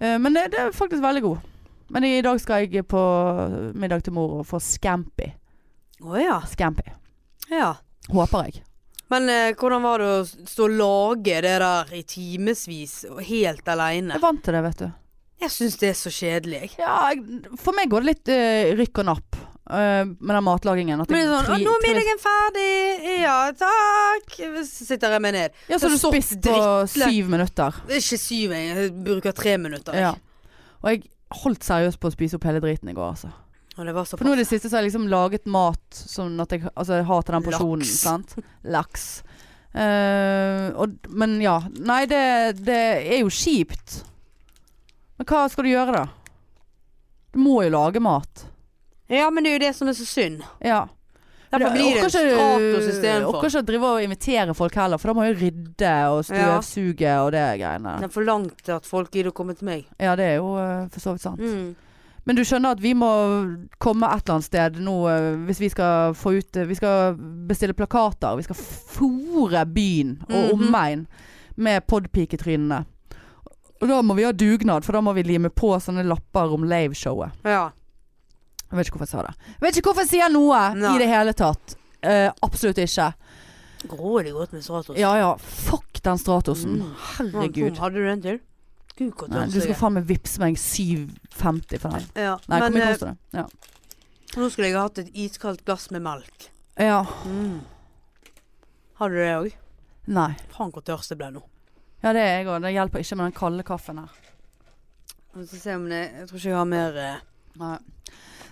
Speaker 1: Eh, men det, det er faktisk veldig god. Men i dag skal jeg på middag til mor og få scampi.
Speaker 2: Å ja.
Speaker 1: Scampi.
Speaker 2: ja.
Speaker 1: Håper jeg.
Speaker 2: Men eh, hvordan var det å stå og lage det der i timevis og helt aleine?
Speaker 1: Jeg er vant til det, vet du.
Speaker 2: Jeg syns det er så kjedelig. jeg.
Speaker 1: Ja, jeg- for meg går det litt eh, rykk og napp eh, med den matlagingen. At
Speaker 2: Men det
Speaker 1: jeg
Speaker 2: er sånn,
Speaker 1: tri-
Speaker 2: «Å, nå er
Speaker 1: trives-
Speaker 2: middagen ferdig! Ja takk! Så sitter jeg meg ned.
Speaker 1: Ja, så
Speaker 2: Jeg
Speaker 1: har du
Speaker 2: har
Speaker 1: spist på
Speaker 2: drittlenge.
Speaker 1: syv minutter.
Speaker 2: Det er ikke syv, jeg jeg bruker tre minutter.
Speaker 1: Ja.
Speaker 2: Jeg.
Speaker 1: Og jeg holdt seriøst på å spise opp hele driten i går, altså.
Speaker 2: Og det var så
Speaker 1: For nå i det siste så har jeg liksom laget mat sånn at jeg, altså, jeg har til den porsjonen.
Speaker 2: Laks.
Speaker 1: Sant? Laks. Eh, og, men ja. Nei, det, det er jo kjipt. Men hva skal du gjøre, da? Du må jo lage mat.
Speaker 2: Ja, men det er jo det som er så synd.
Speaker 1: Ja.
Speaker 2: Derfor
Speaker 1: Men
Speaker 2: blir
Speaker 1: orker
Speaker 2: det
Speaker 1: ikke-
Speaker 2: status
Speaker 1: Orker
Speaker 2: istedenfor.
Speaker 1: ikke å drive og invitere folk heller, for da må jeg rydde og støvsuge og det greiene.
Speaker 2: Det er for langt at folk gidder å komme til meg.
Speaker 1: Ja, det er jo eh, for så vidt sant.
Speaker 2: Mm.
Speaker 1: Men du skjønner at vi må komme et eller annet sted nå eh, hvis vi skal få ut eh, Vi skal bestille plakater. Vi skal fòre byen og
Speaker 2: Mhm.
Speaker 1: omegn med podpiketrynene. Og da må vi ha dugnad, for da må vi lime på sånne lapper om liveshowet.
Speaker 2: Ja.
Speaker 1: Jeg vet ikke hvorfor jeg sa det. Jeg vet ikke hvorfor jeg sier noe
Speaker 2: Nei.
Speaker 1: i det hele tatt. Eh, absolutt ikke.
Speaker 2: Grådig godt med Stratos.
Speaker 1: Ja ja, fuck den Stratosen.
Speaker 2: Mm.
Speaker 1: Herregud.
Speaker 2: Hadde du den til? Gud, hvor
Speaker 1: Nei,
Speaker 2: tøft
Speaker 1: du skal
Speaker 2: jeg er.
Speaker 1: faen meg vippse meg 7,50 for den.
Speaker 2: Ja.
Speaker 1: Nei, hvor
Speaker 2: Men
Speaker 1: mye
Speaker 2: eh,
Speaker 1: koster det? Ja.
Speaker 2: nå skulle jeg ha hatt et iskaldt glass med melk.
Speaker 1: ja.
Speaker 2: Mm. Har du det òg?
Speaker 1: Nei.
Speaker 2: Faen, hvor tørst jeg ble nå.
Speaker 1: Ja, det er jeg òg. Det hjelper ikke med den kalde kaffen her.
Speaker 2: Vi skal se om det, jeg tror ikke jeg har mer eh,
Speaker 1: Nei,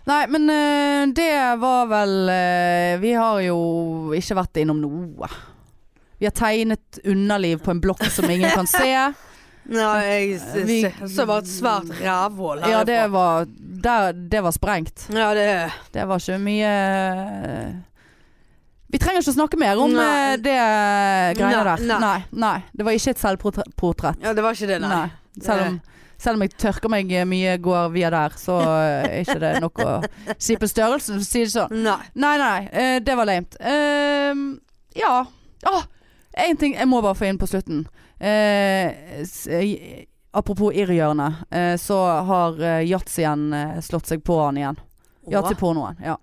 Speaker 1: Nei men eh, det var vel eh, Vi har jo ikke vært innom noe. Vi har tegnet underliv på en blokk som ingen kan se.
Speaker 2: Nei, jeg s-
Speaker 1: Vi-
Speaker 2: s- så var det et svært rævhål
Speaker 1: Ja, det
Speaker 2: herifra.
Speaker 1: var, der, det var sprengt.
Speaker 2: Ja, det
Speaker 1: Det var ikke mye eh, Vi trenger ikke å snakke mer om
Speaker 2: Nei.
Speaker 1: eh, det
Speaker 2: Nei,
Speaker 1: greiene der.
Speaker 2: nei.
Speaker 1: Nei, nei. Det var ikke et selvportrett.
Speaker 2: ja, det var ikke det, nei.
Speaker 1: Nei. Selv om, selv om jeg tørker meg eh, mye går via der, så eh, er ikke det nok å si på størrelsen, for å si det sånn.
Speaker 2: Nei.
Speaker 1: Nei, nei, eh, det var lamet. Ehm, ja. Ah, en ting jeg må bare få inn på slutten. Eh, s- eh, apropos irrhjørnet, eh, så har eh, Yatzyen eh, slått seg på han igjen. Yatzy-pornoen. Ja.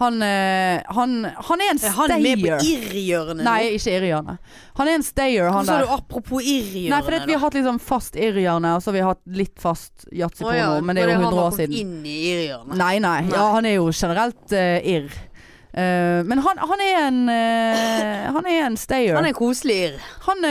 Speaker 1: Han, eh, han, han er en
Speaker 2: Er han med på
Speaker 1: stayer.
Speaker 2: irrhjørnet?
Speaker 1: Nei, ikke irrhjørnet. Han er en stayer, han
Speaker 2: Hvorfor sa
Speaker 1: der.
Speaker 2: du apropos irrhjørnet?
Speaker 1: Nei, fordi at vi har hatt liksom fast irrhjørne, og så har vi hatt litt fast
Speaker 2: da?
Speaker 1: yatzy-porno,
Speaker 2: Å ja,
Speaker 1: men det er jo
Speaker 2: han
Speaker 1: 100
Speaker 2: har
Speaker 1: år
Speaker 2: kommet
Speaker 1: siden.
Speaker 2: Inn i irrhjørnet.
Speaker 1: Nei, nei. Ja,
Speaker 2: Nei.
Speaker 1: han er jo generelt eh, irr. Eh, men han, han er en eh, Han er en stayer.
Speaker 2: Han er en koselig irr.
Speaker 1: Han,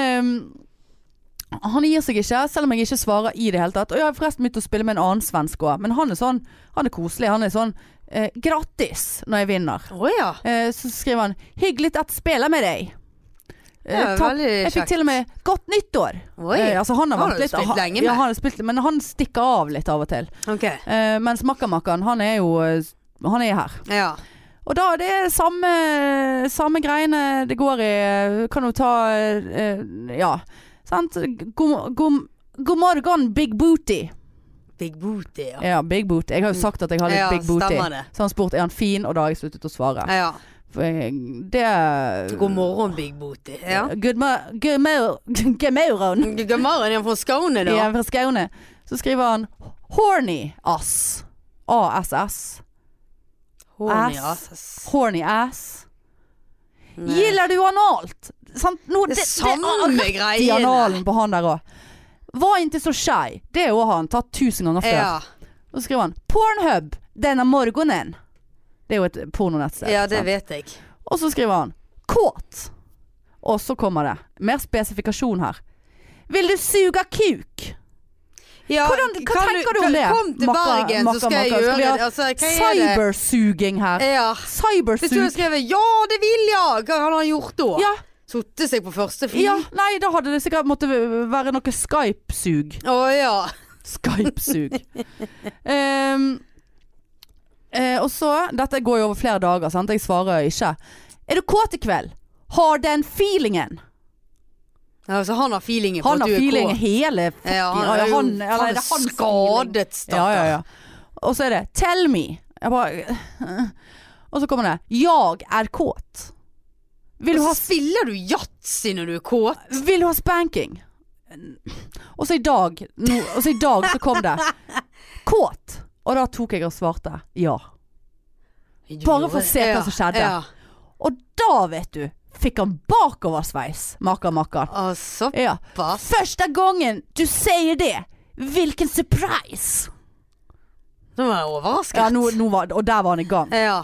Speaker 1: eh, han gir seg ikke, selv om jeg ikke svarer i det hele tatt. Og jeg har forresten begynt å spille med en annen svensk òg, men han er sånn Han er koselig. Han er sånn eh, Grattis når jeg vinner.
Speaker 2: Å ja.
Speaker 1: Eh, så skriver han 'Hyggelig at spille med deg'. Eh,
Speaker 2: Ja,
Speaker 1: takk.
Speaker 2: veldig
Speaker 1: Jeg fikk
Speaker 2: kjekt.
Speaker 1: til og med 'Godt nyttår'.
Speaker 2: Oi.
Speaker 1: Eh, altså, han har,
Speaker 2: Han
Speaker 1: vært
Speaker 2: har du
Speaker 1: litt
Speaker 2: spilt
Speaker 1: ha-
Speaker 2: lenge med.
Speaker 1: Ja, han har spilt, men han stikker av litt av og til.
Speaker 2: Ok.
Speaker 1: Eh, mens makkermakkeren, han er jo eh, Han er her.
Speaker 2: Ja.
Speaker 1: Og da det er samme, samme greiene det går i. Kan jo ta eh, Ja. Sant? God, god, god morgen, big booty.
Speaker 2: Big booty, ja.
Speaker 1: Ja, big boot. Jeg har jo sagt at jeg har litt
Speaker 2: Ja,
Speaker 1: big booty.
Speaker 2: stemmer det.
Speaker 1: Så han spurte er han fin, og da har jeg sluttet å svare.
Speaker 2: Ja, ja.
Speaker 1: For jeg, det
Speaker 2: God morgen, big booty. Ja.
Speaker 1: Good mo- good mo- good morgen.
Speaker 2: God morgen, jeg er fra Skåne, da.
Speaker 1: Ja, fra Skåne. Så skriver han 'horny ass'. ASS.
Speaker 2: Horny
Speaker 1: Ass.
Speaker 2: ass.
Speaker 1: Horny ass.
Speaker 2: Nei.
Speaker 1: Gillar du analt? Sant? Nå,
Speaker 2: Det
Speaker 1: det,
Speaker 2: er samme
Speaker 1: det er rett i
Speaker 2: greiene.
Speaker 1: analen på han der òg. Var inte så shy. Det òg har han tatt tusen ganger før.
Speaker 2: Ja.
Speaker 1: Og så skriver han 'Pornhub denne morgenen'. Det er jo et pornonettsted.
Speaker 2: ja, det
Speaker 1: sant?
Speaker 2: vet jeg.
Speaker 1: Og så skriver han 'kåt'. Og så kommer det mer spesifikasjon her. Vil du suge kuk?
Speaker 2: Ja,
Speaker 1: Hvordan- hva
Speaker 2: kan
Speaker 1: tenker du om
Speaker 2: kan-
Speaker 1: det?
Speaker 2: Kom til
Speaker 1: Makka-
Speaker 2: Bergen,
Speaker 1: makka-
Speaker 2: så skal jeg
Speaker 1: makka.
Speaker 2: gjøre
Speaker 1: Skulle
Speaker 2: det.
Speaker 1: jeg
Speaker 2: Altså, hva er det? Eh,
Speaker 1: Cybersuging her.
Speaker 2: Ja. Hvis du hadde
Speaker 1: Cybersug...
Speaker 2: skrevet 'ja, det vil jeg', hva hadde han gjort da?
Speaker 1: Ja,
Speaker 2: Sotte seg på første fly?
Speaker 1: ja, nei, da hadde det sikkert måtte være noe Skype-sug.
Speaker 2: Å ja.
Speaker 1: Skype-sug. Ehm, eh, og så Dette går jo over flere dager, sant. Jeg svarer ikke. Er du kåt i kveld? Har den feelingen?
Speaker 2: Altså, han har feelingen på
Speaker 1: Han
Speaker 2: at
Speaker 1: har
Speaker 2: du er
Speaker 1: feelingen
Speaker 2: kåt.
Speaker 1: hele
Speaker 2: Ja,
Speaker 1: fucking- ja,
Speaker 2: er jo
Speaker 1: han- eller er det
Speaker 2: faen
Speaker 1: hans
Speaker 2: skadet,
Speaker 1: Ja,
Speaker 2: stakkar.
Speaker 1: ja, ja. Og så er det 'tell me'. Jeg bare Og så kommer det 'jeg er kåt'. Vil du
Speaker 2: Og
Speaker 1: ha,
Speaker 2: så spiller du yatzy når du er kåt.
Speaker 1: vil du ha spanking? Og så i dag nå, Og så i dag så kom det 'kåt'. Og da tok jeg og svarte ja. Bare for å se hva
Speaker 2: Ja,
Speaker 1: som skjedde.
Speaker 2: Ja.
Speaker 1: Og da, vet du, fikk han bakoversveis, makan makan.
Speaker 2: Å, såpass.
Speaker 1: Ja. Første gangen du sier det, hvilken surprise!
Speaker 2: Nå var jeg overrasket.
Speaker 1: Ja, nå, nå var, og der var han i gang.
Speaker 2: Ja.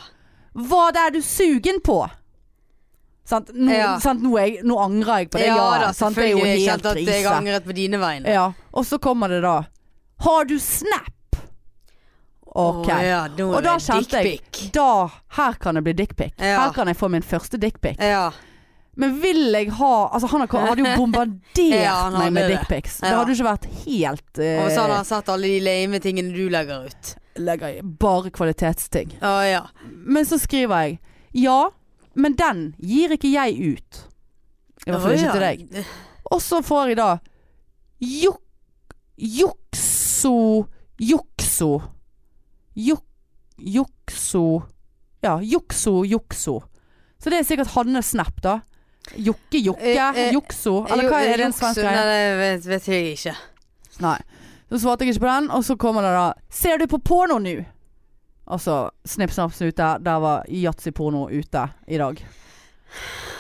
Speaker 1: Hva det er du sugen på? Sant? Nå,
Speaker 2: Ja.
Speaker 1: sant? Nå, er jeg, nå angrer jeg på det.
Speaker 2: ja da,
Speaker 1: sant? Det er jo
Speaker 2: selvfølgelig. Jeg
Speaker 1: helt
Speaker 2: kjente at jeg
Speaker 1: krise.
Speaker 2: angret på dine vegne.
Speaker 1: Ja. Og så kommer det da Har du snap? OK.
Speaker 2: Å, ja, nå
Speaker 1: Og
Speaker 2: er
Speaker 1: da
Speaker 2: det
Speaker 1: kjente jeg
Speaker 2: dickpic.
Speaker 1: da, Her kan det bli dickpic.
Speaker 2: Ja.
Speaker 1: Her kan jeg få min første dickpic.
Speaker 2: Ja.
Speaker 1: Men vil jeg ha Altså, han har- hadde jo bombardert
Speaker 2: Ja, han
Speaker 1: meg
Speaker 2: hadde
Speaker 1: med
Speaker 2: det.
Speaker 1: dickpics. Det
Speaker 2: Ja.
Speaker 1: hadde jo ikke vært helt eh,
Speaker 2: Og så hadde han sett alle de lame tingene du legger ut.
Speaker 1: legger jeg Bare kvalitetsting.
Speaker 2: Å ja.
Speaker 1: Men så skriver jeg Ja, men den gir ikke jeg ut. I hvert fall ikke til deg.
Speaker 2: deg.
Speaker 1: Og så får jeg da Jok... Jokso Jokso Jok... Jokso Ja, jokso, jokso. Så det er sikkert Hannes Snap, da. Jokke, jokke,
Speaker 2: Eh, eh,
Speaker 1: jokso. Eller hva er det en svensk
Speaker 2: Nei,
Speaker 1: greie?
Speaker 2: det vet, vet jeg ikke.
Speaker 1: Nei. Så svarte jeg ikke på den, og så kommer det da Ser du på porno nå? Og så snipp, snapp, snute. Der var yatzy-porno ute i dag.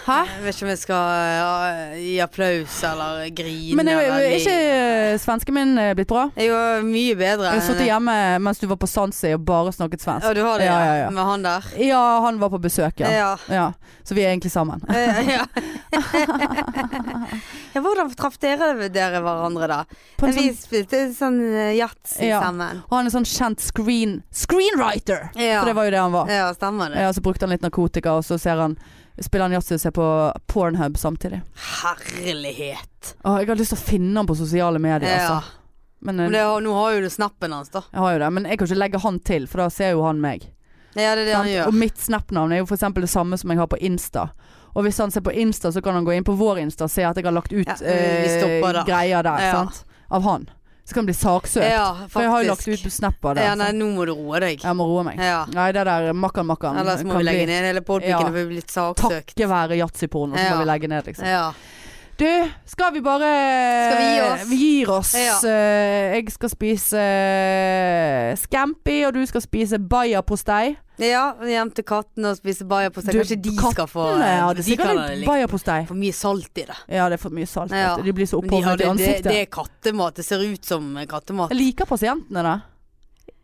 Speaker 1: Hæ?
Speaker 2: Jeg vet ikke om jeg skal ja, gi applaus eller grine.
Speaker 1: Men er
Speaker 2: eller
Speaker 1: er ikke eh, svensken min eh, blitt bra?
Speaker 2: Jeg var mye bedre.
Speaker 1: Jeg satt hjemme mens du var på Sansi og bare snakket svensk.
Speaker 2: Ja, du har det
Speaker 1: Ja, ja, ja.
Speaker 2: med han der.
Speaker 1: Ja, han var på besøk, ja.
Speaker 2: Ja.
Speaker 1: ja. Så vi er egentlig sammen.
Speaker 2: Eh, ja. ja, hvordan traff dere dere hverandre da?
Speaker 1: På en
Speaker 2: vi
Speaker 1: sånn,
Speaker 2: spilte sånn eh, yatzy
Speaker 1: Ja.
Speaker 2: sammen.
Speaker 1: og han er sånn kjent screen screenwriter!
Speaker 2: Ja.
Speaker 1: For det var jo det han var.
Speaker 2: ja, stemmer det.
Speaker 1: Ja, så brukte han litt narkotika, og så ser han spiller han yatzy og ser på Pornhub samtidig.
Speaker 2: Herlighet.
Speaker 1: Å, jeg har lyst til å finne han på sosiale medier,
Speaker 2: Ja.
Speaker 1: altså. Men
Speaker 2: Men
Speaker 1: eh,
Speaker 2: det, nå har jo du snappen hans, da.
Speaker 1: jeg har jo det. Men jeg kan ikke legge han til, for da ser jo han meg.
Speaker 2: Ja, det er det han
Speaker 1: Sant?
Speaker 2: gjør.
Speaker 1: Og mitt Snap-navn er jo f.eks. det samme som jeg har på Insta. Og hvis han ser på Insta, så kan han gå inn på vår Insta og se at jeg har lagt ut
Speaker 2: Ja, vi
Speaker 1: eh,
Speaker 2: stopper da.
Speaker 1: greier der.
Speaker 2: Ja.
Speaker 1: Sant? Av han. Så kan han bli saksøkt.
Speaker 2: Ja, faktisk.
Speaker 1: for jeg har jo lagt ut på Snap av det.
Speaker 2: Ja, nei,
Speaker 1: sant?
Speaker 2: nå må du roe deg.
Speaker 1: Jeg må roe meg.
Speaker 2: Ja.
Speaker 1: Nei, det der makkan makkan
Speaker 2: Ellers må vi legge ned hele
Speaker 1: Ja.
Speaker 2: podpikken og vi blir blitt saksøkt.
Speaker 1: Takket være yatzyporno, så
Speaker 2: Ja.
Speaker 1: må vi legge ned, liksom.
Speaker 2: Ja.
Speaker 1: Du, skal vi bare
Speaker 2: Skal vi gi oss?
Speaker 1: Vi gir oss.
Speaker 2: Ja.
Speaker 1: Eh, Jeg skal spise eh, scampi, og du skal spise bayerpostei.
Speaker 2: ja, hjem til kattene og spise baierpostei.
Speaker 1: Du,
Speaker 2: Kanskje de skal få
Speaker 1: Kattene hadde
Speaker 2: de
Speaker 1: sikkert
Speaker 2: kan ha
Speaker 1: litt
Speaker 2: det litt-
Speaker 1: bayerpostei.
Speaker 2: For mye salt i det.
Speaker 1: Ja, det er for mye salt.
Speaker 2: Ja.
Speaker 1: vet du. De blir
Speaker 2: Men
Speaker 1: så
Speaker 2: de
Speaker 1: opphovnet i
Speaker 2: hadde, det,
Speaker 1: ansiktet.
Speaker 2: det er kattemat. Det ser ut som kattemat.
Speaker 1: Jeg liker pasientene, da.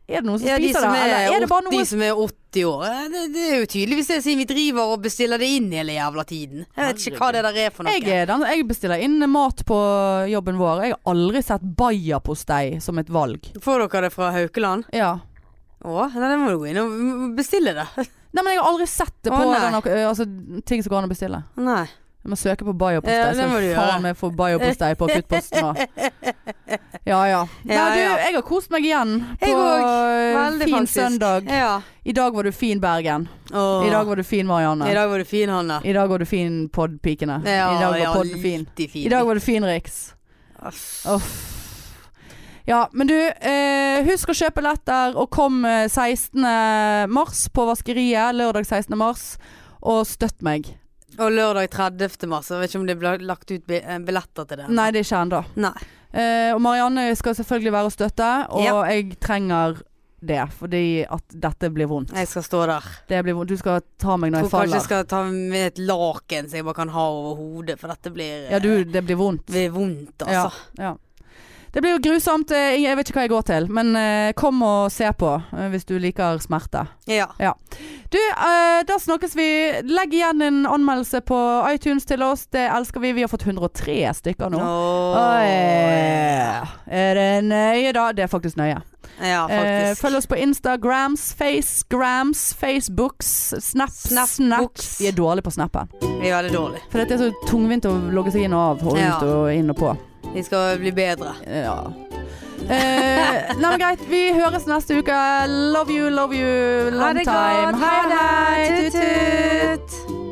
Speaker 1: Er det noen som
Speaker 2: Ja, de
Speaker 1: spiser
Speaker 2: som
Speaker 1: det? Eller
Speaker 2: er,
Speaker 1: er det bare
Speaker 2: 80,
Speaker 1: noen
Speaker 2: som er 80 år. Eh, Det, det er jo tydeligvis det, siden vi driver og bestiller det inn hele jævla tiden. Jeg vet ikke hva det der er for noe.
Speaker 1: jeg, er den, jeg bestiller inn mat på jobben vår. Jeg har aldri sett bayerpostei som et valg.
Speaker 2: Får dere det fra Haukeland?
Speaker 1: Ja.
Speaker 2: Å, nei, det må du gå inn og bestille det.
Speaker 1: Nei, men jeg har aldri sett det
Speaker 2: Å,
Speaker 1: på
Speaker 2: nei.
Speaker 1: den, ak- ø, altså, ting som går an å bestille.
Speaker 2: Nei.
Speaker 1: Jeg må søke på bayerpostei,
Speaker 2: Ja, det
Speaker 1: så
Speaker 2: må du gjøre.
Speaker 1: faen meg får bayerpostei på akuttposten nå. Ja ja. Nei,
Speaker 2: Ja,
Speaker 1: du,
Speaker 2: ja.
Speaker 1: jeg har kost meg igjen på
Speaker 2: Jeg òg. Veldig,
Speaker 1: Eh, fin
Speaker 2: faktisk.
Speaker 1: søndag.
Speaker 2: Ja.
Speaker 1: I dag var du fin, Bergen.
Speaker 2: Å, Åh.
Speaker 1: I dag var du fin, Marianne.
Speaker 2: I dag var du fin, Hanna.
Speaker 1: I dag var du fin, podpikene. I dag var podden fin.
Speaker 2: alltid fin.
Speaker 1: I dag var du fin, Riks. Uff. Ja, men du, eh, husk å kjøpe letter og kom eh, 16. mars på Vaskeriet. Lørdag 16. mars. Og støtt meg.
Speaker 2: Og lørdag 30. mars. Jeg vet ikke om det ble lagt ut bi- eh, billetter til det.
Speaker 1: Nei, det er ikke ennå.
Speaker 2: Nei.
Speaker 1: Eh, og Marianne skal selvfølgelig være å støtte, og
Speaker 2: Ja.
Speaker 1: jeg trenger det. Fordi at dette blir vondt.
Speaker 2: Jeg skal stå der.
Speaker 1: Det blir vondt. Du skal ta meg
Speaker 2: Tror
Speaker 1: når jeg
Speaker 2: kanskje
Speaker 1: faller.
Speaker 2: jeg skal ta med et laken så jeg bare kan ha over hodet, for dette blir eh,
Speaker 1: Ja, du, det blir vondt.
Speaker 2: blir vondt, altså.
Speaker 1: Ja. Det blir jo grusomt. eh, Jeg vet ikke hva jeg går til, men eh, kom og se på eh, hvis du liker smerte.
Speaker 2: Ja.
Speaker 1: Du, eh, da snakkes vi. Legg igjen en anmeldelse på iTunes til oss. Det elsker vi. Vi har fått 103 stykker nå.
Speaker 2: Åh.
Speaker 1: Oi. Er det nøye, da? Det er faktisk nøye.
Speaker 2: Ja,
Speaker 1: Eh,
Speaker 2: faktisk.
Speaker 1: følg oss på Instagrams, Facegrams, Facebooks, Snaps,
Speaker 2: Snapbooks.
Speaker 1: Snaps. Vi er dårlige på snappen.
Speaker 2: Vi er veldig dårlige.
Speaker 1: For det er så tungvint å logge seg inn og av, og
Speaker 2: Ja.
Speaker 1: ut og inn og på.
Speaker 2: Vi skal bli bedre.
Speaker 1: Ja. Eh, nei, men greit. Vi høres neste uke. Love you, love you, long time.
Speaker 2: Ha det godt.
Speaker 1: Hei, hei. Tut, tut.
Speaker 2: Tut-tut.